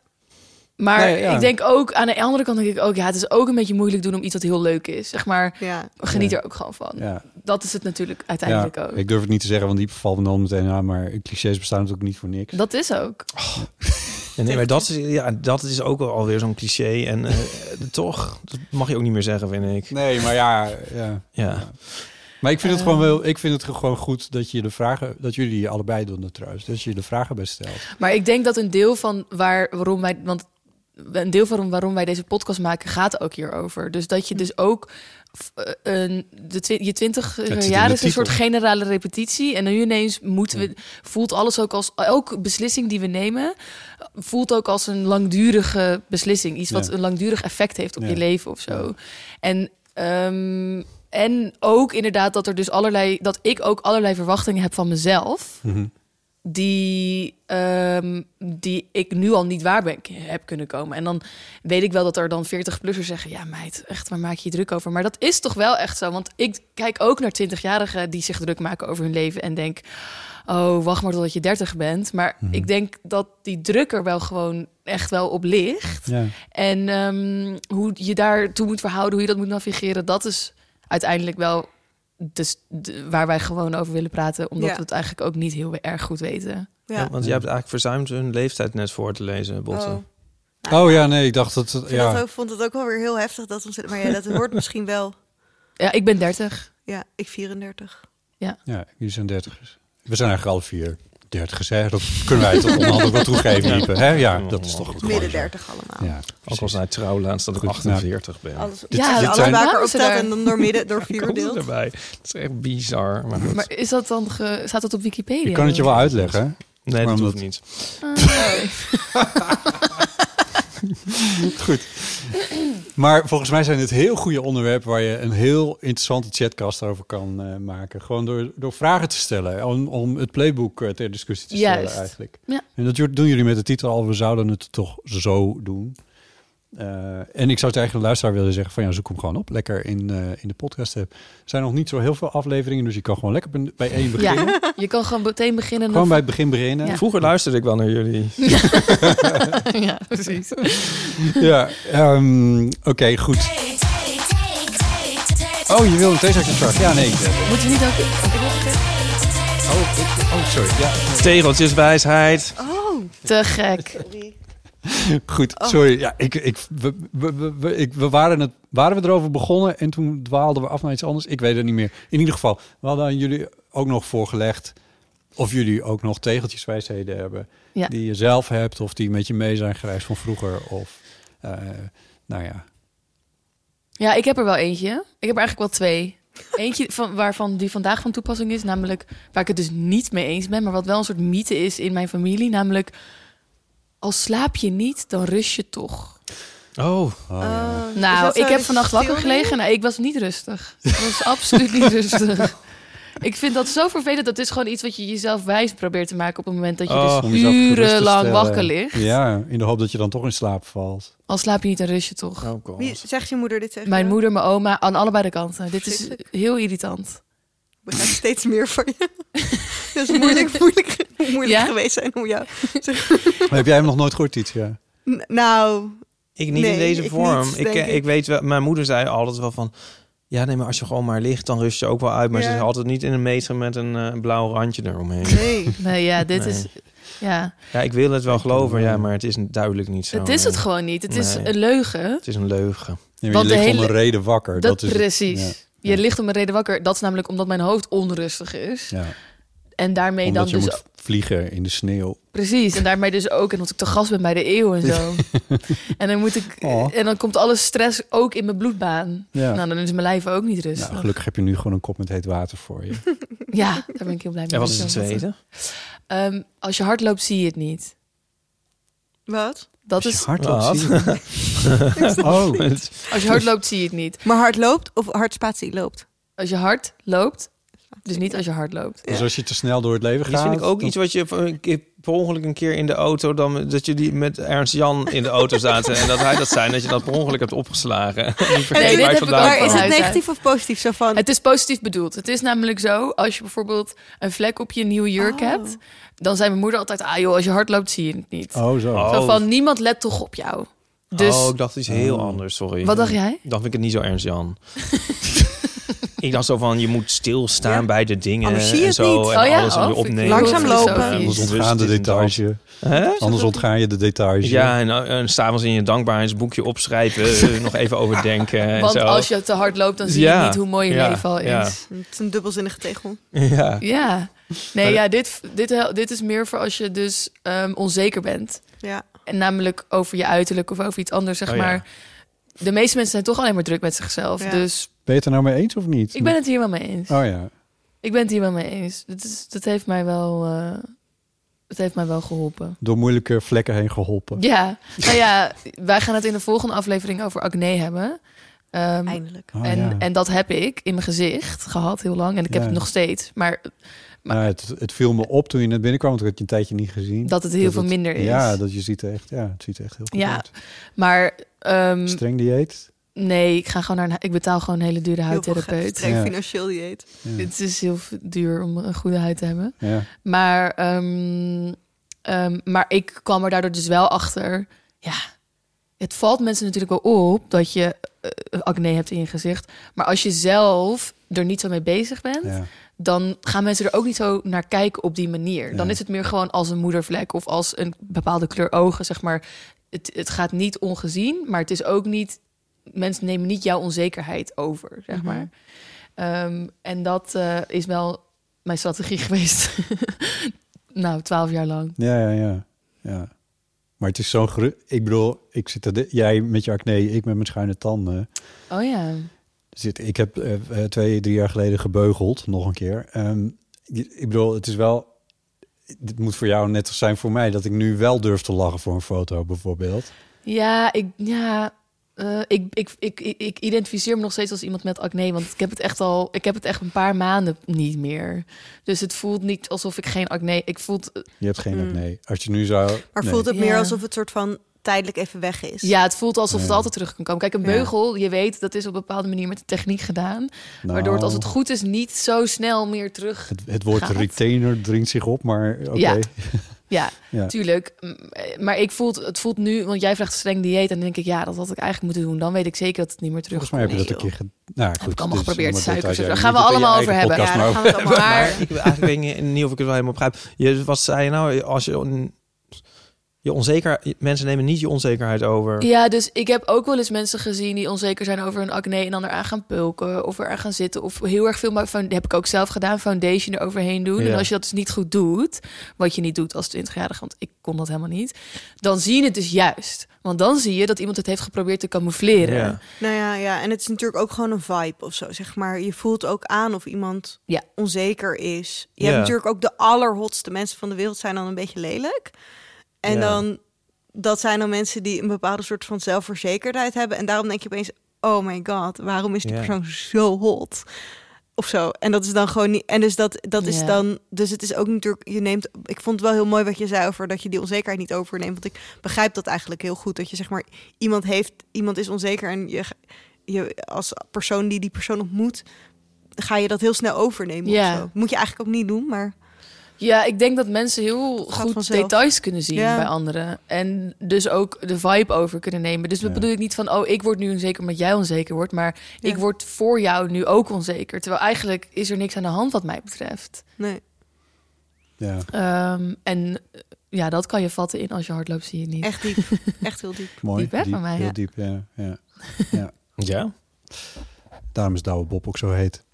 S5: maar
S2: Nee, ja.
S5: ik denk ook, aan de andere kant denk ik ook, ja, het is ook een beetje moeilijk doen om iets wat heel leuk is. Zeg maar,
S4: ja.
S5: geniet
S2: Ja.
S5: er ook gewoon van.
S2: ja.
S5: Dat is het natuurlijk uiteindelijk ook.
S2: Ik durf het niet te zeggen, want die valt me dan meteen aan. Maar clichés bestaan natuurlijk niet voor niks.
S5: Dat is ook.
S3: Ja, nee, maar dat is, ja, dat is ook wel alweer zo'n cliché. En eh, toch, dat mag je ook niet meer zeggen, vind ik.
S2: Nee, maar ja. ja.
S3: Ja,
S2: Maar ik vind, het
S5: Ehm.
S2: gewoon wel, ik vind het gewoon goed dat je de vragen, dat jullie allebei doen dat trouwens, dat je de vragen bij stelt.
S5: Maar ik denk dat een deel van waar, waarom wij. Want een deel van waarom wij deze podcast maken gaat ook hierover. Dus dat je dus ook. f- eh, een, de twi- je twintig
S2: in de
S5: jaar is een
S2: titel.
S5: soort generale repetitie. En nu ineens moeten we, voelt alles ook als. Elke beslissing die we nemen. voelt ook als een langdurige beslissing. Iets wat
S2: Ja.
S5: een langdurig effect heeft op
S2: Ja.
S5: je leven of zo.
S2: Ja.
S5: En. ehm, en ook inderdaad dat er dus allerlei. dat ik ook allerlei verwachtingen heb van mezelf die, ehm, die ik nu al niet waar ben, heb kunnen komen. En dan weet ik wel dat er dan 40-plussers zeggen... ja meid, echt, waar maak je je druk over? Maar dat is toch wel echt zo? Want ik kijk ook naar 20-jarigen die zich druk maken over hun leven... en denk, oh, wacht maar totdat je 30 bent. Maar ik denk dat die druk er wel gewoon echt wel op ligt.
S2: Ja.
S5: En ehm, hoe je daartoe moet verhouden, hoe je dat moet navigeren... dat is uiteindelijk wel dus de- waar wij gewoon over willen praten... omdat
S4: Ja.
S5: we het eigenlijk ook niet heel erg goed weten.
S4: Ja.
S3: Ja, want jij hebt eigenlijk verzuimd hun leeftijd net voor te lezen, Botte.
S4: Oh.
S2: Oh ja, nee, ik dacht dat.
S4: Ik vind
S2: ja.
S4: dat ook, vond het ook wel weer heel heftig dat ons... Maar ja, dat hoort misschien wel...
S5: Ja, ik ben 30.
S4: Ja, ik 34.
S2: Ja, jullie zijn dertigers. We zijn eigenlijk alle vier dertigers, hè? Dat kunnen wij toch onderhandelijk wel toegeven, Ipe, hè? Ja, dat is toch...
S4: Midden 30 allemaal.
S2: Ja,
S3: Ook
S2: precies.
S3: al zei trouw laatst dat ik
S2: Goed, nou.
S3: 48 ben.
S4: Alles,
S2: Dit-
S5: Ja,
S4: ja,
S2: dit
S4: alles
S2: zijn-
S4: bij elkaar
S5: Waarom is er
S4: optelt
S5: daar-
S4: en dan door, midden, door
S3: Hoe
S4: vier
S3: komt het
S4: verdeeld.
S3: erbij? Het is echt bizar. Maar goed.
S5: Maar is dat dan ge- staat dat op Wikipedia?
S2: Ik kan het je wel uitleggen, hè?
S3: nee, dat
S2: omdat-
S3: hoeft niet.
S2: Maar volgens mij zijn het heel goede onderwerpen waar je een heel interessante chatcast over kan eh, maken. Gewoon door, door vragen te stellen, om, om het playbook eh, ter discussie te stellen
S5: Juist.
S2: eigenlijk.
S5: Ja.
S2: En dat doen jullie met de titel al, we zouden het toch zo doen. Eh, en ik zou tegen de luisteraar willen zeggen van ja, zoek hem gewoon op. Lekker in, eh, in de podcast app. Er zijn nog niet zo heel veel afleveringen, dus je kan gewoon lekker bij- bij één beginnen.
S5: Ja, je kan gewoon meteen beginnen.
S2: Gewoon bij
S5: of-
S2: het begin beginnen.
S5: Ja.
S3: Vroeger luisterde ik wel naar jullie.
S5: Ja, precies.
S2: Ja, ehm, oké, goed. Oh, je wil een theezakje straks? Ja, nee.
S5: Moeten we niet ook...
S2: Oh, oh, sorry. Ja.
S3: Tegeltjeswijsheid.
S4: Oh,
S5: Te gek.
S2: Goed, sorry. Ja, ik, ik, we, we, we- we- ik, we waren, het, waren we erover begonnen en toen dwaalden we af naar iets anders. Ik weet het niet meer. In ieder geval, we hadden aan jullie ook nog voorgelegd of jullie ook nog tegeltjeswijsheden hebben.
S5: Ja.
S2: Die je zelf hebt of die met je mee zijn gereisd van vroeger. Of, eh, nou ja.
S5: Ja, ik heb er wel eentje. Ik heb er eigenlijk wel twee. Eentje van, waarvan die vandaag van toepassing is, namelijk waar ik het dus niet mee eens ben, maar wat wel een soort mythe is in mijn familie, namelijk al slaap je niet, dan rust je toch.
S3: Oh,
S4: Is dat
S5: Nou,
S4: zo
S5: ik heb
S4: dat
S5: vannacht
S4: je
S5: wakker
S4: stil
S5: gelegen. Nou, ik was niet rustig. Ik was absoluut niet rustig. Ik vind dat zo vervelend. Dat is gewoon iets wat je jezelf wijs probeert te maken op het moment dat je
S3: Oh,
S2: om
S5: dus
S2: jezelf gerust te
S5: urenlang
S2: stellen.
S5: wakker ligt.
S2: Ja, in de hoop dat je dan toch in slaap valt.
S5: Al slaap je niet, dan rust je toch.
S3: oh god.
S4: wie zegt je moeder dit tegen
S5: Mijn
S4: jou?
S5: moeder, mijn oma, aan allebei de kanten. Dit is
S4: Verschrikkelijk.
S5: heel irritant.
S4: We gaan steeds meer van je. Dat is moeilijk, moeilijk, moeilijk
S5: Ja?
S4: geweest zijn om jou...
S2: Maar heb jij hem nog nooit gehoord, Tietje?
S4: N- Nou,
S3: Ik niet
S4: Nee,
S3: in deze
S4: ik
S3: vorm.
S4: niet,
S3: ik,
S4: denk
S3: ik.
S4: ik.
S3: weet wel, mijn moeder zei altijd wel van... Ja, nee, maar als je gewoon maar ligt, dan rust je ook wel uit. Maar ze
S4: Ja.
S3: is altijd niet in een meter met een eh, blauw randje eromheen.
S4: nee.
S5: Nee, ja, dit
S3: Nee.
S5: is... Ja,
S3: Ja, ik wil het wel geloven,
S2: kan wel.
S3: ja, maar het is duidelijk niet zo.
S5: het is het
S2: eh,
S3: Nee.
S5: gewoon niet. Het is
S3: Nee.
S5: een leugen.
S3: Het is een leugen.
S2: Nee, maar
S5: Want
S2: je
S5: de
S2: ligt om
S5: hele-
S2: een reden wakker.
S5: Dat,
S2: Dat, is het.
S5: precies.
S2: Ja.
S5: Je ligt om een reden wakker. Dat is namelijk omdat mijn hoofd onrustig is.
S2: Ja.
S5: En daarmee
S2: Omdat
S5: dan
S2: je
S5: dus...
S2: moet vliegen in de sneeuw.
S5: Precies, en daarmee dus ook. En dat ik te gast ben bij de eeuw en zo. en, dan moet ik,
S2: Oh.
S5: en dan komt alle stress ook in mijn bloedbaan.
S2: Ja.
S5: Nou, dan is mijn lijf ook niet
S2: Nou,
S5: rustig.
S2: gelukkig heb je nu gewoon een kop met heet water voor je.
S5: Ja, daar ben ik heel blij mee.
S3: En wat is het
S5: Zo.
S3: tweede?
S5: Ehm, als je hard loopt, zie je het niet.
S4: Wat?
S2: Als
S5: Dat
S2: je
S5: is,
S2: hard loopt,
S3: Wat?
S2: zie je het. Oh,
S5: als je hard loopt, zie je het niet.
S4: Maar hard loopt of hard spatie loopt?
S5: Als je hard loopt, dus niet als je hard loopt.
S2: dus als je te snel door het leven
S3: Dat
S2: gaat...
S3: vind ik ook
S2: dan-
S3: iets wat je een keer- per ongeluk een keer in de auto... Dan, dat jullie met Ernst Jan in de auto zaten... en dat hij dat zijn, dat je dat per ongeluk hebt opgeslagen. Die vergeet
S5: dit
S3: waar je
S5: heb ik
S3: vandaan
S5: ook
S4: maar
S5: van
S4: is
S3: kwam.
S4: het
S5: huis uit.
S4: negatief of positief? Zo van,
S5: Het is positief bedoeld. Het is namelijk zo, als je bijvoorbeeld een vlek op je nieuwe jurk
S4: Oh.
S5: hebt, dan zei mijn moeder altijd, ah joh, als je hard loopt, zie je het niet.
S2: Oh, zo.
S3: Oh.
S5: Zo van, niemand let toch op jou. Dus,
S3: Oh, ik dacht iets heel
S2: Oh.
S3: anders, sorry.
S5: wat dacht jij?
S3: Dan vind ik het niet zo ernst, Jan. ik dacht zo van, je moet stilstaan
S4: Ja.
S3: bij de dingen
S4: Anders zie je
S3: en
S4: het
S3: zo.
S4: niet.
S3: En
S5: Oh ja,
S3: alles
S5: oh,
S3: weer
S5: vind ik
S3: opnemen.
S4: Langzaam heel lopen. filosofisch.
S3: Anders
S2: Anders ontgaan de details. je. Anders ontgaan je de details. je.
S3: Ja, en, en s'avonds in je dankbaarheidsboekje opschrijven. eh, nog even overdenken en
S5: Want
S3: zo.
S5: als je te hard loopt, dan zie je
S3: Ja,
S5: niet hoe mooi je
S3: ja,
S5: leven al is.
S3: ja.
S5: Ja.
S4: het is een dubbelzinnige tegel.
S3: Ja.
S5: Nee, ja, dit, dit, hel- dit is meer voor als je dus ehm, onzeker bent.
S4: Ja.
S5: En namelijk over je uiterlijk of over iets anders, zeg
S3: Oh ja.
S5: maar. De meeste mensen zijn toch alleen maar druk met zichzelf.
S4: Ja.
S5: Dus
S2: Ben je het er nou mee eens of niet?
S5: ik ben het hier wel mee eens.
S2: Oh ja.
S5: Ik ben het hier wel mee eens. Dat, is, dat heeft mij wel... eh, het heeft mij wel geholpen.
S2: Door moeilijke vlekken heen geholpen.
S5: Ja, nou ja, wij gaan het in de volgende aflevering over acne hebben. Ehm,
S4: Eindelijk.
S2: Oh,
S5: en,
S2: ja.
S5: en dat heb ik in mijn gezicht gehad heel lang. En ik heb
S2: Ja.
S5: het nog steeds. Maar
S2: Nou, het, het viel me op toen je net binnenkwam, want ik had je een tijdje niet gezien.
S5: dat het heel veel minder is.
S2: Ja, dat je ziet er echt, ja, het ziet er echt heel goed
S5: Ja.
S2: uit.
S5: Maar ehm,
S2: Streng dieet.
S5: nee, ik ga gewoon naar een, hu- ik betaal gewoon een hele dure
S4: Heel veel
S5: huidtherapeut.
S4: streng
S2: Ja.
S4: financieel dieet.
S2: Ja.
S5: Het is heel v- duur om een goede huid te hebben.
S2: Ja.
S5: Maar, ehm, ehm, maar ik kwam er daardoor dus wel achter. Ja, het valt mensen natuurlijk wel op dat je eh, acne hebt in je gezicht. Maar als je zelf er niet zo mee bezig bent,
S2: Ja.
S5: dan gaan mensen er ook niet zo naar kijken op die manier. Dan
S2: Ja.
S5: is het meer gewoon als een moedervlek of als een bepaalde kleur ogen, zeg maar. Het, het gaat niet ongezien, maar het is ook niet. Mensen nemen niet jouw onzekerheid over, zeg maar. Ehm, en dat eh, is wel mijn strategie geweest. nou, twaalf jaar lang.
S2: Ja, ja, ja. ja. Maar het is zo'n gru- Ik bedoel, ik zit er, jij met je acne, ik met mijn schuine tanden.
S5: Oh ja.
S2: Zit, ik heb eh, eh, twee, drie jaar geleden gebeugeld, nog een keer. Ehm, je- ik bedoel, het is wel... Dit moet voor jou net als zijn voor mij, dat ik nu wel durf te lachen voor een foto bijvoorbeeld.
S5: Ja, ik, ja, eh, ik, ik, ik, ik, ik identificeer me nog steeds als iemand met acne. Want ik heb het echt al, ik heb het echt een paar maanden niet meer. Dus het voelt niet alsof ik geen acne. Ik voel, het-
S2: Je hebt geen
S4: Mm.
S2: acne. Als je nu zou...
S4: Maar
S2: nee.
S4: voelt het meer
S5: Ja.
S4: alsof het soort van tijdelijk even weg is?
S5: ja, het voelt alsof het
S2: Ja.
S5: altijd terug kan komen. Kijk, een
S2: Ja.
S5: beugel, je weet, dat is op een bepaalde manier met de techniek gedaan. Waardoor het als het
S2: Nou.
S5: goed is niet zo snel meer terug.
S2: Het, het woord
S5: gaat.
S2: retainer dringt zich op, maar oké.
S5: Ja. Ja,
S2: Ja.
S5: tuurlijk. M- eh, Maar ik voel, het voelt nu, want jij vraagt streng dieet. En dan denk ik, ja, dat had ik eigenlijk moeten doen. Dan weet ik zeker dat het niet meer terug
S2: Volgens mij heb je dat een keer gedaan. Nou, goed,
S5: ik allemaal
S2: dit is
S5: geprobeerd,
S2: allemaal
S5: suikers,
S2: details.
S5: daar gaan
S2: Ja,
S5: we
S2: niet
S5: allemaal
S2: in je
S5: over
S2: eigen
S5: hebben.
S4: Ja,
S2: podcast, maar
S4: daar gaan we het allemaal
S5: Maar-
S4: over.
S3: Ik weet eigenlijk weet ik niet of ik het wel helemaal begrijp. Je, wat zei je nou? Als je, on- je onzeker, mensen nemen niet je onzekerheid over.
S5: Ja, dus ik heb ook wel eens mensen gezien die onzeker zijn over hun acne en dan eraan gaan pulken of eraan gaan zitten of heel erg veel, maar van, heb ik ook zelf gedaan, foundation eroverheen doen.
S3: Ja.
S5: En als je dat dus niet goed doet, wat je niet doet als 20-jarige, want ik kon dat helemaal niet, dan zie je het dus juist. Want dan zie je dat iemand het heeft geprobeerd te camoufleren.
S3: Ja.
S4: Nou ja, ja, en het is natuurlijk ook gewoon een vibe of zo, zeg maar. Je voelt ook aan of iemand
S5: Ja.
S4: onzeker is. Je
S3: Ja.
S4: hebt natuurlijk ook de allerhotste mensen van de wereld zijn dan een beetje lelijk. En
S3: Ja.
S4: dan, dat zijn dan mensen die een bepaalde soort van zelfverzekerdheid hebben. En daarom denk je opeens, oh my god, waarom is die
S3: Ja.
S4: persoon zo hot? Of zo. En dat is dan gewoon niet. En dus dat, dat is
S5: Ja.
S4: dan. Dus het is ook natuurlijk. Je neemt. Ik vond het wel heel mooi wat je zei over dat je die onzekerheid niet overneemt. Want ik begrijp dat eigenlijk heel goed. Dat je zeg maar iemand heeft. Iemand is onzeker. En je, je als persoon die die persoon ontmoet. Ga je dat heel snel overnemen.
S5: Ja.
S4: of zo. Moet je eigenlijk ook niet doen. Maar
S5: Ja, ik denk dat mensen heel
S4: gaat
S5: goed
S4: vanzelf.
S5: details kunnen zien
S4: Ja.
S5: bij anderen. En dus ook de vibe over kunnen nemen. Dus dat
S2: Ja.
S5: bedoel ik niet van, oh, ik word nu onzeker omdat jij onzeker wordt. Maar
S4: Ja.
S5: ik word voor jou nu ook onzeker. Terwijl eigenlijk is er niks aan de hand wat mij betreft.
S4: nee.
S2: Ja.
S5: Ehm, en eh, ja, dat kan je vatten in als je hard loopt, zie je het niet.
S4: Echt diep. echt heel diep.
S2: Mooi,
S5: Diep, hè, van mij,
S2: heel
S5: ja.
S2: diep, ja. ja.
S3: Ja?
S2: Daarom is Douwe Bob ook zo heet.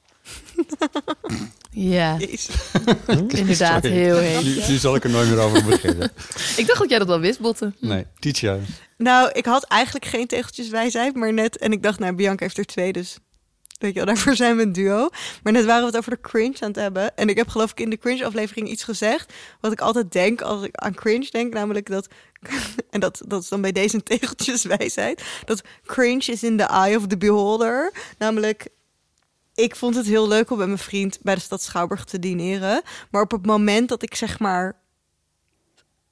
S5: Ja,
S4: Jezus.
S5: inderdaad.
S2: Sorry.
S5: Heel heet.
S2: Nu, nu zal ik er nooit meer over beginnen.
S5: Ik dacht dat jij dat wel wist, Botte.
S2: Nee, Titia.
S4: Nou, ik had eigenlijk geen tegeltjes wijsheid, maar net... En ik dacht, nou, Bianca heeft er twee, dus... Weet je wel, daarvoor zijn we een duo. Maar net waren we het over de cringe aan het hebben. En ik heb geloof ik in de cringe-aflevering iets gezegd... wat ik altijd denk als ik aan cringe denk. Namelijk dat... En dat, dat is dan bij deze een tegeltjeswijsheid. Dat cringe is in the eye of the beholder. Namelijk, ik vond het heel leuk om met mijn vriend... bij de stad Schouwburg te dineren. Maar op het moment dat ik zeg maar...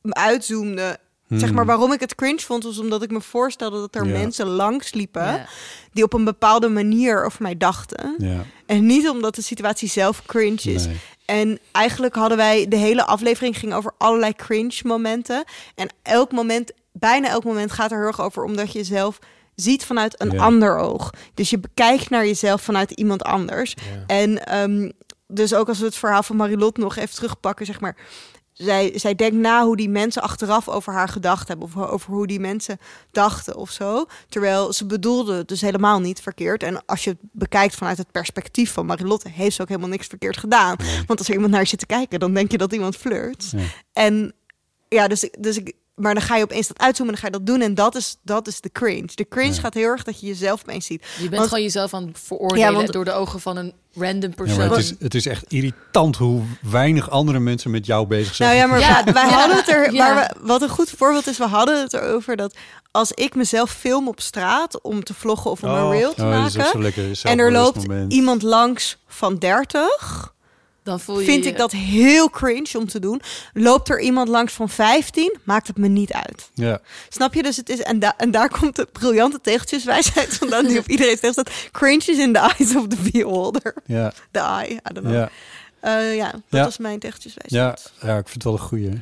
S4: me uitzoomde... Zeg maar waarom ik het cringe vond, was omdat ik me voorstelde dat er
S2: Ja.
S4: mensen langs liepen
S5: Ja.
S4: die op een bepaalde manier over mij dachten.
S2: Ja.
S4: En niet omdat de situatie zelf cringe is.
S2: Nee.
S4: En eigenlijk hadden wij de hele aflevering ging over allerlei cringe momenten. En elk moment, bijna elk moment gaat er heel erg over omdat je zelf ziet vanuit een
S2: Ja.
S4: ander oog. Dus je bekijkt naar jezelf vanuit iemand anders. En ehm, dus ook als we het verhaal van Marilot nog even terugpakken, zeg maar. Zij, zij denkt na hoe die mensen achteraf over haar gedacht hebben. Of over hoe die mensen dachten of zo. Terwijl ze bedoelde het dus helemaal niet verkeerd. En als je het bekijkt vanuit het perspectief van Marilotte... heeft ze ook helemaal niks verkeerd gedaan. Want als er iemand naar je zit te kijken... dan denk je dat iemand flirt.
S2: Ja.
S4: En ja, dus, ik- dus ik... Maar dan ga je opeens dat uitzoomen en dan ga je dat doen. En dat is, dat is de cringe. De cringe gaat heel erg dat je jezelf opeens ziet.
S5: Je bent
S4: Want-
S5: gewoon jezelf aan het veroordelen
S4: Ja, want-
S5: door de ogen van een random
S2: Ja,
S5: persoon.
S2: maar het, is, het is echt irritant hoe weinig andere mensen met jou bezig zijn.
S4: Nou ja, maar
S5: Ja.
S4: wa- wij
S5: Ja.
S4: hadden het er.
S5: Ja.
S4: Maar we- wat een goed voorbeeld is, we hadden het erover dat als ik mezelf film op straat om te vloggen of om
S3: Oh.
S4: een reel te
S2: Oh, dat is ook zo
S4: maken.
S2: lekker.
S4: En er loopt
S2: zelfbewust moment.
S4: iemand langs van 30.
S5: Dan voel je
S4: Vind
S5: je-
S4: ik dat heel cringe om te doen. Loopt er iemand langs van 15, maakt het me niet uit.
S2: Ja.
S4: Snap je? Dus het is, en, da- en daar komt de briljante tegeltjeswijsheid vandaan die op iedereen tegen staat. Cringe is in the eyes of the beholder.
S2: Ja.
S4: The eye, I don't know.
S5: Nou,
S2: Ja.
S4: Eh, ja dat
S2: Ja.
S4: was mijn tegeltjeswijsheid.
S2: Ja. ja, ik vind het wel een goeie.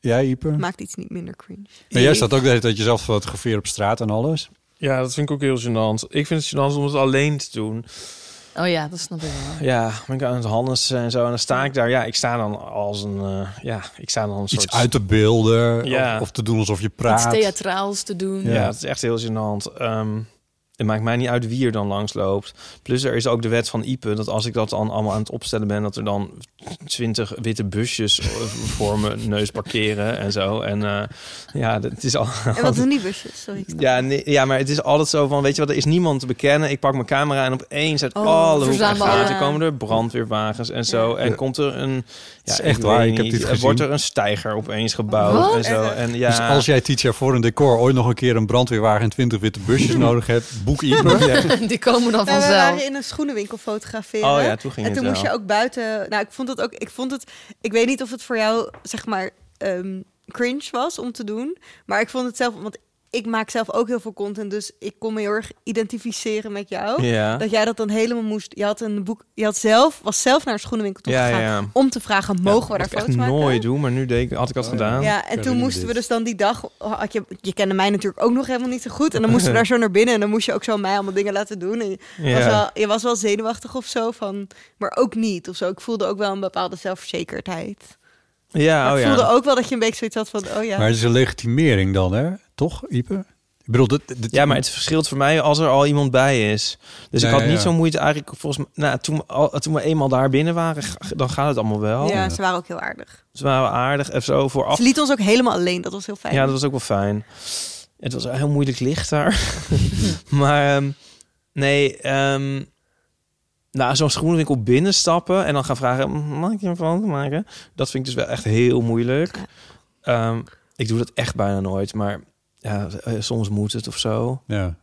S2: Jij, Ieper? Maar
S4: Maakt iets niet minder cringe.
S2: jij staat ook de hele tijd jezelf te fotograferen op straat en alles.
S3: Ja, dat vind ik ook heel gênant. Ik vind het gênant om het alleen te doen.
S5: Oh ja, dat snap ik wel.
S3: Ja, ben ik aan het Hannes en zo. En dan sta ik daar. Ja, ik sta dan als een... eh, ja, ik sta dan een
S2: Iets
S3: soort...
S2: uit te beelden
S3: Ja.
S2: of, of te doen alsof je
S5: Iets
S2: praat.
S5: theatraals te doen.
S3: Ja,
S2: Ja.
S3: het is echt heel gênant. Ehm, het maakt mij niet uit wie er dan langs loopt. Plus er is ook de wet van Ipe... dat als ik dat dan allemaal aan het opstellen ben... dat er dan twintig witte busjes eh, voor mijn neus parkeren en zo. En eh, ja, dat is al...
S4: En wat doen die busjes? Sorry. ik snap
S3: Ja, nee, ja, maar het is altijd zo van, weet je wat, er is niemand te bekennen. Ik pak mijn camera en opeens uit
S4: Oh,
S3: alle hoeken en
S5: verzamelen
S3: gaten
S5: alle-
S3: komen er brandweerwagens en zo. En komt er een... Ja,
S2: is
S3: ik
S2: echt
S3: weet
S2: waar, ik heb
S3: niet,
S2: dit
S3: eh,
S2: gezien.
S3: Wordt er een stijger opeens gebouwd
S5: Wat?
S3: en zo. En ja,
S2: Dus als jij tien jaar voor een decor ooit nog een keer een brandweerwagen en 20 witte busjes nodig hebt, boek Ieper.
S5: Die komen
S4: Nou,
S5: dan
S4: we
S5: vanzelf.
S4: waren in een schoenenwinkel fotograferen.
S3: Oh ja, toen ging
S4: En
S3: het
S4: toen moest
S3: wel.
S4: je ook buiten. Nou, ik vond het ook. Ik vond het. Ik weet niet of het voor jou zeg maar ehm, cringe was om te doen, maar ik vond het zelf. Want ik maak zelf ook heel veel content, dus ik kon me heel erg identificeren met jou.
S3: ja.
S4: Dat jij dat dan helemaal moest. Je had een boek. Je had zelf was zelf naar een schoenenwinkel toe
S3: Ja,
S4: gegaan
S3: ja.
S4: om te vragen: mogen we
S3: Ja,
S4: daar
S3: dat moet ik
S4: foto's
S3: echt
S4: maken?
S3: nooit doen, maar nu deed ik, had ik
S2: Oh,
S3: dat gedaan.
S4: Ja,
S2: Ik
S4: en toen
S2: herinner
S4: moesten we
S2: dit.
S4: dus dan die dag... Had je, je kende mij natuurlijk ook nog helemaal niet zo goed. En dan moesten we daar zo naar binnen. En dan moest je ook zo mij allemaal dingen laten doen. En je, was,
S3: Ja.
S4: wel, je was wel zenuwachtig of zo. Van, maar ook niet of zo. Ik voelde ook wel een bepaalde zelfverzekerdheid.
S3: Ja,
S4: Maar
S3: oh
S4: ik
S3: ja.
S4: voelde ook wel dat je een beetje zoiets had van... Oh ja,
S2: Maar het is een legitimering dan, hè? Toch, Ieper? Ik bedoel, dit, dit-
S3: Ja, maar het verschilt voor mij als er al iemand bij is. Dus
S2: Ja,
S3: ik had
S2: ja,
S3: niet
S2: ja.
S3: zo moeite eigenlijk volgens mij... Nou, toen, we al, toen we eenmaal daar binnen waren, g- dan gaat het allemaal wel.
S4: ja, ze waren ook heel aardig.
S3: Ze waren aardig en zo vooraf.
S4: Ze liet ons ook helemaal alleen. Dat was heel fijn.
S3: Ja, dat was ook wel fijn. Het was heel moeilijk licht daar. maar ehm, nee, ehm nou, zo'n schoenenwinkel binnenstappen en dan gaan vragen... "Mm, Mag ik je een foto maken? Dat vind ik dus wel echt heel moeilijk. Ehm, ik doe dat echt bijna nooit, maar ja, eh, soms moet het of zo.
S2: Ja.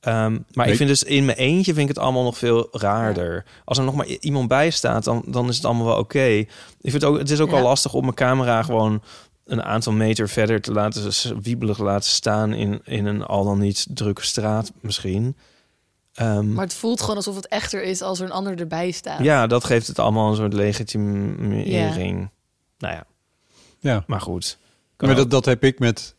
S3: Ehm, maar
S2: Nee.
S3: ik vind dus in mijn eentje vind ik het allemaal nog veel raarder. Als er nog maar i- iemand bij staat, dan, dan is het allemaal wel oké. Ik vind het ook, het is ook
S5: Ja.
S3: al lastig om mijn camera gewoon een aantal meter verder te laten s- wiebelig laten staan in, in een al dan niet drukke straat misschien. Ehm,
S5: Maar het voelt gewoon alsof het echter is als er een ander erbij staat.
S3: ja, dat geeft het allemaal een soort legitimering. Nou ja,
S2: ja.
S3: maar goed. Kan
S2: Maar
S3: ook.
S2: dat, dat heb ik met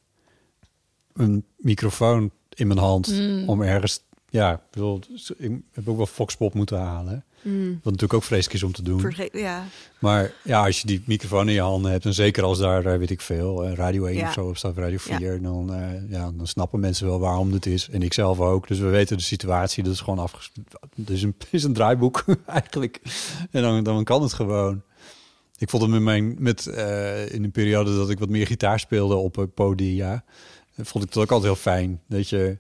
S2: een microfoon in mijn hand
S5: Mm.
S2: om ergens... Ja, ik, bedoel, dus ik heb ook wel Foxpop moeten halen.
S4: Mm.
S2: Wat natuurlijk ook vreselijk is om te doen.
S4: Vergeet, ja.
S2: Maar ja, als je die microfoon in je handen hebt, en zeker als daar, eh, weet ik veel, eh, Radio 1
S4: Ja.
S2: of zo op staat, Radio
S4: Ja.
S2: 4, dan, eh, ja, dan snappen mensen wel waarom dit is. En ik zelf ook. Dus we weten de situatie, dat is gewoon afges... Het is een, is een draaiboek eigenlijk. En dan, dan kan het gewoon. Ik vond het met mijn, met, eh, in een periode dat ik wat meer gitaar speelde op eh, podia, eh, vond ik dat ook altijd heel fijn. Dat je,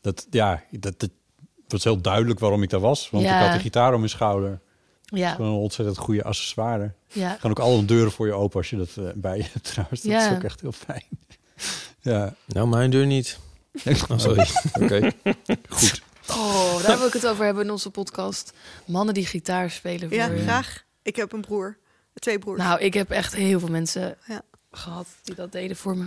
S2: dat, ja, dat, dat was heel duidelijk waarom ik daar was. Want
S5: Ja.
S2: ik had de gitaar om mijn schouder.
S5: Ja,
S2: Gewoon een ontzettend goede accessoire.
S5: ja.
S2: Gaan ook alle deuren voor je open als je dat eh, bij je hebt trouwens. Dat
S5: Ja.
S2: is ook echt heel fijn. ja.
S3: Nou, mijn deur niet. Oh, sorry.
S2: Oké. Goed.
S5: Oh, daar wil ik het over hebben in onze podcast. Mannen die gitaar spelen. Voor
S4: ja,
S5: je.
S4: graag. Ik heb een broer. Twee broers.
S5: Nou, ik heb echt heel veel mensen
S4: Ja.
S5: gehad die dat deden voor me.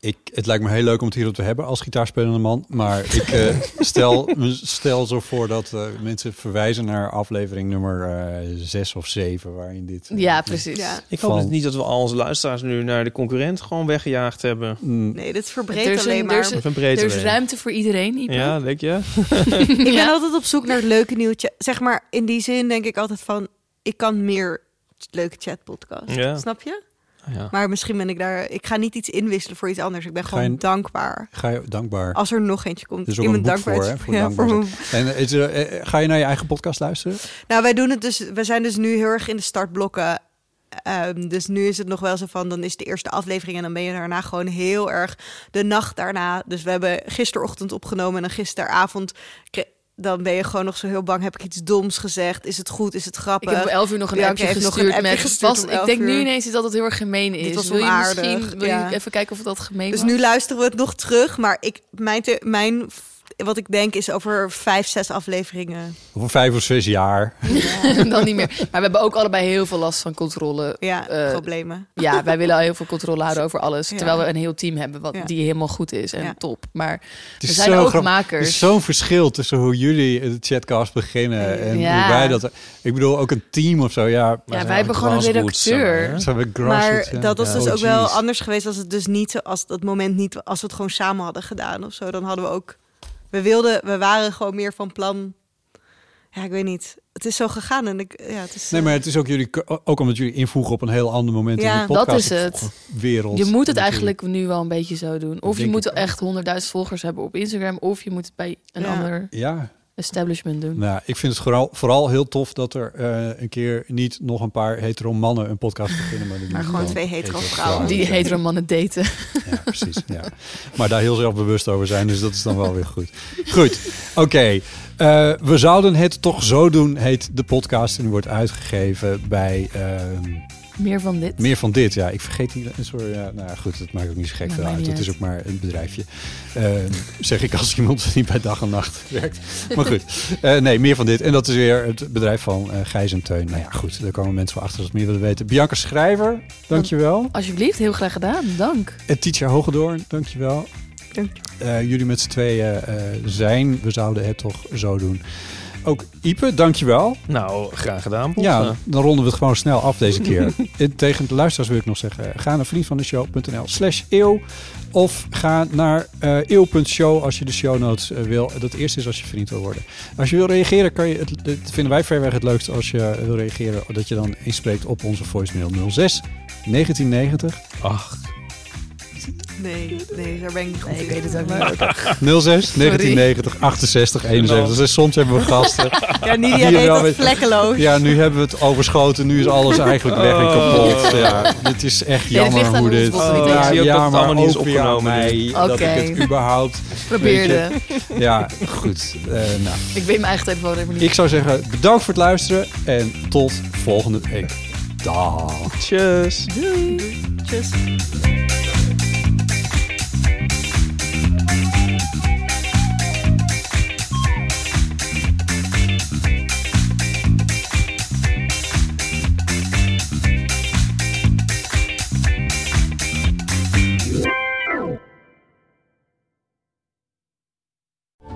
S2: Ik, het lijkt me heel leuk om het hierop te hebben als gitaarspelende man. Maar ik eh, stel, me stel zo voor dat eh, mensen verwijzen naar aflevering nummer eh, zes of zeven. Waarin dit... eh,
S5: Ja, precies.
S4: Ja.
S3: Ik hoop
S2: Van-
S3: dus niet dat we al onze luisteraars nu naar de concurrent gewoon weggejaagd hebben.
S2: mm,
S4: nee, dit
S5: Er
S4: verbreedt
S5: is een-
S4: alleen
S5: er
S4: maar.
S5: is een-
S3: Of een
S5: Er
S3: breedte.
S5: is ruimte voor iedereen. Ipe.
S3: Ja, denk je?
S4: Ik ben
S5: Ja.
S4: altijd op zoek naar het leuke nieuwtje. Zeg maar, in die zin denk ik altijd van... Ik kan meer ch- leuke chatpodcasts.
S3: Ja. Oh,
S4: Snap je?
S3: Ja.
S4: Maar misschien ben ik daar... Ik ga niet iets inwisselen voor iets anders. Ik ben
S2: Ga
S4: gewoon
S2: je-
S4: dankbaar.
S2: ga je dankbaar.
S4: Als er nog eentje komt.
S2: Er is
S4: in
S2: ook een
S4: mijn
S2: boek voor, hè?
S4: dankbaarheid-
S2: Voor dankbaar
S4: Ja, voor
S2: zijn.
S4: mijn-
S2: En eh, is er, eh, eh, ga je naar je eigen podcast luisteren?
S4: Nou, wij doen het dus. We zijn dus nu heel erg in de startblokken. Ehm, dus nu is het nog wel zo van, dan is de eerste aflevering en dan ben je daarna gewoon heel erg de nacht daarna. Dus we hebben gisterochtend opgenomen en dan gisteravond, kre- dan ben je gewoon nog zo heel bang. Heb ik iets doms gezegd? Is het goed? Is het
S5: Ik
S4: grappig?
S5: heb om 11 uur nog een
S4: Ja,
S5: appje
S4: ik heb nog
S5: gestuurd.
S4: een appje
S5: met,
S4: gestuurd
S5: was,
S4: om
S5: ik
S4: 11
S5: denk nu
S4: uur.
S5: ineens dat dat heel erg gemeen
S4: Dit
S5: is.
S4: was
S5: wil je
S4: onaardig,
S5: misschien wil
S4: ja.
S5: je even kijken of dat gemeen
S4: dus
S5: was?
S4: nu luisteren we het nog terug. Maar ik, mijn, te- mijn, wat ik denk is over vijf, zes afleveringen.
S2: Over vijf of zes jaar.
S5: dan niet meer. Maar we hebben ook allebei heel veel last van controle.
S4: Ja,
S5: Eh,
S4: problemen.
S5: Ja, wij willen al heel veel controle houden over alles.
S4: Ja.
S5: Terwijl we een heel team hebben wat,
S4: Ja.
S5: die helemaal goed is en
S4: Ja.
S5: top. Maar
S2: Het
S5: er
S2: is
S5: zijn
S2: zo
S5: ook
S2: grappig. Er is
S5: makers.
S2: zo'n verschil tussen hoe jullie de chatcast beginnen en
S5: Eh, Ja.
S2: hoe wij dat... Ik bedoel, ook een team of zo, ja.
S5: Ja, wij hebben gewoon een
S3: grassroots, zeg
S5: redacteur.
S3: maar, hè?
S2: Zijn we
S4: Maar
S2: grassroots, ja.
S4: dat was
S2: Ja.
S4: dus
S2: Oh,
S4: ook wel
S2: jeez.
S4: anders geweest als het dus niet, zo- als dat moment niet, als we het gewoon samen hadden gedaan of zo, dan hadden we ook, we wilden, we waren gewoon meer van plan. Ja, ik weet niet. Het is zo gegaan en ik, ja, het is.
S2: Nee, maar het is ook jullie, ook omdat jullie invoegen op een heel ander moment
S4: Ja,
S2: in de
S5: dat
S2: podcast.
S5: is het.
S2: Wereld.
S5: Je moet het
S2: natuurlijk.
S5: eigenlijk nu wel een beetje zo doen. Of je
S2: denk
S5: moet
S2: ik
S5: echt 100.000 volgers hebben op Instagram. Of je moet het bij een
S4: Ja.
S5: ander
S2: Ja,
S5: establishment doen.
S2: nou, ik vind het vooral, vooral heel tof dat er eh, een keer niet nog een paar hetero mannen een podcast beginnen. Maar, die doen
S4: Maar gewoon twee hetero vrouwen.
S5: Die
S2: zijn.
S5: hetero mannen daten.
S2: Ja, precies. Ja. Maar daar heel zelfbewust over zijn, dus dat is dan wel weer goed. Goed, oké. Eh, we zouden het toch zo doen, heet de podcast. En die wordt uitgegeven bij ehm,
S5: Meer van dit.
S2: meer van dit. Ja, ik vergeet die. Sorry, ja, nou ja, goed, dat maakt ook niet zo gek
S5: Maar
S2: veel
S5: maakt
S2: uit.
S5: niet
S2: Het is ook maar een bedrijfje. Ehm, zeg ik als iemand die bij dag en nacht werkt. Maar goed, eh, nee, meer van dit. En dat is weer het bedrijf van eh, Gijs en Teun. Nou ja, goed, daar komen mensen wel achter als ze meer willen weten. Bianca Schrijver, dankjewel.
S5: Alsjeblieft, heel graag gedaan. Dank.
S2: En Eh, Tietje Hogedoorn, dankjewel.
S4: Dank.
S2: Eh, jullie met z'n tweeën eh, zijn. We zouden het toch zo doen. Ook Ipe, dankjewel.
S3: Nou, graag gedaan, Bob.
S2: Ja, dan ronden we het gewoon snel af deze keer. En Tegen de luisteraars wil ik nog zeggen. eh, Ga naar vriendvandeshow.nl slash eeuw. Of ga naar eh eeuw.show als je de show notes eh, wil. Dat eerste is als je vriend wil worden. Als je wil reageren, kan je het, dat vinden wij verreweg het leukst als je wil reageren. Dat je dan inspreekt op onze voicemail 06 1990
S3: Ach,
S4: eh, nee, nee, daar ben ik niet goed
S5: Nee, ik
S4: in.
S5: weet het ook niet.
S2: 06 1990 68 71. Dus soms hebben we gasten.
S4: Ja,
S2: Die
S4: Nidia deed
S2: wel
S4: dat
S2: weet-
S4: vlekkeloos.
S2: Ja, nu hebben we het overschoten. Nu is alles eigenlijk weg en kapot. Oh. Ja, dit is echt
S5: Nee, dat
S2: jammer
S5: ligt aan
S2: hoe
S5: ons,
S2: dit...
S5: want we weten
S2: ja,
S5: zie
S3: ook dat het
S2: maar
S3: allemaal niet is
S2: ook weer aan
S3: opgenomen,
S2: mij.
S3: dus.
S2: Dat ik het
S5: Oké.
S2: überhaupt...
S5: Probeerde.
S2: Ja, goed. Eh, nou,
S5: Ik weet mijn eigen telefoonnummer niet.
S2: ik zou zeggen, bedankt voor het luisteren. En tot volgende week. Dag.
S3: tjus.
S4: Tjus.